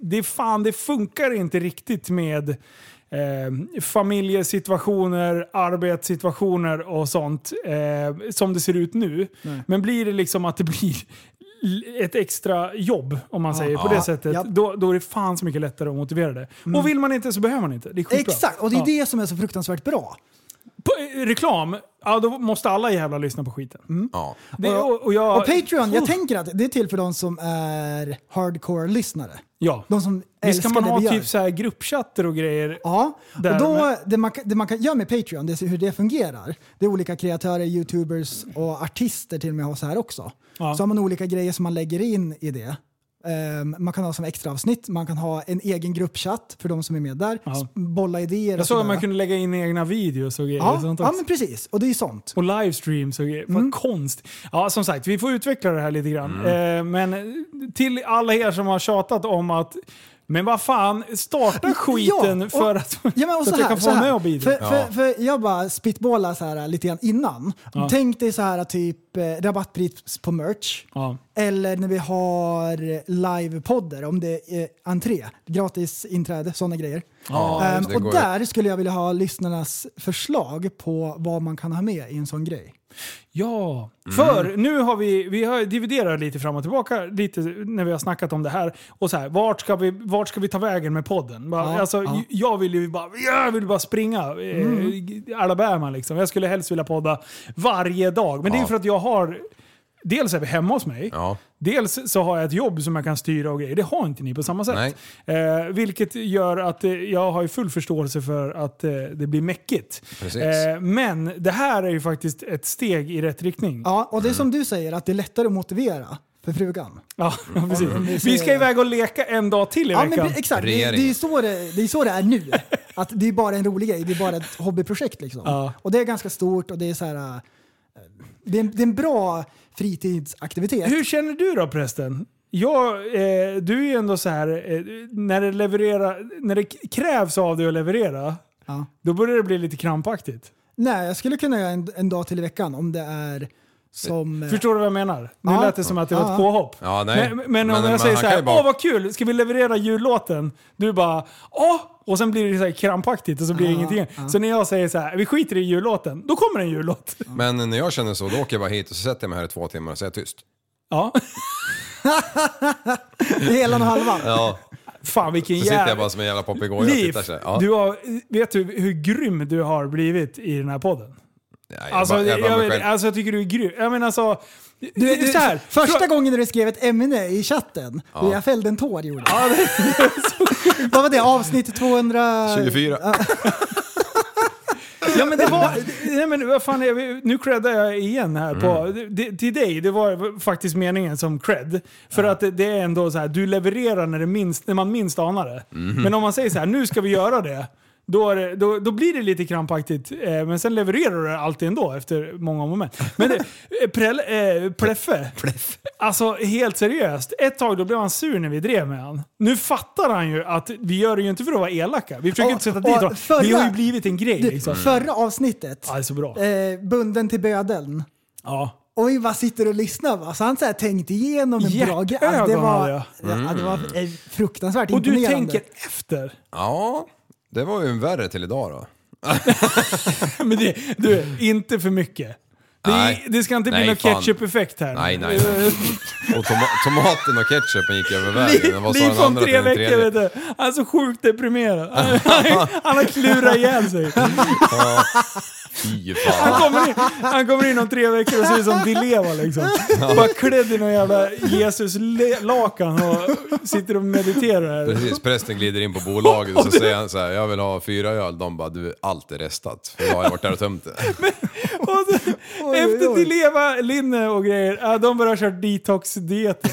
det, är fan, det funkar inte riktigt med eh, familjesituationer, arbetssituationer och sånt eh, som det ser ut nu. Men blir det liksom att det blir l- ett extra jobb, om man säger på det sättet, japp. Mm. då, då är det fan så mycket lättare att motivera det. Och vill man inte så behöver man inte. Det är skitbra. Exakt, och det är Ja. det som är så fruktansvärt bra. på, eh, reklam, ja, då måste alla jävla lyssna på skiten. Mm. Ja. Det, och, och, jag, Och Patreon, jag Oh, tänker att det är till för de som är hardcore-lyssnare. Ja. De som Visst älskar kan man det ha vi gör. typ så här gruppchatter och grejer? Ja, Där och då, med- det, man, kan- det man kan göra med Patreon, det är hur det fungerar. Det är olika kreatörer, youtubers och artister till och med har så här också. Ja. Så har man olika grejer som man lägger in i det. Ehm, man kan ha som extra avsnitt, man kan ha en egen gruppchatt för de som är med där. Ja. S- Bolla idéer Jag och såg att sådär. man kunde lägga in egna videos och grejer. och Ja, sånt ja också. men Mm. precis. Och det är ju sånt. Och livestreams och grejer. Vad konst. Ja, som sagt, vi får utveckla det här lite grann. Eh, men till alla er som har tjatat om att men vad fan, starta skiten Ja, och- för att, Ja, men och så så att här, jag kan så få vara här. med och bidra. För, för, för jag bara spitballar så här lite grann innan. Ja. Tänk dig så här typ eh, rabattpris på merch. Ja. Eller när vi har livepoddar, om det är eh, entré, gratis inträde, sådana grejer. Ja, Ehm, just det, det och går ju. där skulle jag vilja ha lyssnarnas förslag på vad man kan ha med i en sån grej. Ja, Mm. för nu har vi, vi har dividerat lite fram och tillbaka lite när vi har snackat om det här. Och så här, vart ska vi, vart ska vi ta vägen med podden? Bara, Ja, alltså, ja. Jag vill ju bara, jag vill bara springa eh, Mm. Alabama liksom. Jag skulle helst vilja podda varje dag. Men det är ju Ja. för att jag har, dels är vi hemma hos mig. Ja. Dels så har jag ett jobb som jag kan styra och grejer. Det har inte ni på samma sätt. Eh, vilket gör att eh, jag har ju full förståelse för att eh, det blir mäckigt. Precis. Eh, men det här är ju faktiskt ett steg i rätt riktning. Ja, Ja, och det är Mm. som du säger, att det är lättare att motivera för frugan. ja, precis. det Vi ser ska jag. iväg och leka en dag till i Ja, men veckan. pre- exakt. Det, det, är ju Regeringen. så det, det är så det är nu. *laughs* Att det är bara en rolig grej, det är bara ett hobbyprojekt. Liksom. Ja. Och det är ganska stort och det är så här... eh, Det är en, det är en bra fritidsaktivitet. Hur känner du då prästen? Ja, eh, du är ju ändå så här, eh, när, det levererar, när det k- krävs av dig att leverera, Ja. då börjar det bli lite krampaktigt. Nej, jag skulle kunna göra en, en dag till i veckan om det är som... eh, Förstår du vad jag menar? Nu Ja. lät det som att det var Ja. ett påhopp. Ja, nej. Men, men, Men- om men jag säger han så kan här, ju bara- åh vad kul, ska vi leverera jullåten? Du bara, åh! Och sen blir det så här krampaktigt och så blir det Ja, ingenting. Så när jag säger så här, vi skiter i jullåten, då kommer en jullåt. Men när jag känner så, då åker jag bara hit och så sätter jag mig här i två timmar och så är jag tyst. *laughs* Ja. Det är *laughs* hela och halva. Ja. Fan vilken *laughs* Så sitter jag jävla... bara som en jävla papegoja och Liv, tittar så här. Ja. du har, vet du hur grym du har blivit i den här podden? Ja, jag Alltså, bara- jag, jag bara mig vet- själv. alltså, jag tycker du är grym. Jag menar alltså... Du, du, så här, första Fra- gången när du skrev ett ämne i chatten, och jag fällde en tår gjorde jag. *laughs* Vad var det? Avsnitt 200... 24. Ja men det var... *laughs* Nej men vad fan, jag, nu creddar jag igen här på... Mm. Det, till dig, det var faktiskt meningen som cred. För att det, det är ändå så här, du levererar när, det minst, när man minst anar det. Mm. Men om man säger så här, nu ska vi göra det. Då, är det, då, då blir det lite krampaktigt, eh, men sen levererar du det alltid ändå efter många om och men. Men eh, prel, eh, Pleffe, alltså helt seriöst. Ett tag då blev han sur när vi drev med han. Nu fattar han ju att vi gör det ju inte för att vara elaka. Vi försöker Och- inte sätta och dit honom. Vi förra- har ju blivit en grej Du, liksom. Förra avsnittet, Ja, det är så bra. eh, bunden till bödeln. Ja. Och vi bara sitter och lyssnar. Va? Så han så här tänkte igenom en bra grej. Hjärtögon Alltså, det var, hade jag. ja, det Mm. var eh, fruktansvärt Och du imponerande. tänker efter. *laughs* Ja, det var ju en värre till idag då. Men det, du, inte för mycket. Det, Nej. det ska inte bli Nej, någon fan. ketchup-effekt här. Nej, *laughs* nej, nej. Och toma tomaten och ketchupen gick över vägen. Vad sa Liv den om andra till tre den veckor tredje? vet du. Han är så sjukt *laughs* deprimerad. *laughs* Han- Han har klurat ihjäl sig. Fy Han fan. kommer in, han kommer in om tre veckor och ser ut som Di Leva liksom. Bara klädd i någon jävla Jesus-lakan och sitter och *laughs* mediterar. här. Precis, prästen glider in på bolaget och så säger han så här, jag vill ha fyra öl. De bara, du allt är restat. För jag har varit där och tömt det. Och så, efter Di Leva, Linne och grejer, ja, de börjar köra detox-diet.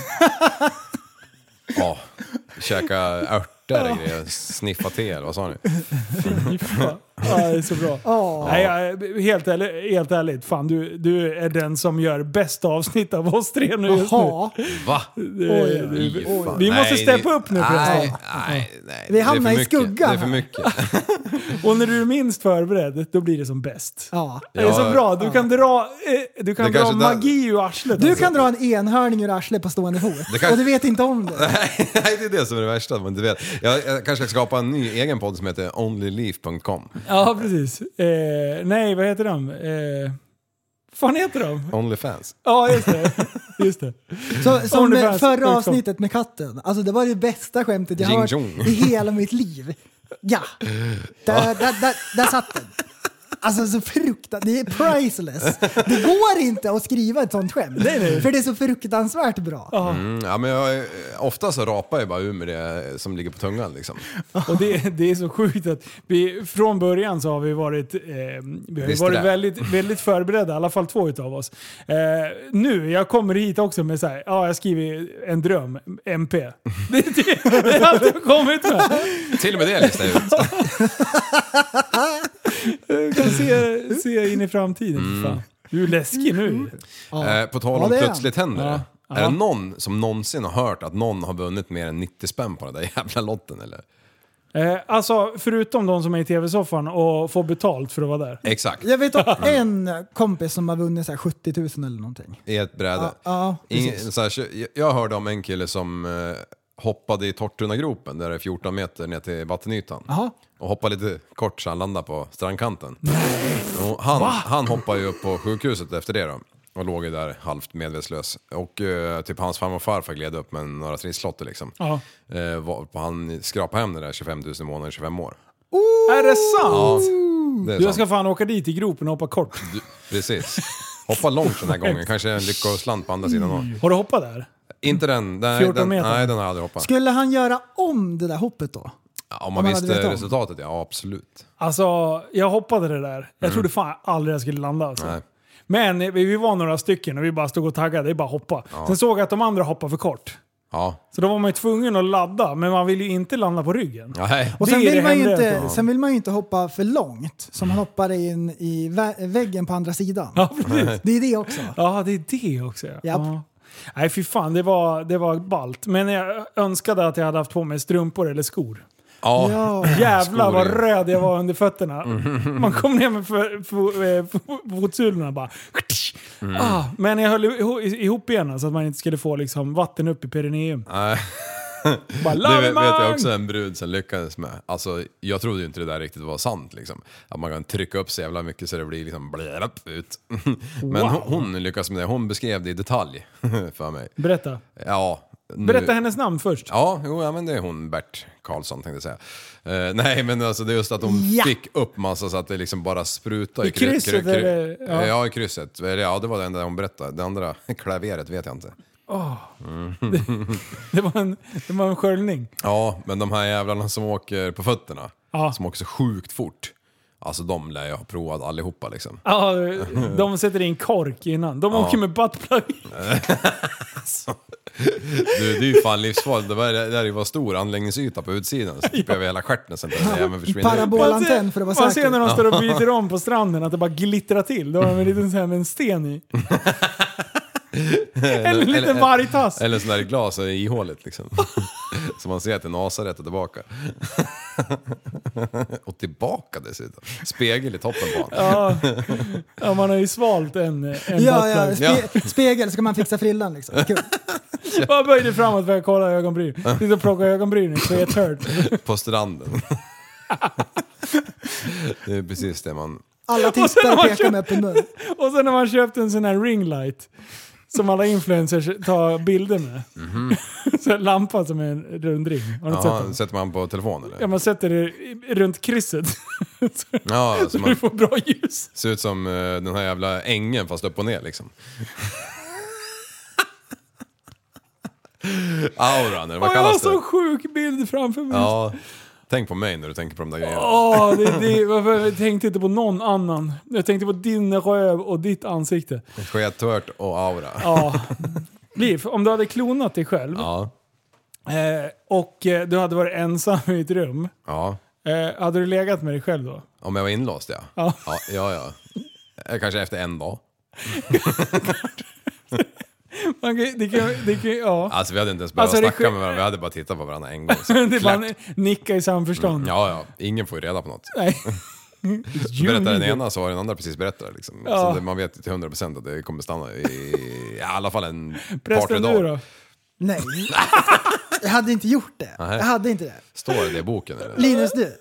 Ja, käka örter och grejer. Sniffa te eller vad sa ni? Ja, det är så bra. Nej, jag, helt, ärligt, helt ärligt, fan du, du är den som gör bästa avsnitt av oss tre nu just nu. Jaha, Va? Det- Fy fan. Vi måste Nej, steppa det- upp nu Nej, förresten. nej, nej. Vi Det är hamnar för i mycket. skuggan Det är för här. *laughs* mycket. *laughs* Och när du är minst förberedd, då blir det som bäst. ja. Det är så Ja. bra, du kan dra, eh, du kan Det dra kanske där- magi ur arslet. Du alltså. kan dra en enhörning ur arslet på stående fot. kan- Och du vet inte om det. *laughs* Nej, det är det som är det värsta. Man inte vet. Jag, jag kanske ska skapa en ny egen podd som heter onlyleaf.com. Ja, precis. Eh, nej, vad heter de? Eh, fan heter de? Onlyfans. Ja, *laughs* just det. Just det. Så, som Onlyfans med förra punkt com. avsnittet med katten. Alltså det var det bästa skämtet jag Jing hört jong. *laughs* i hela mitt liv. Ja, där, där, där, där satt den. Alltså så fruktansvärt, det är priceless. Det går inte att skriva ett sånt skämt. Nej, nej. För det är så fruktansvärt bra. Mm, ja, men jag, ofta så rapar jag bara ur med det som ligger på tungan liksom. Och det, det är så sjukt att vi från början så har vi varit, eh, vi har ju Visst det varit där. väldigt, väldigt förberedda, i alla fall två utav oss. Eh, nu, jag kommer hit också med så här, ja jag skriver en dröm, MP. *laughs* Det, det, det är allt jag har kommit med. Till och med det listar jag ut. Jag kan se, se in i framtiden. Fan. Du är läskig nu. Eh, på tal *laughs* Ja, om det är han. plötsligt händer det. Ja. Är Ja. det någon som någonsin har hört att någon har vunnit mer än 90 spänn på den där jävla lotten eller? Eh, alltså, förutom de som är i tv-soffan och får betalt för att vara där. Exakt, Jag vet *laughs* om en kompis som har vunnit så här 70 000 eller någonting. i ett bräde. Ja, ja, Ingen, precis. så här, jag- jag hörde om en kille som eh, hoppade i Tortunagropen, där det är 14 meter ner till vattenytan. Jaha. Och hoppade lite kort så han landade på strandkanten. Och han, han hoppade ju upp på sjukhuset efter det då. Och låg ju där halvt medvetslös. Och eh, typ hans farmor och farfar gled upp med några trisslotter liksom. Ja. Eh, varpå han skrapade hem det där 25 000 i månaden i 25 år. Är det sant? Det är Du, jag ska sant. fan åka dit i gropen och hoppa kort. Du, precis. Hoppa långt *laughs* den här gången, kanske en lyckoslant på andra sidan. Mm. också. Har du hoppat där? Inte den, nej 14 den, meter. nej den har jag aldrig hoppat. Skulle han göra om det där hoppet då? Ja, Om Om man man hade vetat visste om. resultatet, ja absolut. Alltså, jag hoppade det där. Jag trodde fan aldrig jag skulle landa alltså. Nej. Men eh, vi vi var några stycken och vi bara stod och taggade. Det är bara att hoppa. Sen såg jag att de andra hoppade för kort. Ja. Så då var man ju tvungen att ladda, men man vill ju inte landa på ryggen. Nej. Och Det sen är det vill, man ju hemliga, inte, tror jag. sen vill man ju inte hoppa för långt, som han hoppar in i vä- väggen på andra sidan. Ja, precis. Det är det också. Ja, det är det också. ja. Japp. Ja. Nej, fy fan. Det var, det var ballt. Men jag önskade att jag hade haft på mig strumpor eller skor. Ja. Ja. Jävlar Skor, vad ja. röd jag var under fötterna. Mm. Man kom ner med fö- fo- eh, fo- fotsulorna bara. Mm. Ah, men jag höll iho- ihop benen så att man inte skulle få liksom, vatten upp i perineum. *laughs* Nej. *laughs* Bara, Det vet, vet jag "Lavemang!" också en brud som lyckades med. Alltså, jag trodde ju inte det där riktigt var sant liksom. Att man kan trycka upp så jävla mycket så det blir liksom blärap ut. *laughs* Men hon, hon lyckades med det. Hon beskrev det i detalj *laughs* för mig. Berätta. Ja. nu- Berätta hennes namn först. Ja, jo, ja, men det är hon Bert Karlsson tänkte jag säga. Eh, nej, men alltså det är just att hon Ja. fick upp massa så att det liksom bara sprutade. I krysset, eller? Ja. Ja. ja, i krysset. Eller, Ja, det var det enda hon berättade. Det andra *laughs* klaveret vet jag inte. Det var en, det var en sköljning. Ja, men de här jävlarna som åker på fötterna, Ja. som åker så sjukt fort. Alltså de lär jag ha provat allihopa liksom. Ja, Ah, de sätter in kork innan. De åker med buttplug. Du, det är ju fan livsfarligt. Det där det där är ju bara stor anläggningsyta på *laughs* utsidan. Så typ över hela stjärten sen den där jäveln försvinner. ut. Parabolantenn för att vara Man ser säker. när de står och byter om på stranden att det bara glittrar till. Då har de en liten så här med en *laughs* sten i. En liten vargtass. Eller sån där glas i ihåligt liksom. *laughs* Så man ser att det är Nasaret och tillbaka. *laughs* Och tillbaka dessutom. Spegel i toppen på honom. Ja, ja, man har ju svalt en, en Ja, buttplug. ja, spe, spegel ska man fixa frillan liksom. Kul. Jag böjde framåt för att kolla ögonbryn. Sitter och plockar ögonbrynen så jag är turd. På *laughs* stranden. Det är precis det man... *laughs* Alla sen tittar har och man pekar köpt- med öppen mun. Och sen när man köpt en sån här ringlight som alla influencers tar bilder med. Mhm. *laughs* Så en lampa som är en rund ring. Har du inte sett Jaha, den? sätter man på telefon eller? Ja, man sätter det i- runt krysset. Så *laughs* Ja, så du man får bra ljus. ser ut som eh, den här jävla ängen fast upp och ner liksom. *laughs* Auran eller vad Och jag har kallas så det? sjuk bild framför mig. Ja. Ja, tänk på mig när du tänker på de där grejerna. det, det, varför- jag tänkte inte på någon annan. Jag tänkte på din röv och ditt ansikte. Skethört och aura. Ja. Liv, om du hade klonat dig själv Ja. eh, och eh, du hade varit ensam i ett rum. Ja. Eh, hade du legat med dig själv då? Om jag var inlåst ja. Ja. Ja, ja. ja. Eh, Kanske efter en dag. Man kan, det kan, det kan, ja. Alltså vi hade inte ens behövt Alltså, det snacka sk- med varandra, vi hade bara tittat på varandra *laughs* en gång. Så Det är bara klart. nicka i samförstånd. Ja, ja. Ingen får ju reda på något. *laughs* Nej. Berättar den ena så har den andra precis berättat liksom. Ja. Så det, man vet ju till 100% procent att det kommer stanna i, i alla fall en par, tre Prästen du dagar. då? *laughs* Nej. Jag hade inte gjort det. Nej. Jag hade inte det. Står det i boken eller? Linus, du.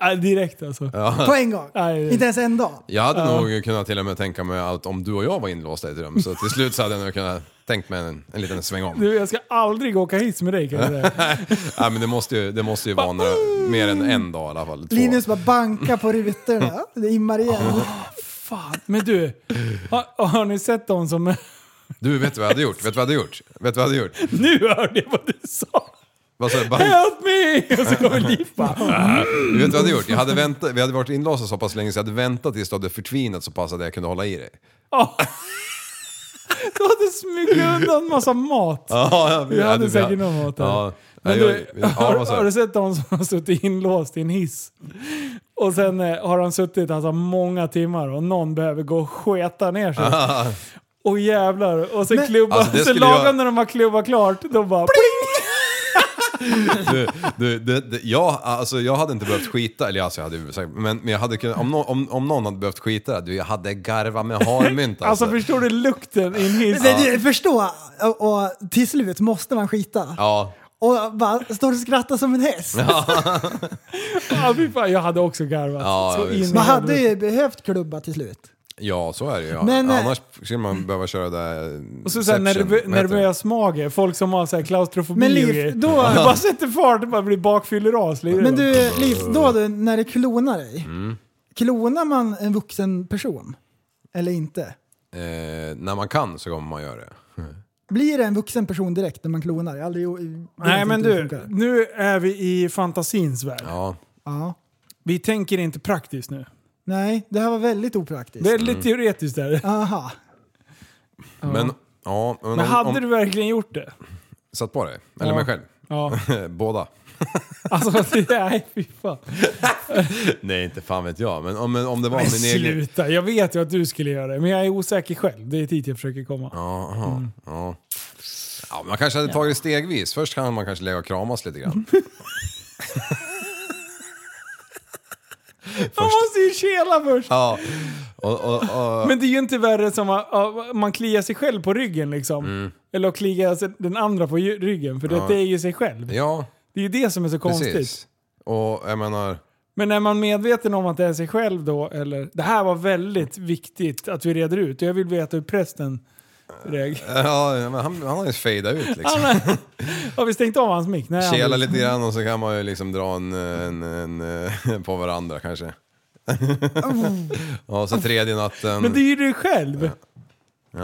Nej, direkt alltså. På en gång. Nej. Inte ens en dag. Jag hade nog kunnat till och med tänka mig att om du och jag var inlåsta i ett rum så till slut så hade jag nog kunnat Tänk med en, en liten sväng *laughs* om. Du, jag ska aldrig åka hiss med dig kan jag säga. *laughs* Nej, men det måste ju, det måste ju vara några, mer än en dag i alla fall. Två. Linus bara bankar på rutorna. Det immar igen. Fan, men du. Har, har ni sett dem som... *laughs* Du, vet du vad jag hade gjort? Vet du vad jag hade gjort? Vet du vad jag hade gjort? Nu hörde jag vad du sa! Vad sa jag? Bank- Help me! Och så kommer Liv *laughs* bara... Du vet vad jag hade gjort? Jag hade väntat, vi hade varit inlåsta så pass länge så jag hade väntat tills du hade förtvinat så pass att jag kunde hålla i dig. "Ja." Du hade smugit undan massa mat. Ja, Vi hade säkert någon mat där. Ja, Men Nej, du, jag- ja, har, vad sa *laughs* har du jag? sett de som har suttit inlåst i en hiss? Och sen eh, har de suttit alltså, många timmar och någon behöver gå och sketa *laughs* ner sig. Och jävlar. Och sen klubba, Alltså, det sen skulle lagom jag- när de har klubbat klart, då bara pling! Du, du, det, det, jag, alltså, jag hade inte behövt skita, eller alltså, jag hade ju sagt, men, men jag hade kunnat, om, no, om, om någon hade behövt skita, du, jag hade garvat med harmynt alltså. *laughs* Alltså förstår du lukten i en hiss? Men du, förstå, och, och till slut måste man skita. Ja, Och bara står och skrattar som en häst. Ja, fy fan, jag hade också garvat. Ja, så ja, in visst. i Man hade helvete. ju behövt klubba till slut. ja, så är det ju. Ja. Men, eh, Annars skulle man behöva köra det där... Och så såhär Inception, nervö- vad heter det? nervös mage, folk som har såhär klaustrofobi Men och Liv, grejer. *laughs* då- Du bara sätter fart och bara blir bakfylleras. Men du, Liv, då du, när det klonar dig. Klonar man en vuxen person? Eller inte? Eh, när man kan så kommer man göra det. Blir det en vuxen person direkt när man klonar? Jag har aldrig, jag vet Nej inte men hur det du, funkar. nu är vi i fantasins värld. Ja. Ja. Vi tänker inte praktiskt nu. Nej, det här var väldigt opraktiskt. Väldigt teoretiskt där. Aha. Men, ja, men, Men om, hade om, du verkligen gjort det? Satt på dig? Eller mig själv? Ja. Båda. Alltså, nej fy fan. *laughs* Nej, inte fan vet jag. Men om, men om det var Men min egen... sluta, jag vet ju att du skulle göra det. Men jag är osäker själv. Det är dit jag försöker komma. Jaha, ja. ja. Man kanske hade tagit det stegvis. Först kan man kanske lägga och kramas lite grann. Man måste ju kela först! Ja. Och, och, och, Men det är ju inte värre som att ja, man kliar sig själv på ryggen liksom. Eller att klia sig- den andra på ju- ryggen, för det, det är ju sig själv. ja, Det är ju det som är så konstigt. precis. Och jag menar... Men är man medveten om att det är sig själv då, eller? Det här var väldigt viktigt att vi reder ut. Jag vill veta hur prästen reagerar. Ja, men han, han har ju fejdat ut liksom. Har vi stängt av hans mick? Nej, han- Kela lite grann och så kan man ju liksom dra en, en, en, eh, på varandra kanske. Ja, och så tredje natten. Men det är ju du själv!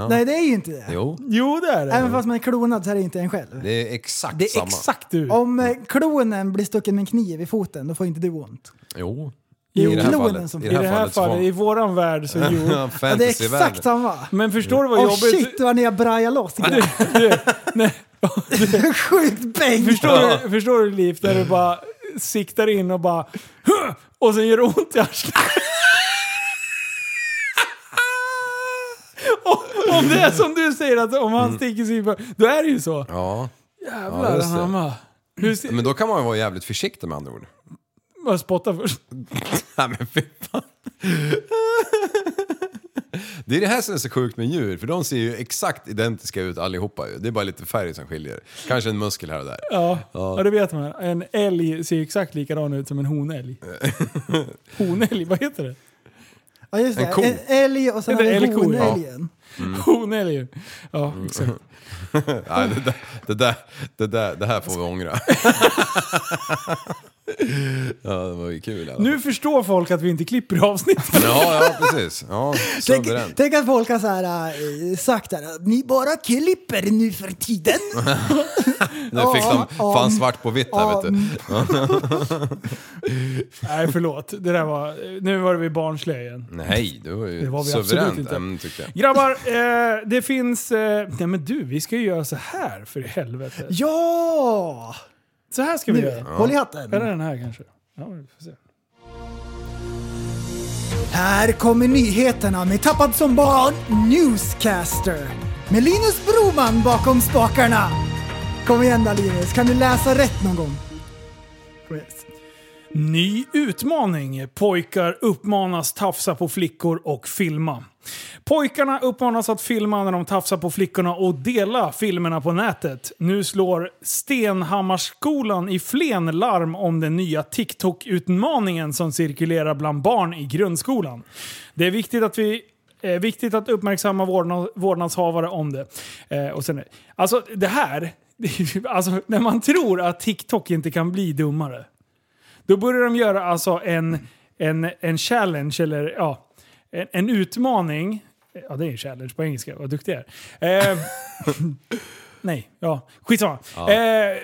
Nej, det är ju inte det. Jo, Jo, det är det. Även fast man är klonad så är det inte en själv. det är exakt det är samma. exakt du. Om eh, klonen blir stucken med en kniv i foten, då får inte du ont. Jo. Jo, I det här klonen fallet. som- I I det här fallet. så var- fallet, i våran värld så *laughs* Ja, Ja, jo. det är exakt fantasyvärlden. samma. Men förstår du vad Åh jobbigt... shit vad ni har brajat loss. grabbar. *laughs* *laughs* Sjukt bäng! Förstår, du, förstår du Liv, där du bara siktar in och bara "Huh!" och sen gör det ont i arslet. *laughs* Och Om det är som du säger, att om han sticker sig i bör- då är det ju så. Mm. Ja, Jävlar Ja, just det. anamma. Hur ser... men då kan man ju vara jävligt försiktig med *laughs* andra ord. Bara spotta först. Nej men fy fan. *laughs* Det är det här som är så sjukt med djur, för de ser ju exakt identiska ut allihopa ju. Det är bara lite färg som skiljer. Kanske en muskel här och *laughs* där. Ja. ja, det vet man. En älg ser ju exakt likadan ut som *laughs* en honälg. Honälg, vad heter det? Ja, just det. En ko. En älg och sen Eller har vi älgko, ja. honälgen. Mm. Honälg. Ja, exakt. Nej, det, där, det, där, det, där, det här får vi ångra. *laughs* Ja, det var ju kul i alla fall. Nu förstår folk att vi inte klipper *laughs* avsnitt. Ja, ja precis. Ja, Tänk, suveränt. tänk att folk har så här, äh, sagt där, ni bara klipper nu för tiden. *laughs* Nu fick de fan svart på vitt här vet du. mm. Nej, förlåt. Det där var... Nu var det vi barnsliga igen. Nej, det var ju Det var vi absolut suveränt inte. ämne tyckte jag. Grabbar, eh, det finns... Eh, nej men du, vi ska ju göra så här för i helvete. Ja! Så här ska vi göra. Håll i hatten. Eller den här kanske. Ja, vi får se. Här kommer nyheterna med Tappad som barn Newscaster. Med Linus Broman bakom spakarna. Kom igen då Linus, kan du läsa rätt någon gång? Kom igen. Ny utmaning. Pojkar uppmanas tafsa på flickor och filma. Pojkarna uppmanas att filma när de tafsar på flickorna och dela filmerna på nätet. Nu slår Stenhammarsskolan i Flen larm om den nya TikTok-utmaningen som cirkulerar bland barn i grundskolan. Det är viktigt att vi Eh, viktigt att uppmärksamma vårdnad, vårdnadshavare om det. Eh, och sen, alltså det här, *laughs* det är ju- alltså, när man tror att TikTok inte kan bli dummare. Då börjar de göra alltså en, en, en challenge, eller ja, en, en utmaning. Ja, det är en challenge på engelska. Vad duktig jag är. Eh, *laughs* nej, ja. Skitsamma. Ja. Eh,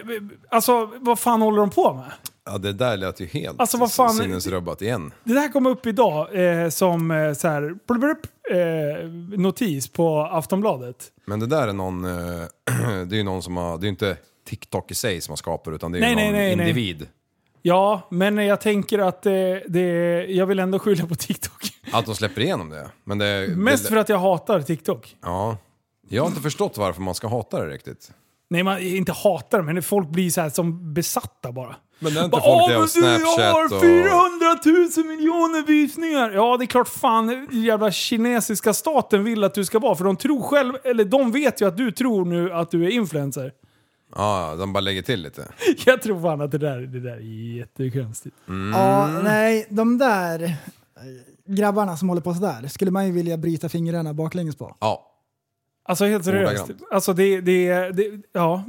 alltså, vad fan håller de på med? Ja, det där lät ju helt Alltså, vad fan- sinnesrubbat igen. Det här kom upp idag eh, som eh, så här, blub, blub, eh, notis på Aftonbladet. Men det där är någon, eh, *clears throat* det är ju någon som har, det är ju inte TikTok i sig som har skapat utan det är Nej, ju någon nej, nej, nej. individ. Ja, men jag tänker att eh, det, jag vill ändå skylla på TikTok. *laughs* Att de släpper igenom det. Men det Mest det, för att jag hatar TikTok. Ja. Jag har inte förstått varför man ska hata det riktigt. Nej, man inte hatar men folk blir så här som besatta bara. Men det är inte Bara, folk "Åh, det men och du, jag Snapchat har och... 400 000 miljoner visningar! Ja, det är klart fan jävla kinesiska staten vill att du ska vara, för de tror själv, eller de vet ju att du tror nu att du är influencer. *laughs* Ja, de bara lägger till lite. Jag tror fan att det där, det där är jättekonstigt. Ja, nej, de där eh, grabbarna som håller på sådär skulle man ju vilja bryta fingrarna baklänges på. Ja. Alltså helt seriöst. Ordagrant. Alltså det, det, det, ja.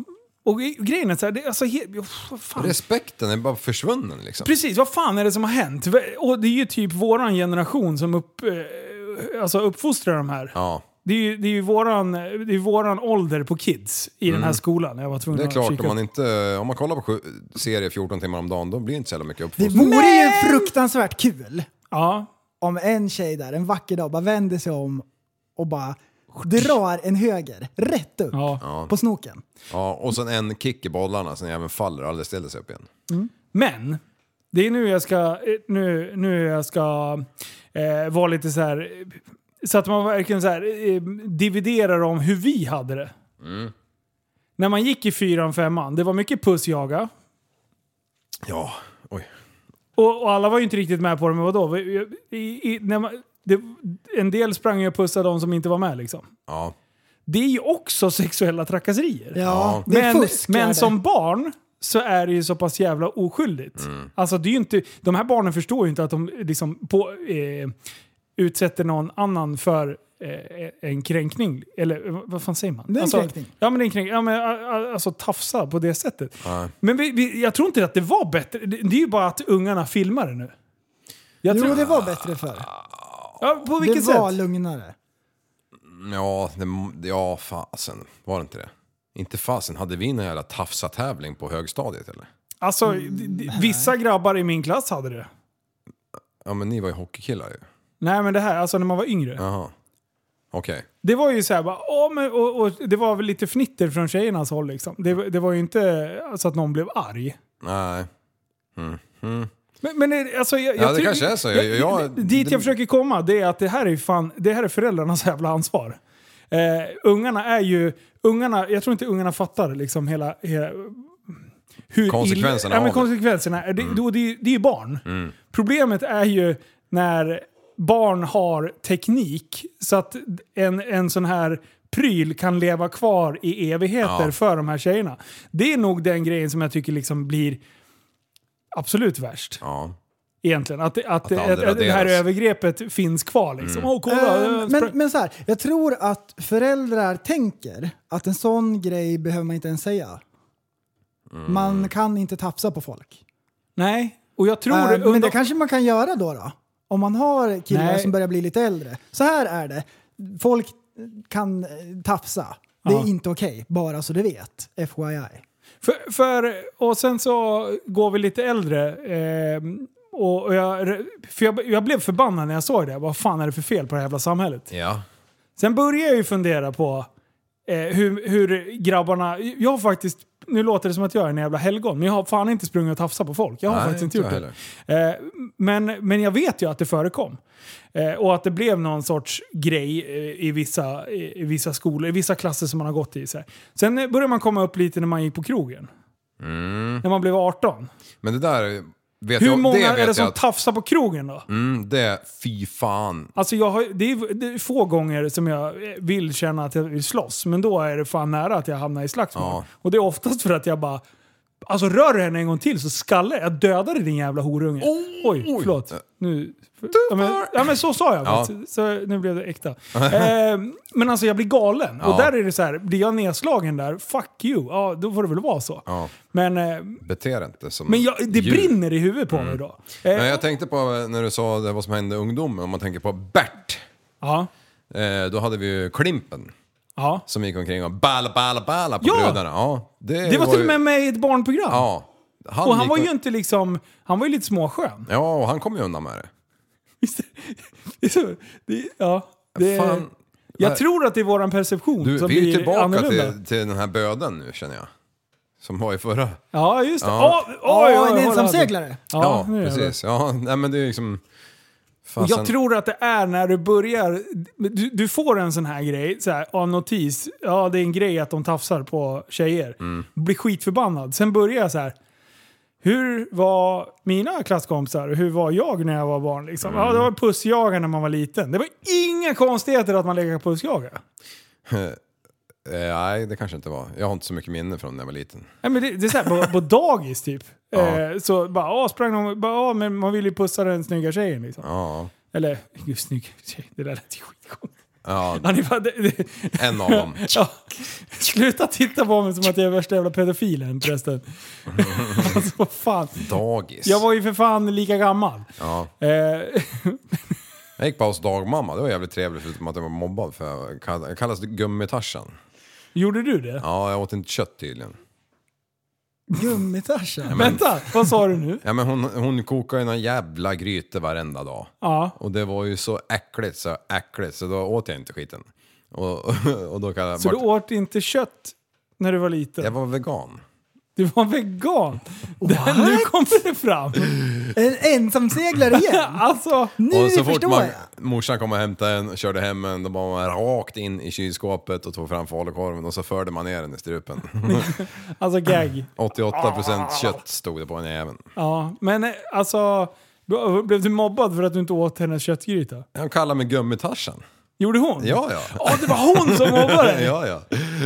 Och gre- grejen är såhär, det, alltså, he, oh, vad fan. Respekten är bara försvunnen liksom. Precis, vad fan är det som har hänt? Och det är ju typ våran generation som upp, eh, alltså uppfostrar de här. Ja. Det är ju, det är ju våran, det är ju våran ålder på kids i den här Mm. skolan. Jag var tvungen Det är att klart, kika om man, upp. inte, om man kollar på sju, serie 14 timmar om dagen, då blir det inte så jävla mycket Det uppfostran. vore ju fruktansvärt kul ja. om en tjej där en vacker dag bara vänder sig om och bara drar en höger rätt upp Ja. på snoken. ja, och sen en kick i bollarna, sen även faller och aldrig ställer sig upp igen. Men, det är nu jag ska, eh, nu, nu jag ska eh, vara lite så här. eh, Så att man verkligen så här, eh, dividerar om hur vi hade det. Mm. När man gick i fyran, femman, det var mycket pussjaga. Ja, oj. Och, och alla var ju inte riktigt med på det, men vadå? I, i, när man, det, en del sprang ju och pussade de som inte var med liksom. Ja. Det är ju också sexuella trakasserier. Ja, det är Men, fusk. är men det. som barn så är det ju så pass jävla oskyldigt. Alltså det är ju inte, de här barnen förstår ju inte att de liksom på, eh, utsätter någon annan för eh, en kränkning. Eller eh, vad fan säger man? Det är en alltså, kränkning. Ja men det är en kränkning. Ja, men, a- a- alltså tafsa på det sättet. Nej. Men vi, vi, jag tror inte att det var bättre. Det, det är ju bara att ungarna filmar det nu. Jag Jo, tror, det var bättre förr. ja, på Det vilket var sätt? lugnare. Ja, det, ja, fasen. Var det inte det? Inte fasen, hade vi någon jävla tafsa-tävling på högstadiet eller? Alltså, d- d- vissa grabbar i min klass hade det. Ja, men ni var ju hockeykillar ju. Nej men det här, alltså när man var yngre. Jaha. Okej. Det var ju så här, bara, åh, men, och, och det var väl lite fnitter från tjejernas håll liksom. Det, det var ju inte så att någon blev arg. Nej. Mm. Mm. Men, men är- alltså, jag, Ja, jag det tror- kanske är så. Jag- jag- dit det- jag försöker komma, det är att det här är ju fan, det här är föräldrarnas jävla ansvar. Eh, ungarna är ju, ungarna, jag tror inte ungarna fattar liksom hela... hela hur Konsekvenserna illa, ja, av men det. konsekvenserna. Det, då, det, är ju- det är ju barn. Mm. Problemet är ju när barn har teknik så att en, en sån här pryl kan leva kvar i evigheter Ja. för de här tjejerna. Det är nog den grejen som jag tycker liksom blir absolut värst. Ja. Egentligen. Att, att, att, det Mm. aldrig att, det här raderas. övergreppet finns kvar liksom. Åh, kolla! Ehm, jag men sprang- men så här, jag tror att föräldrar tänker att en sån grej behöver man inte ens säga. Man kan inte tafsa på folk. Nej, och jag tror... Ehm, men under- det kanske man kan göra då. då. Om man har killar Nej. som börjar bli lite äldre. Så här är det, folk kan eh, tafsa. Det är Ja. inte okej, bara så du vet. FYI. För, för, och sen så går vi lite äldre. Eh, och och jag, för jag, jag blev förbannad när jag såg det. Vad fan är det för fel på det här jävla samhället? Ja. Sen började jag ju fundera på eh, hur, hur grabbarna... Jag har faktiskt... Nu låter det som att jag är en jävla helgon, men jag har fan inte sprungit och tafsat på folk. Jag har Nej, faktiskt inte inte gjort jag det. Eh, men, men jag vet ju att det förekom. Eh, och att det blev någon sorts grej eh, i vissa, i, i vissa skolor, i vissa klasser som man har gått i. Så här. Sen eh, började man komma upp lite när man gick på krogen. När man blev 18. Men det där vet Hur jag, många Mm. det vet är det jag som att, tafsar på krogen då? mm, det, fy fan. Alltså jag har, det, är, det är få gånger som jag eh, vill känna att jag vill slåss, men då är det fan nära att jag hamnar i slagsmål. Ja. Och det är oftast för att jag bara Alltså rör du henne en gång till så skallar jag dödar dig din jävla horunge. oj, förlåt. Nu, ja, men, ja men så sa jag. Eh. Ja. vet. Så, nu blev *laughs* det äkta. eh, men alltså jag blir galen. Ja. Och där är det så här, blir jag nedslagen där, fuck you. Ja, då får det väl vara så. Ja. Men, eh, Bete dig inte som men jag, det djur. brinner i huvudet på mig då. Eh, Mm. Men jag tänkte på eh, när du sa det, vad som hände i ungdomen, om man tänker på Bert. ja, Eh, då hade vi ju Klimpen ja. som gick omkring och balla balla balla på Ja! bröderna. Ja, det, Det var till och ju- med med i ett barnprogram. Ja. och han gick var ju inte liksom, han var ju lite småskön. *laughs* Ja, och han kom ju undan med det. Visst? Det är så- det, ja, det, Fan. jag Vad- tror att det är våran perception Du, som vi är blir tillbaka annorlunda. till, till den här böden nu känner jag. Som var i förra. Ja, just det. Ja. Åh, oj, Åh, oj, oj, en oj, ensamseglare! Ja, Ja, nu är det. precis. Ja, nej men det är liksom... Och Fasen. jag tror att det är när du börjar... Du, du får en sån här grej, så här, av notis. Ja, det är en grej att de tafsar på tjejer. Blir skitförbannad. Sen börjar jag så här... Hur var mina klasskompisar? Hur var jag när jag var barn? Liksom? Ja, det var pussjagare när man var liten. Det var inga konstigheter att man lekte pussjagare. Eh, nej, det kanske inte var. Jag har inte så mycket minne från när jag var liten. Nej, men det, det är så här, på, på dagis typ. Eh, så bara, åh, sprang de, bara, åh, men man vill ju pussa den snygga tjejen liksom. Ja, Eller, gud snygg tjej, det där lät ju skitkonstigt. ja Ja, ni bara- *laughs* det- det- en av *laughs* dem. Ja. Sluta titta på mig som att jag är värsta jävla *laughs* pedofilen förresten. alltså vad fan. Dagis. Jag var ju för fan lika gammal. ja. Eh, *laughs* jag gick på hos dagmamma, det var jävligt trevligt förutom att jag var mobbad för jag kall- jag kallas gummitarsan. gjorde du det? Ja, jag åt inte kött tydligen. Gummitarsen. Vänta, vad sa du nu? Ja, men hon, hon kokade ju någon jävla gryta varenda dag. Ja. Och det var ju så äckligt, så äckligt, så då åt jag inte skiten. Och, *laughs* och då kan jag, Så du åt inte kött när du var liten? jag var vegan. Du var vegan? Där, nu kommer det fram. En ensamseglare igen! Alltså, Nu och så fort förstår man, jag! morsan kom och hämtade en, körde hem en, då var man rakt in i kylskåpet och tog fram falukorven och så förde man ner den i strupen. *laughs* alltså gag. 88% kött stod det på den jäveln. Ja, men eh, alltså... b- Blev du mobbad för att du inte åt hennes köttgryta? Han kallar mig gummitarsan. Gjorde hon? Ja, ja. Ja, det var hon som mobbade *laughs* dig! ja, ja.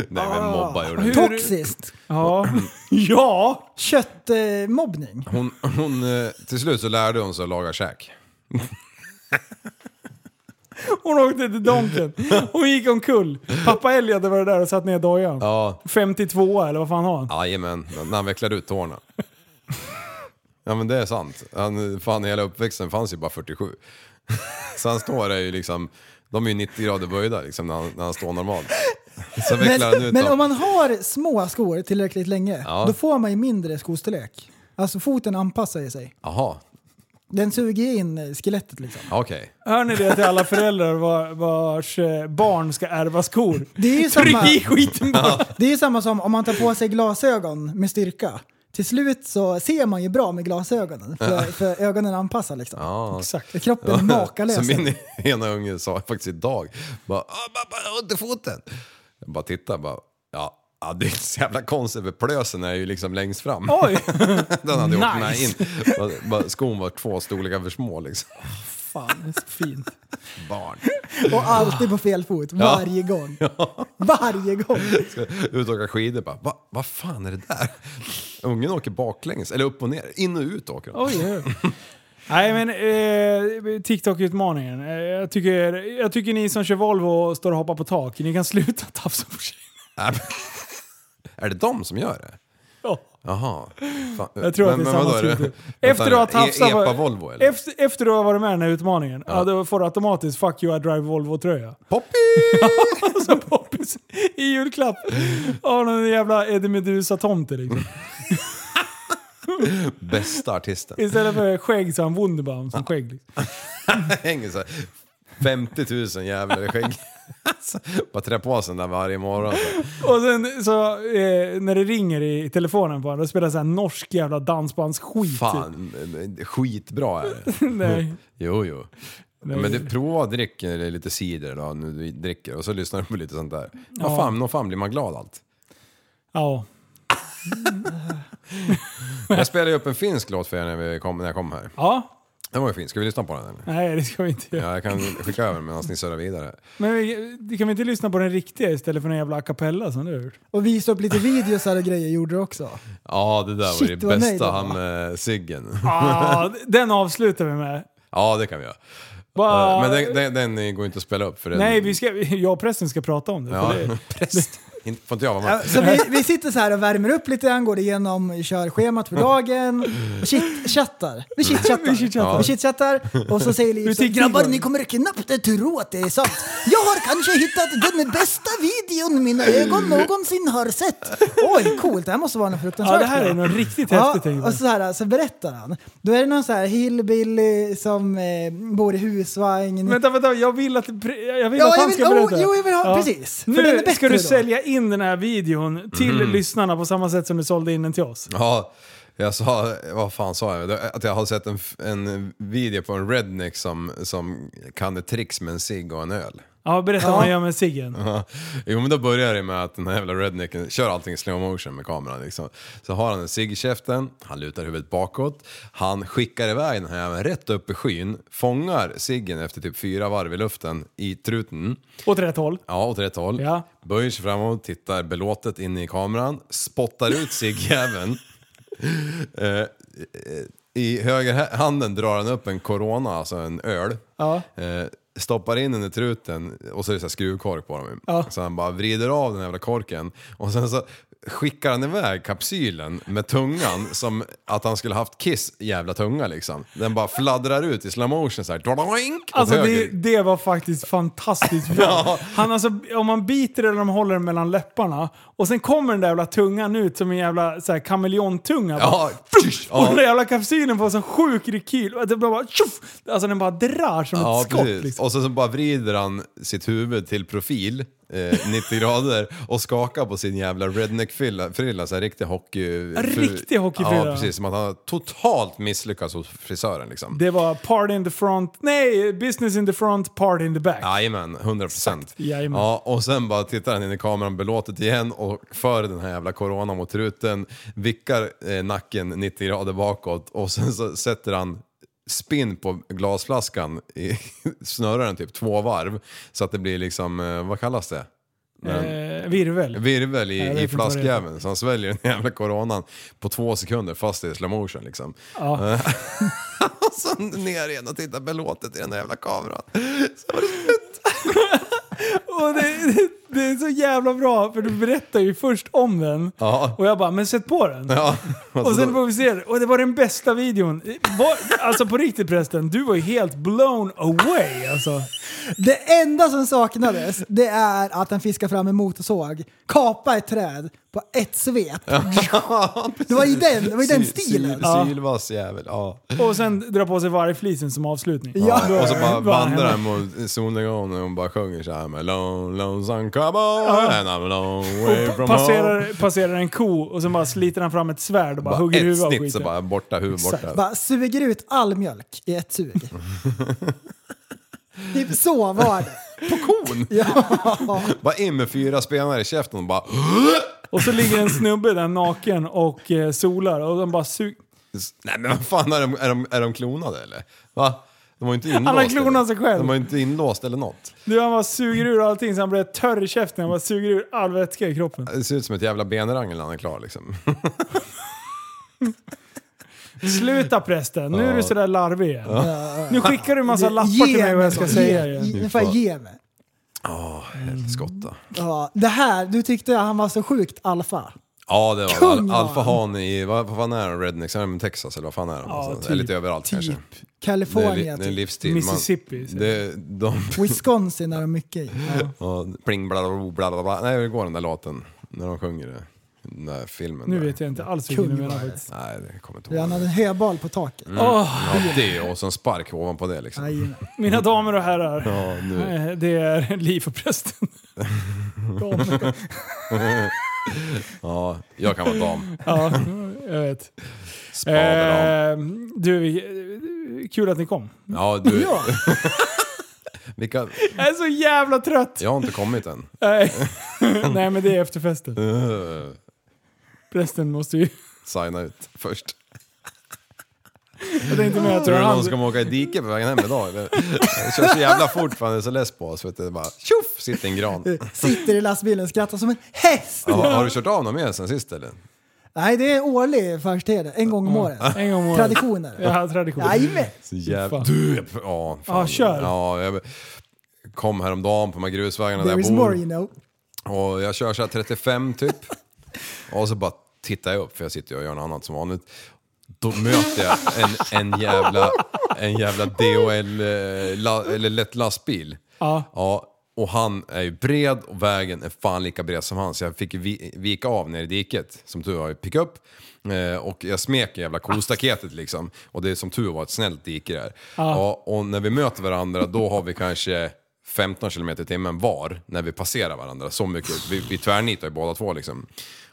Nej men mobba gjorde *laughs* Hur- inte. Toxiskt! eh, Ja. *clears throat* ja. eh, Köttmobbning. Hon, hon, eh, till slut så lärde hon sig att laga käk. Hon åkte till Donken. Hon gick omkull. Pappa Elg hade varit där och satt ner dojan. Ja, 52 eller vad fan har han? jajamän. När han vecklade ut *laughs* tårna. Ja men det är sant. Han, fan hela uppväxten fanns ju bara 47. *laughs* Så han står där ju liksom, de är ju 90 grader böjda liksom när han, när han står normalt. Så vecklar han ut Men, men dem. om man har små skor tillräckligt länge, Ja. då får man ju mindre skostorlek. Alltså foten anpassar ju sig. Jaha, Den suger ju in eh, skelettet liksom. okej. Hör ni det till alla föräldrar var- vars eh, barn ska ärva skor? *laughs* Det är ju samma, Tryck i skiten bara! det är ju samma som om man tar på sig glasögon med styrka. Till slut så ser man ju bra med glasögonen, för, för ögonen anpassar liksom. Exakt. Kroppen är *laughs* makalös. Så min ena unge sa faktiskt idag, bara "Ah, pappa, jag har ont i foten. Jag bara tittar bara, ja. Ja, det är så jävla konstigt för plösen är ju liksom längst fram. Oj! *laughs* Den hade jag åkt med nice. in. Bara- bara Skon var två storlekar för små liksom. Fan, det är så fint. Barn. Och alltid på fel fot, varje gång. Varje gång. Ut och åka skidor bara, Va, vad fan är det där? Ungen åker baklänges, eller upp och ner. In och ut åker de. Oj, oj. Nej men eh, TikTok-utmaningen. Eh, jag, tycker, jag tycker ni som kör Volvo och står och hoppar på tak, ni kan sluta *laughs* tafsa på sig. Äh, men- *laughs* Är det de som gör det? Ja. Jaha. Fan. Jag tror att det är samma typ. vadå, är struktur. det- Efter du har vänta, tafsat e- på- Epa-Volvo eller? Efter, efter du har varit med i den här utmaningen, ja. då får du automatiskt 'Fuck you I *laughs* drive Volvo-tröja'. Poppy! *laughs* Som poppis i julklapp. Av någon jävla Eddie Meduza-tomte liksom. Bästa artisten. Istället för skägg så har han Wunderbaum som skägg. Liksom. *laughs* hänger så här. 50 000 jävlar i skägg. *laughs* Alltså, Bara trä på sig den där varje morgon. så. Och sen så, eh, när det ringer i telefonen på honom, då spelar så här norsk jävla dansbandsskit. Fan, eh, skitbra är det. *laughs* Nej. Jo, jo. Nej. Men du, prova att dricka lite cider då, nu du dricker och så lyssnar du på lite sånt där. Vad fan, nog fan blir man glad allt. Ja. Jag spelade ju upp en finsk låt för er när, vi kom, när jag kom här. ja. Den var ju fin, ska vi lyssna på den eller? Nej, det ska vi inte göra. Ja, jag kan skicka över medan ni surrar vidare. Men vi, kan vi inte lyssna på den riktiga istället för den jävla a cappella som du *laughs* har gjort? Och visa upp lite videos här och grejer gjorde du också. Ja, det där var Shit, det vad nöjd bästa, jag var. han eh, Siggen. Ah, den avslutar vi med. ja, det kan vi göra. Bara- Eh, Men den, den, den går inte att spela upp för den... Nej, vi ska, *laughs* jag och prästen ska prata om det. Ja, *laughs* för det präst. Inte- Får inte jag vara Ja, med? Så vi, vi sitter så här och värmer upp lite grann, går igenom körschemat för dagen. Chit- Chattar. Vi chitchattar. Vi chitchattar. chitchattar. Och så säger Liv så tycker “Grabbar, det?" ni kommer knappt tro att det är sant. Jag har kanske hittat den bästa videon mina ögon någonsin har sett. Oj, coolt. Det här måste vara något fruktansvärt. Ja, det här är bra. nog riktigt häftigt, tänker Ja, alltså- jag. och så, här, så berättar han. Då är det någon så här hillbilly som eh, bor i husvagn. Vänta, vänta, jag vill att, pre- jag vill Ja, att jag han vill- ska oh, berätta. jo, jag vill ha- precis. För Nu den är bättre ska du då. sälja in den här videon till Mm. lyssnarna på samma sätt som du sålde in den till oss. Ja, jag sa, vad fan sa jag? Att jag hade sett en, f- en video på en redneck som, som kan ett tricks med en cigg och en öl. Ja, berätta vad han gör med ciggen. Ja. Jo men då börjar det med att den här jävla rednecken kör allting i slow motion med kameran liksom. Så har han en cigg i käften, han lutar huvudet bakåt, han skickar iväg den här jäveln rätt upp i skyn, fångar ciggen efter typ fyra varv i luften i truten. Åt rätt håll. Ja, åt rätt håll. Ja. Böjer sig framåt, tittar belåtet in i kameran, spottar ut *laughs* ciggjäveln. eh, eh, I höger hä- handen drar han upp en Corona, alltså en öl. Ja. Eh, stoppar in den i truten och så är det så här skruvkork på dem. Ja. Så han bara vrider av den jävla korken och sen så skickar han iväg kapsylen med tungan som att han skulle haft Kiss jävla tunga liksom. Den bara fladdrar ut i slow motion så här. Doink, åt Alltså det, höger. det var faktiskt fantastiskt *laughs* bra. Han alltså, om man biter eller om man håller den mellan läpparna och sen kommer den där jävla tungan ut som en jävla så här, kameleontunga. Ja, Och ja. den där jävla kapsylen får en sån sjuk rekyl. Och Det bara, bara, tjoff! alltså den bara drar som ett skott. precis. Liksom. Och sen så bara vrider han sitt huvud till profil, eh, *laughs* 90 grader, och skakar på sin jävla redneck-frilla, frilla, så här riktig hockey... riktig hockeyfrilla. Ja, precis. Som att han har totalt misslyckats hos frisören liksom. Det var party in the front, nej, business in the front, party in the back. Jajamän, 100 procent. Jajamän. Ja, och sen bara tittar han in i kameran belåtet igen och för den här jävla corona mot truten, vickar eh, nacken 90 grader bakåt och sen så sätter han spinn på glasflaskan, i, *laughs* snurrar den typ två varv så att det blir liksom, eh, vad kallas det? Eh, virvel. virvel i, Ja, jag vet i inte vad det flaskjäveln. Så han sväljer den jävla coronan på två sekunder fast det är slow motion liksom. Ja. *laughs* Och sen ner igen och tittar belåtet i den där jävla *laughs* kameran. Och det, det, det är så jävla bra, för du berättar ju först om den. Ja. Och jag bara, men sätt på den. Ja, Och sen får vi se. Och det var den bästa videon. Var, alltså på riktigt prästen, du var ju helt blown away alltså. Det enda som saknades det är att han fiskar fram en motorsåg, kapar ett träd på ett svep. det var ju den, det var ju den Syl- stilen. syl- Sylvass jävel, ja. Och sen dra på sig vargflisen som avslutning. *laughs* Ja. Och så *laughs* bara Vad vandrar hände? han mot solnedgången och bara sjunger så här med Lone, lone sun cowboy and I'm a long way Och from home. passerar, passerar en ko och sen bara sliter han fram ett svärd och bara, hugger ett huvudet av snitt så skiten. bara borta, huvud borta. Bara suger ut all mjölk i *laughs* ett sug. typ så var det. På kon! Bara in med fyra spenar i käften och bara... *gasps* Och så ligger en snubbe där naken och eh, solar och de bara suger. Nej men vad fan, är de, är de, är de klonade eller? Va? De var ju inte *laughs* inlåsta. har klonat sig eller? själv. De var ju inte inlåsta eller något. Du, han bara suger ur allting så han blir törr i käften. Han bara suger ur all vätska i kroppen. Det ser ut som ett jävla benrangel när han är klar liksom. Sluta prästen, nu är du sådär larvig igen. Nu skickar du en massa Alltså, lappar till mig vad jag ska säga Ge, igen. ge, ungefär ge mig. Skotta. Ja, det här, du tyckte han var så sjukt alfa. Ja det var Kung Kung, var han. Alfa Han i, vad, vad fan är han? Rednex? Är han i Texas eller vad fan är han? någonstans? Eller typ, lite överallt kanske. Det är, li, Kalifornien, det är en typ. livsstil. Man- Mississippi, säger Det, de, Wisconsin är de mycket i. Ja. ja, pling bla bla bla bla bla. Nej, hur går den där låten? När de sjunger det. Den där filmen. Nu där. vet jag inte alls vilken du Kung menar var det. faktiskt. Nej, det kommer inte Han ihåg. hade en höbal på taket. Mm. Ja, det och så en spark ovanpå det liksom. Jajamän. Mina damer och herrar, Ja, nu. eh, det är *laughs* Liv *laughs* och prästen. Damer. Ja, jag kan vara dam. Ja, jag vet. Spaderdam. Eh, du, vi- kul att ni kom. Ja, du. *laughs* Vilka? Jag är så jävla trött! Jag har inte kommit än. *laughs* Nej, Nej men det är efterfesten. Uh, Prästen måste ju... signa ut först. Jag tänkte mer att *laughs* det Tror var du någon han. ska åka i diket på vägen hem idag? eller? Det kör så jävla fort för han är så less på oss. Vet du. Det Bara, tjoff, sitter en gran. Sitter i lastbilen och skrattar som en häst. Ja, har du kört av någon mer sen sist eller? Nej, det är årlig förstede. En gång om året. Mm. En gång om året. Traditioner. Ja, tradition. Jajamän. Så jävla... Fan. Du, jag... Ja, fan. Ja, kör. Ja, jag kom häromdagen på de här grusvägarna där There jag is bor. more you know. Och jag kör så här 35 typ. Och så bara tittar jag upp, för jag sitter ju och gör något annat som vanligt. Då möter jag en, en jävla, en jävla DHL, eh, la, eller lätt lastbil. Ja. och han är ju bred och vägen är fan lika bred som han. Så jag fick ju vi, vika av ner i diket, som tur var i pickup. Eh, och jag smek jävla kostaketet liksom. Och det är som tur var ett snällt dike där. Ja, och när vi möter varandra då har vi kanske 15 km i timmen var när vi passerar varandra. Så mycket. Vi, vi tvärnitar ju båda två liksom.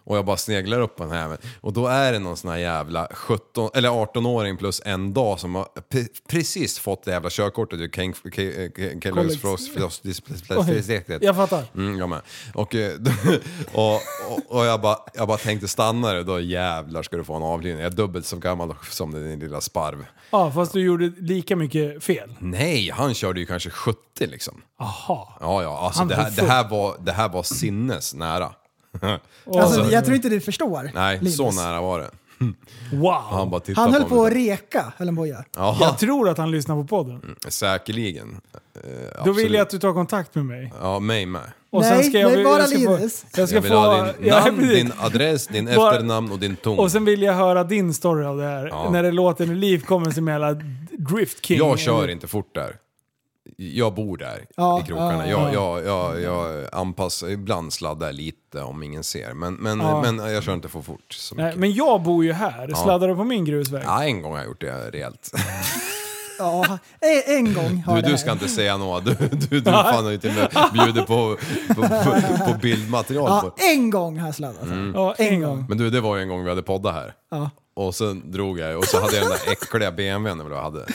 Och jag bara sneglar upp på den här jäveln. Och då är det någon sån här jävla 17, eller 18-åring plus en dag som har pre- precis fått det jävla körkortet ur Ken- Ke- Ke- Kellogg's Frost- Frost- Displastic. Jag fattar. Mm, jag med. Och, eh, *laughs* och, och, och jag, bara, jag bara tänkte stanna det, då jävlar ska du få en avlivning. Jag är dubbelt så gammal som din lilla sparv. Ja, fast du gjorde lika mycket fel. Nej, han körde ju kanske 70 liksom. Aha. Ja, ja, alltså Han det var här, det, full. här var, det här var sinnes nära. Alltså, jag tror inte du förstår. Nej, Linus. så nära var det. Han Wow. bara tittade Han höll på att mig. reka, höll han på att göra. Ja, Jag tror att han lyssnar på podden. Mm, säkerligen. Då vill jag att du tar kontakt med mig. Ja, mig med. Och Nej, nej, bara jag ska Linus. Få, jag ska Jag vill få... ha din *laughs* ja, namn, precis. din adress, din Bara- efternamn och din ton. Och sen vill jag höra din story av det här. Ja. När det låter när Liv kommer som en jävla Drift King. Jag kör inte fort där. Jag bor där Ja, i krokarna. ja, Jag, jag, jag, jag anpassar, ibland sladdar jag lite om ingen ser. Men, men, Ja. men jag kör inte för fort så Nej, mycket. men jag bor ju här. Sladdar du på min grusväg? Ja, en gång har jag gjort det rejält. Ja, en- en gång har Du, det du här. ska inte säga något. Du, du, *laughs* du fan har ju till och med bjuder på, på, på, på bildmaterial. Ja, På. Mm. en gång har jag sladdat. Ja, en gång. Men du, det var ju en gång vi hade poddat här. Ja. Och sen drog jag och så hade jag den där äckliga BMWn jag hade.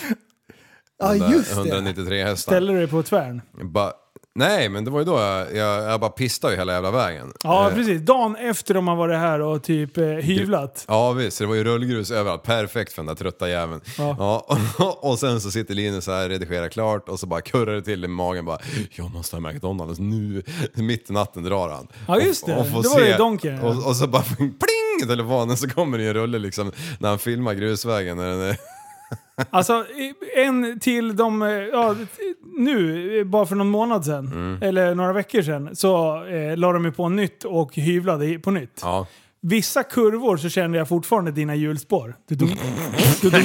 Ja, just det. 193 hästar. Ställer du dig på tvären? Bara, nej, men det var ju då jag, jag, jag bara pistade ju hela jävla vägen. Ja, Eh, precis. Dagen efter de har varit här och typ eh, hyvlat. Ja visst, det var ju rullgrus överallt. Perfekt för den där trötta jäveln. Ja. Ja. *laughs* och, och sen så sitter Linus här, redigerar klart och så bara kurrar det till i magen bara Jag måste ha McDonalds nu. Mitt i natten drar han. Ja, just det. får Det var ju Donken, ja. Och, och så bara *laughs* pling i telefonen så kommer det ju en rulle liksom när han filmar grusvägen. När den är, Alltså, i- en till de... eh, Ja, t- nu, eh, bara för någon månad sedan, Mm. eller några veckor sedan, så eh, la de ju på nytt och hyvlade i- på nytt. ja. Vissa kurvor så känner jag fortfarande dina hjulspår. *laughs* Du, du, du, du,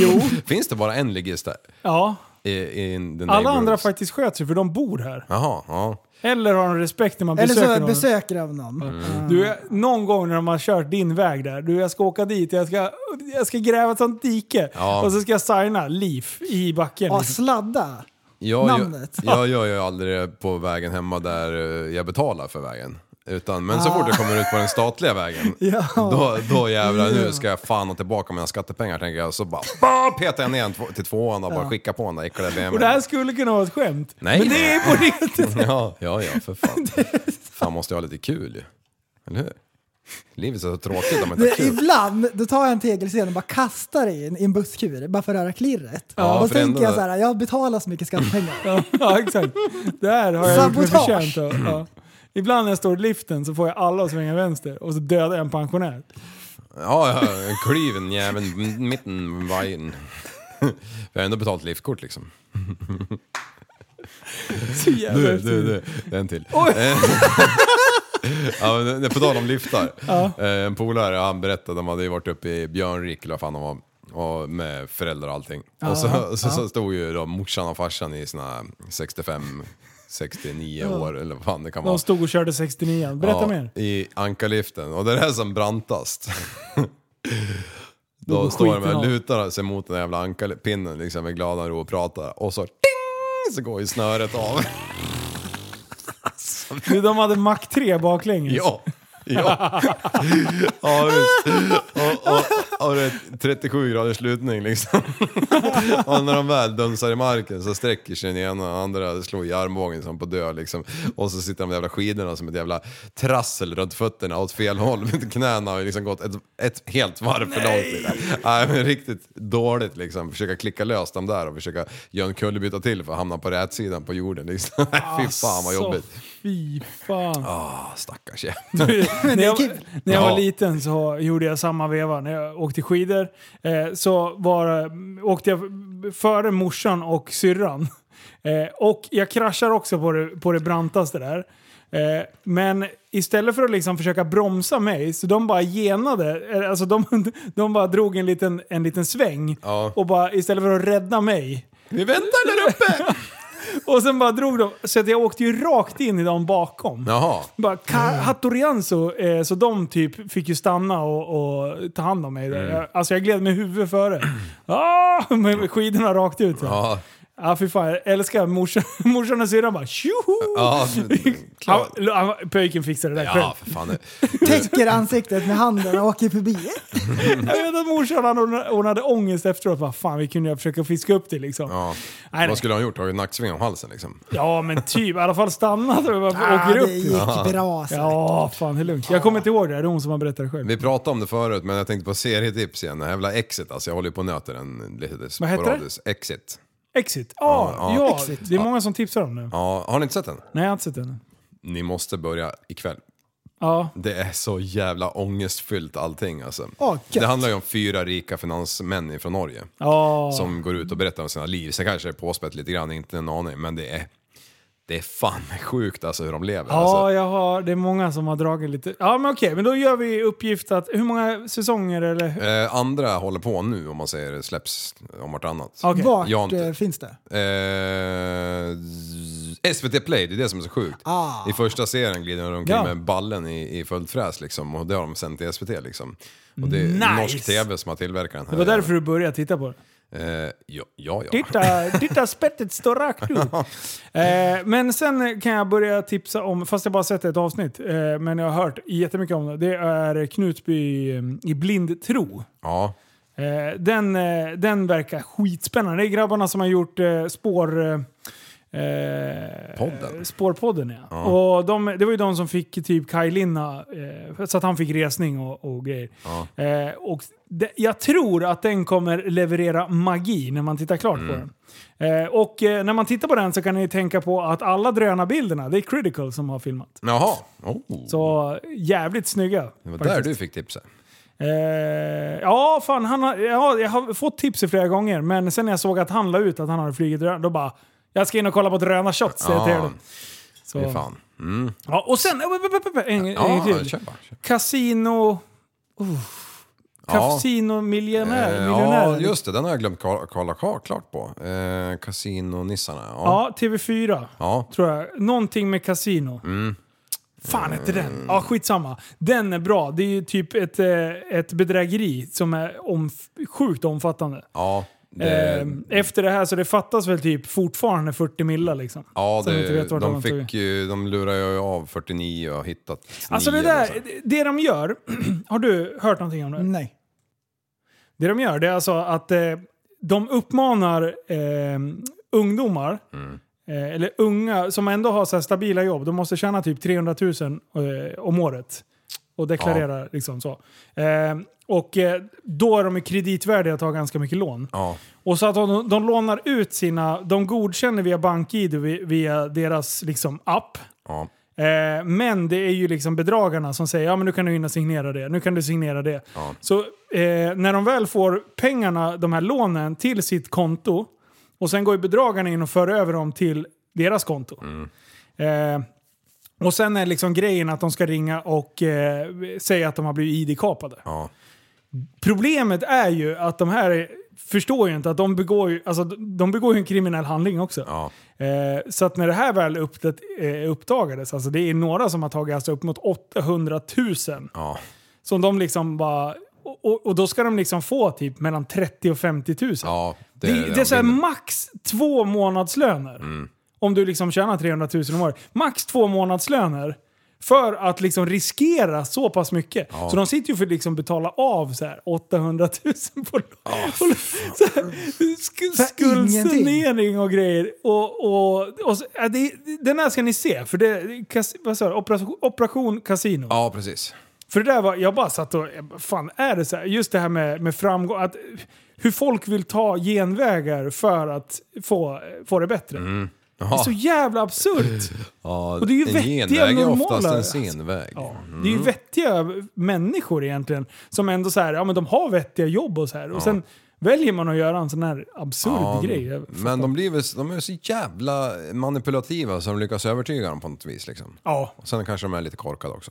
jo, *laughs* Finns det bara en ligist där? ja. I, i den Alla andra neighborhoods? faktiskt sköter sig för de bor här. Jaha, ja. Eller har de respekt när man Eller besöker så någon. besöker av någon. Mm. Du, jag- någon gång när de har kört din väg där, du jag ska åka dit, jag ska, jag ska gräva ett sånt dike Ja. och så ska jag signa Leaf i backen. Ja, sladda. Jag, jag, Namnet. jag gör ju aldrig det på vägen hemma där eh, jag betalar för vägen. Utan, men så fort Ah. jag kommer ut på den statliga *laughs* vägen, Ja. då, då jävlar, nu ska jag fan ha tillbaka mina skattepengar tänker jag. Så bara, bara petar jag ner en två- till tvåan och bara skickar på den där äckliga och det här BMWn. skulle kunna vara ett skämt. Nej. Men det är på riktigt. *laughs* Ja, ja, ja, för *laughs* fan. Fan måste jag ha lite kul ju. Eller hur? Livet är så tråkigt om man inte har Det, kul. ibland då tar jag en tegelsten och bara kastar det in i en busskur bara för att höra klirret. Ja, och för så det tänker ändå- jag så här, jag betalar så mycket skattepengar. ja, *laughs* exakt. Det här har jag gjort mig Sabotage. förtjänt av. Ja. Ibland när jag står i liften så får jag alla att svänga vänster och så dödar jag en pensionär. Ja, ja, kliven jäveln, mitten, *laughs* vajern. Jag har ändå betalt liftkort liksom. Så jävla Du, häftigt. du, du. Det är en till. *laughs* Eh, ja, men det- på tal om liftar. Eh, En polare, han berättade, de hade ju varit uppe i Björnrik eller vad fan de var. Och med föräldrar och allting. och så, så, så stod ju då morsan och farsan i såna 65, 69 år eller vad fan det kan vara. De stod och körde 69 Berätta Ja, mer. I ankarliften. Och det är det här som brantast. Då går Då står de skiten av. och lutar sig mot den där jävla ankarpinnen liksom med glada ro och pratar. Och så ting! Så går ju snöret av. Du, de hade Mac 3 baklänges. *laughs* Ja. Ja, ja visst. Och, och, har du ett 37 graders lutning *laughs* liksom. och när de väl dunsar i marken så sträcker sig den ena och den andra slår i armbågen som på död liksom. Och så sitter de jävla skidorna som ett jävla trassel runt fötterna åt fel håll. *laughs* Knäna har ju liksom gått ett, ett helt varv för långt. Liksom. Nej, men riktigt dåligt liksom. Försöka klicka lös dem där och försöka göra en kullerbytta till för att hamna på rätsidan på jorden liksom. *laughs* Fy fan vad jobbigt. Fy fan. Ah, stackars Du, jävel. när, jag, när jag Ja. var liten så gjorde jag samma veva när jag åkte skidor. Eh, så var, åkte jag före morsan och syrran. Eh, och jag kraschar också på det, på det brantaste där. Eh, men istället för att liksom försöka bromsa mig så de bara genade, eh, alltså de, *laughs* de bara drog en liten, en liten sväng. Ja. Och bara istället för att rädda mig Vi väntar där uppe! och sen bara drog de, så att jag åkte ju rakt in i dem bakom. Jaha. Bara ka- Mm. Hattorianzo, eh, så de typ fick ju stanna och, och ta hand om mig. Mm. där. Jag, alltså jag gled med *clears throat* huvudet före. Ah, med skidorna rakt ut. Ja, Ja, ah, fy fan. Jag älskar morsan, *laughs* morsan och syrran bara tjoho! *laughs* ja Han, klart. han, pöjken fixade det där själv. Ja, för fan. Täcker ansiktet med handen och åker förbi. Jag vet att morsan han ordna- ordnade ångest efteråt. Bara, fan, vi kunde ju försöka fiska upp det liksom. Ja. Nej, nej. Vad skulle han gjort? Tagit nacksving om halsen liksom? Ja, men typ. I alla fall stannat och bara Ah, åker upp. det gick bra. Alltså, Så. Ja, fan det är lugnt. Jag kommer inte ihåg det. här. Det är hon som har berättat det själv. Vi pratade om det förut, men jag tänkte på serietips igen. Den här jävla Exit alltså. Jag håller ju på och nöter den lite Vad heter det? sporadiskt. Exit. Exit. Ah, Ja, ja, ja. det är många som tipsar om det. Ja, har ni inte sett den? Nej, jag har inte sett den. Ni måste börja ikväll. Ja. Det är så jävla ångestfyllt allting alltså. Åh, gött. det handlar ju om fyra rika finansmän från Norge. Ja. Som går ut och berättar om sina liv. Sen kanske det är påspätt lite grann, inte en aning. Men det är, det är fan sjukt alltså hur de lever. Ja, alltså. jag har, det är många som har dragit lite... Ja, men okej. Men då gör vi uppgift att... Hur många säsonger eller? Eh, andra håller på nu om man säger det släpps om vartannat. Okej. Vart Jag har inte- eh, finns det? Eh, SVT Play, det är det som är så sjukt. I första serien glider de omkring Ah. Ja. med ballen i, i följdfräs liksom, och det har de sänt till SVT. Liksom. Och det är Nice. norsk tv som har tillverkat den här. Det var därför du började titta på det. Eh, ja, ja. ja. Titta, titta spettet står rakt ut. Eh, men sen kan jag börja tipsa om, fast jag bara sett ett avsnitt, eh, men jag har hört jättemycket om det. Det är Knutby eh, i blind tro. ja. Eh, den, eh, den verkar skitspännande. Det är grabbarna som har gjort eh, spår... Eh, Podden. Eh, spårpodden ja. Och de, det var ju de som fick typ Kaj Linna, eh, så att han fick resning och, och grejer. Eh, och det, jag tror att den kommer leverera magi när man tittar klart på Mm. den. Eh, och eh, när man tittar på den så kan ni tänka på att alla drönarbilderna, det är Critical som har filmat. Jaha. Oh. Så jävligt snygga. det var faktiskt. där du fick tipset. Eh, ja, fan. Han har, ja, jag har fått tips flera gånger, men sen när jag såg att han la ut att han hade flugit drönare, då bara jag ska in och kolla på drönarshots. säger jag till Ja. honom. Det är Så. fan. Mm. Ja, och sen... En, en, Ja, en kör till. bara. Kör. Casino... Ja. Casino-miljonär. Eh, ja, miljonär. just det. Den har jag glömt kolla- kolla klart på. Eh, Casino-nissarna. Ja. Ja, TV4. Ja. Tror jag. Någonting med kasino. Mm. Fan hette den? Ja, skitsamma. Den är bra. Det är ju typ ett, eh, ett bedrägeri som är om, sjukt omfattande. ja. det- Eh, efter det här så det fattas väl typ fortfarande 40 millar liksom. Ja, Som inte det, vet vart de, har fick tagit. ju, de lurar ju av 49 och hittat 9 Alltså det där, det de gör, *clears throat* har du hört någonting om det? Nej. Det de gör det är alltså att eh, de uppmanar eh, ungdomar, eh, eller unga som ändå har så här stabila jobb, de måste tjäna typ 300 000 eh, om året och deklarera liksom så. Eh, och eh, då är de ju kreditvärdiga och tar ganska mycket lån. Ja. Och så att de, de lånar ut sina, de godkänner via BankID vi- via deras liksom app. Ja. Eh, men det är ju liksom bedragarna som säger ja men nu kan du hinna signera det, nu kan du signera det. Så eh, när de väl får pengarna, de här lånen, till sitt konto och sen går ju bedragarna in och för över dem till deras konto. Eh, och sen är liksom grejen att de ska ringa och eh, säga att de har blivit ID-kapade. Ja. Problemet är ju att de här förstår ju inte att de begår ju, alltså, de begår ju en kriminell handling också. Ja. Eh, så att när det här väl upp, eh, uppdagades, alltså det är några som har tagit alltså upp mot 800 000 Ja. som de liksom bara... Och, och, och då ska de liksom få typ mellan 30 000 och 50 000. ja det, det, de är så här vinner. max två månadslöner. Om du liksom tjänar 300 000 om året. Max två månadslöner För att liksom riskera så pass mycket. Så de sitter ju för att liksom betala av så här 800 000 på oh, så här, sk- skuldsanering och grejer. Och, och, och, så- ja, det, den här ska ni se, för det kas, vad sa du, operation, operation Casino. Ja, precis. För det där var, jag bara satt och, jag bara, fan är det så här? Just det här med, med framgång, att hur folk vill ta genvägar för att få, få det bättre. Det är så jävla absurt! Ja, Och det är ju en vettiga, genväg är oftast normala- en senväg. Ja, Det är ju vettiga människor egentligen, som ändå så här, ja men de har vettiga jobb och så här. Och sen väljer man att göra en sån här absurd Ja, grej. Jag men de, blir väl, de är så jävla manipulativa så de lyckas övertyga dem på något vis. Liksom. Ja. Och sen kanske de är lite korkade också.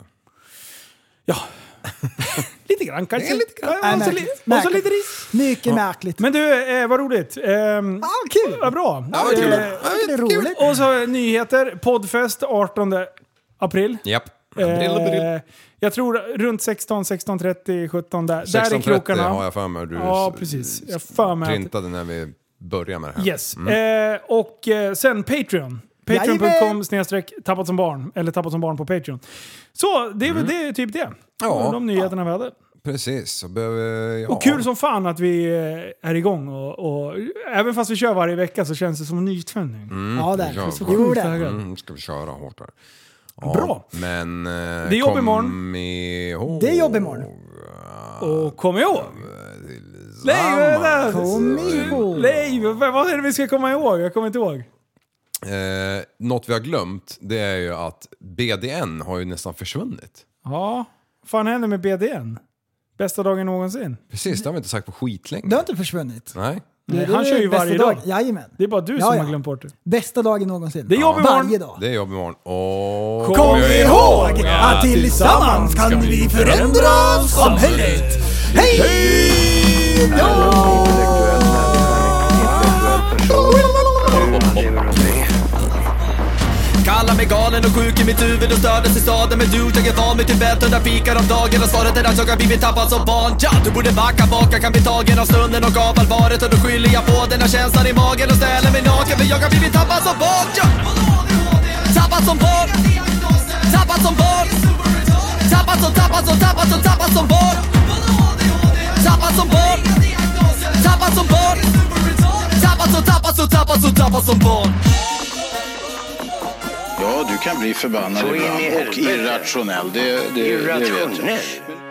Lite grann kanske. Det är lite Nej, Och så, li- märkligt. och så lite Märkligt. ris. Mycket märkligt. Men du, eh, vad roligt. Ehm, Ah, kul! vad bra. Ja, vad kul. Eh, Jag tycker det är roligt. och så nyheter. Poddfest 18 april. Japp. Eh, jag tror runt 16, 16.30, 17 där. där är 16.30 krokarna. har jag för mig. Du Ja, s- precis. Jag har för mig att- printade när vi började med det här. Yes. Mm. Eh, och eh, sen Patreon. Patreon.com Jajamän. snedstreck tappat som barn. Eller tappat som barn på Patreon. Så det är väl det, är typ det. Mm. Ja. De nyheterna vi hade. Precis. Så behöver, ja. Och kul som fan att vi eh, är igång. Och, och, även fast vi kör varje vecka så känns det som en nytändning. Mm. Mm. Ja, det Ja, är så sjukt Jo, det. är. Mm, ska vi köra hårt där. Ja, Bra. Men eh, Det är jobb kom imorgon. ihåg... Det är jobb imorgon. Och kom ihåg! Nej, vänta. Kom ihåg. Nej, vad- vad är det vi ska komma ihåg? Jag kommer inte ihåg. Eh, något vi har glömt, det är ju att BDN har ju nästan försvunnit. Ja, vad fan händer med BDN? Bästa dagen någonsin. Precis, det har vi inte sagt på skitlänge. Det har inte försvunnit. Nej. Nej, Det är han kör ju bästa varje dag. Jajamän. Det är bara du Ja, som ja. har glömt bort det. Bästa dagen någonsin. Det är jobb imorgon. Varje dag. Det är jobb imorgon. Och... Kom ihåg att att tillsammans kan vi förändra samhället. Hej Intellektuell människa, intellektuell person. Du lever och lever. Kallar mig galen och sjuk i mitt huvud och stördes i staden Men du, jag är van vid Tibet och där fikar om dagen Och svaret är att jag har blivit tappad som barn ja, Du borde backa bak, jag kan bli tagen av stunden och av allvaret Och då skyller jag på den här känslan i magen och ställer mig naken För jag har blivit tappad som barn ja. Tappad som barn Tappad som barn Tappad som, tappad som, tappad som, tappad som barn Tappad som barn Tappad som barn Tappad som, tappad som, tappad som, tappad som barn Ja, du kan bli förbannad Så in i ibland och helvete. irrationell. Det, det, det vet jag. Irrationell.